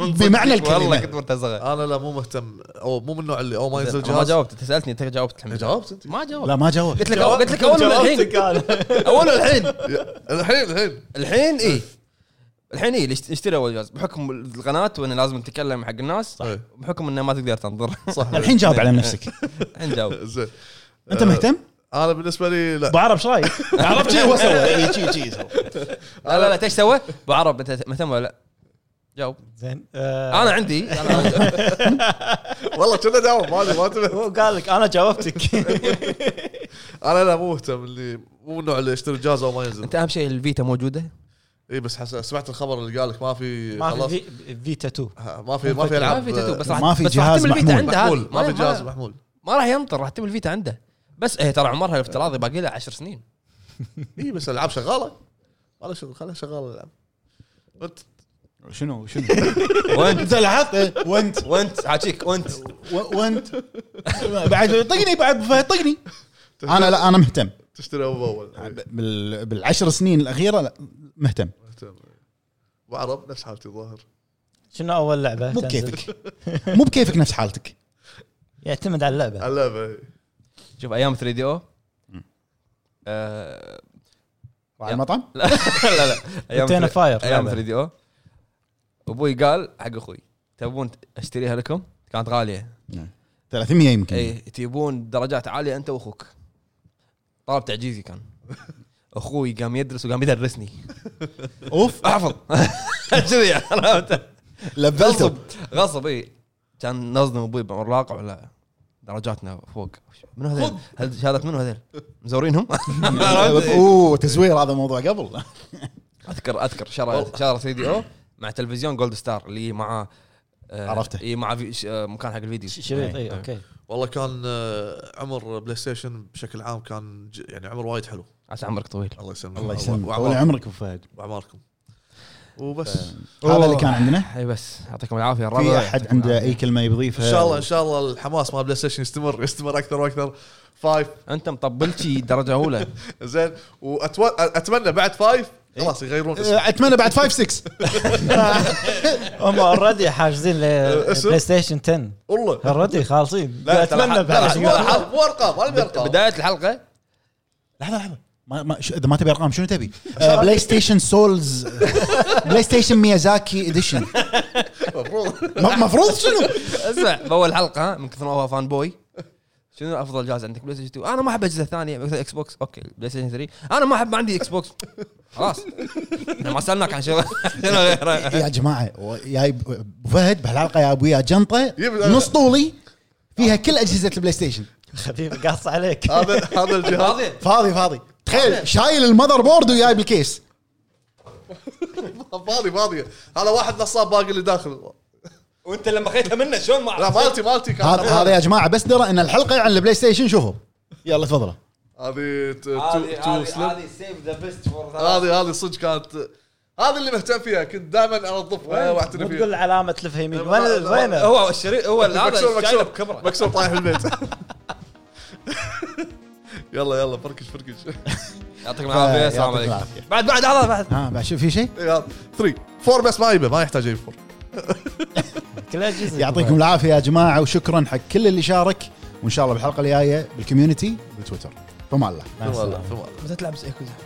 Speaker 1: بمعنى
Speaker 3: والله
Speaker 1: الكلمه
Speaker 3: كنت مرتزقه
Speaker 2: انا لا مو مهتم او مو من النوع اللي اول ما ينزل
Speaker 3: ما
Speaker 2: الجهاز
Speaker 3: جاوبت انت سالتني انت جاوبت الحين
Speaker 2: جاوبت انت
Speaker 3: ما جاوبت
Speaker 1: لا ما جاوب
Speaker 3: قلت لك قلت لك اول من الحين اول الحين
Speaker 2: يا- الحين الحين
Speaker 3: الحين اي الحين إيه. اي اشتري اول جهاز بحكم القناه وانه لازم نتكلم حق الناس
Speaker 2: إيه،
Speaker 3: بحكم انه ما تقدر تنظر
Speaker 2: صح
Speaker 1: الحين جاوب على نفسك
Speaker 3: <laughs> الحين جاوب
Speaker 2: زين
Speaker 1: انت مهتم؟
Speaker 2: انا بالنسبه لي لا
Speaker 4: ابو عرب ايش رايك؟ <laughs>
Speaker 1: عرفت شي هو سوى اي شي شي سوى
Speaker 3: لا لا لا ايش سوى؟ ابو عرب انت مهتم ولا لا؟ جاوب
Speaker 4: زين آه،
Speaker 3: انا عندي <laughs> أنا-
Speaker 2: والله كنا دعوه ما أدري، ما تبي
Speaker 4: هو قال لك انا جاوبتك
Speaker 2: انا لا مو مهتم اللي مو من النوع اللي يشتري الجهاز اول ما ينزل
Speaker 3: انت اهم شيء الفيتا موجوده
Speaker 2: اي بس حس... سمعت الخبر اللي قال لك ما في
Speaker 4: ما
Speaker 2: خلاص
Speaker 4: في في- فيتا 2
Speaker 2: ها، ما في ما في
Speaker 3: ما
Speaker 2: العاب
Speaker 3: في تاتو بس راح
Speaker 1: ما في
Speaker 3: بس راح
Speaker 1: جهاز
Speaker 3: تم الفيتا
Speaker 1: محمول.
Speaker 3: عنده هذه.
Speaker 2: محمول ما في جهاز
Speaker 3: ما,
Speaker 2: محمول
Speaker 3: ما راح ينطر راح تم الفيتا عنده بس هي ترى عمرها الافتراضي باقي لها 10 سنين
Speaker 2: اي بس الالعاب شغاله ولا شغل خليها شغاله الالعاب انت
Speaker 1: شنو شنو
Speaker 3: وانت
Speaker 4: <laughs>
Speaker 1: انت لاحظت وانت أيوه.
Speaker 3: وانت حاجيك وانت
Speaker 1: <laughs> و- وانت بعد طقني بعد <laughs> طقني انا لا انا مهتم
Speaker 2: تشتري اول باول
Speaker 1: بال- بالعشر سنين الاخيره لا مهتم
Speaker 2: ابو عرب نفس حالتي الظاهر
Speaker 4: شنو اول لعبه؟
Speaker 1: مو
Speaker 4: تنزل؟
Speaker 1: بكيفك <laughs> مو بكيفك نفس حالتك
Speaker 4: يعتمد على اللعبه
Speaker 2: اللعبه
Speaker 3: شوف ايام 3 دي او <laughs>
Speaker 1: على المطعم
Speaker 3: لا لا لا ايام
Speaker 4: روتينا فاير
Speaker 3: ايام
Speaker 4: لعبة.
Speaker 3: 3 دي او ابوي قال حق اخوي تبون اشتريها لكم كانت غاليه
Speaker 1: 300 يمكن
Speaker 3: اي تبون درجات عاليه انت واخوك طلب تعجيزي كان اخوي قام يدرس وقام يدرسني
Speaker 1: اوف
Speaker 3: احفظ <laughs> كذي عرفت؟
Speaker 1: لفلته
Speaker 3: غصب غصب اي كان نظم ابوي بعملاق ولا درجاتنا فوق منو هذول؟ هل شهادة منو هذول؟ مزورينهم؟ <laughs> عرفت؟ إي.
Speaker 1: اوه تزوير هذا موضوع <laughs> قبل
Speaker 3: اذكر اذكر شرى
Speaker 2: والله.
Speaker 3: شرى 3 دي او مع تلفزيون جولد ستار اللي مع آه،
Speaker 1: عرفته.
Speaker 3: اي مع في- ش- آه، مكان حق الفيديو
Speaker 4: ش- شريط أيوه، اي
Speaker 3: إي.
Speaker 4: اوكي
Speaker 2: والله كان آه، عمر بلاي ستيشن بشكل عام كان ج- يعني عمر وايد حلو
Speaker 3: عسى عمرك طويل
Speaker 2: الله يسلمك
Speaker 1: الله يسلمك طول
Speaker 2: وأعمار-
Speaker 1: عمرك ابو فهد
Speaker 2: واعماركم وبس
Speaker 1: هذا اللي كان عندنا
Speaker 3: اي بس يعطيكم العافيه يا
Speaker 1: في
Speaker 3: الربع
Speaker 1: احد عنده إيه؟ اي كلمه
Speaker 2: ان
Speaker 1: يضيفها
Speaker 2: شاء الله ان شاء الله الحماس مال بلاي ستيشن يستمر يستمر اكثر واكثر فايف
Speaker 3: انت مطبل شي درجه اولى
Speaker 2: زين واتمنى بعد فايف خلاص يغيرون اسمه
Speaker 1: أه، اتمنى بعد 5 6
Speaker 4: هم اوريدي حاجزين
Speaker 2: اسم؟
Speaker 4: لبلاي ستيشن 10
Speaker 2: والله
Speaker 4: اوريدي خالصين
Speaker 2: لا ترى
Speaker 4: اتمنى
Speaker 2: حق- لا،
Speaker 4: بعد
Speaker 2: مو ألعاب، مو ارقام ولا ارقام
Speaker 3: بدايه الحلقه
Speaker 1: لحظه لحظه ما ما ش- اذا ما تبي ارقام شنو تبي؟ أه، بلاي ستيشن سولز <laughs> بلاي ستيشن ميازاكي اديشن
Speaker 2: المفروض
Speaker 1: المفروض شنو؟
Speaker 3: اسمع باول حلقه ها، من كثر ما هو فان بوي شنو افضل جهاز عندك بلاي ستيشن 2 انا ما احب اجهزه ثانيه مثل اكس بوكس اوكي بلاي ستيشن 3 انا ما احب ما عندي اكس بوكس خلاص احنا ما سالناك عن شنو <laughs> شنو
Speaker 1: <laughs>
Speaker 3: غيره
Speaker 1: يا جماعه و- يا ب- ابو فهد بهالحلقه يا ابويا جنطه
Speaker 2: يبدأ-
Speaker 1: نص طولي فيها كل اجهزه البلاي ستيشن
Speaker 4: خفيف قص عليك <laughs>
Speaker 2: هذا هذا الجهاز
Speaker 3: فاضي
Speaker 1: فاضي فاضي تخيل شايل المذر بورد وجايب الكيس
Speaker 2: فاضي فاضي هذا واحد نصاب باقي اللي داخل
Speaker 3: وانت لما خيتها منه شلون ما
Speaker 2: لا مالتي مالتي كان
Speaker 1: هذا هذا يا جماعه بس درى ان الحلقه عن البلاي ستيشن شوفوا يلا تفضلوا
Speaker 2: هذه ت- تو تو سليم
Speaker 3: سيف ذا بيست فور
Speaker 2: هذه هذه صدق كانت هذه اللي مهتم فيها كنت دائما انظفها
Speaker 4: مو
Speaker 2: واعتني
Speaker 4: تقول
Speaker 2: فيها
Speaker 4: علامه تلف يمين
Speaker 2: لا،
Speaker 4: وين
Speaker 2: لا، لا.
Speaker 4: وين
Speaker 3: هو الشريط هو
Speaker 2: مكسور
Speaker 3: هذا شايله
Speaker 2: مكسور
Speaker 3: بكبره
Speaker 2: <laughs> مكسور طايح البيت يلا يلا فركش فركش
Speaker 3: يعطيك العافيه آه، السلام
Speaker 1: يعطيك
Speaker 3: عليكم
Speaker 1: العافية.
Speaker 3: بعد بعد لحظه بعد
Speaker 1: ها بعد شوف في شيء
Speaker 2: 3 4 بس ما يبه ما يحتاج يجيب 4
Speaker 4: كلها جزء
Speaker 1: يعطيكم العافيه يا جماعه وشكرا حق كل اللي شارك وان شاء الله بالحلقه الجايه بالكوميونتي بالتويتر فما الله
Speaker 4: مع السلامة.
Speaker 2: في مال
Speaker 3: متى تلعب سيكوزا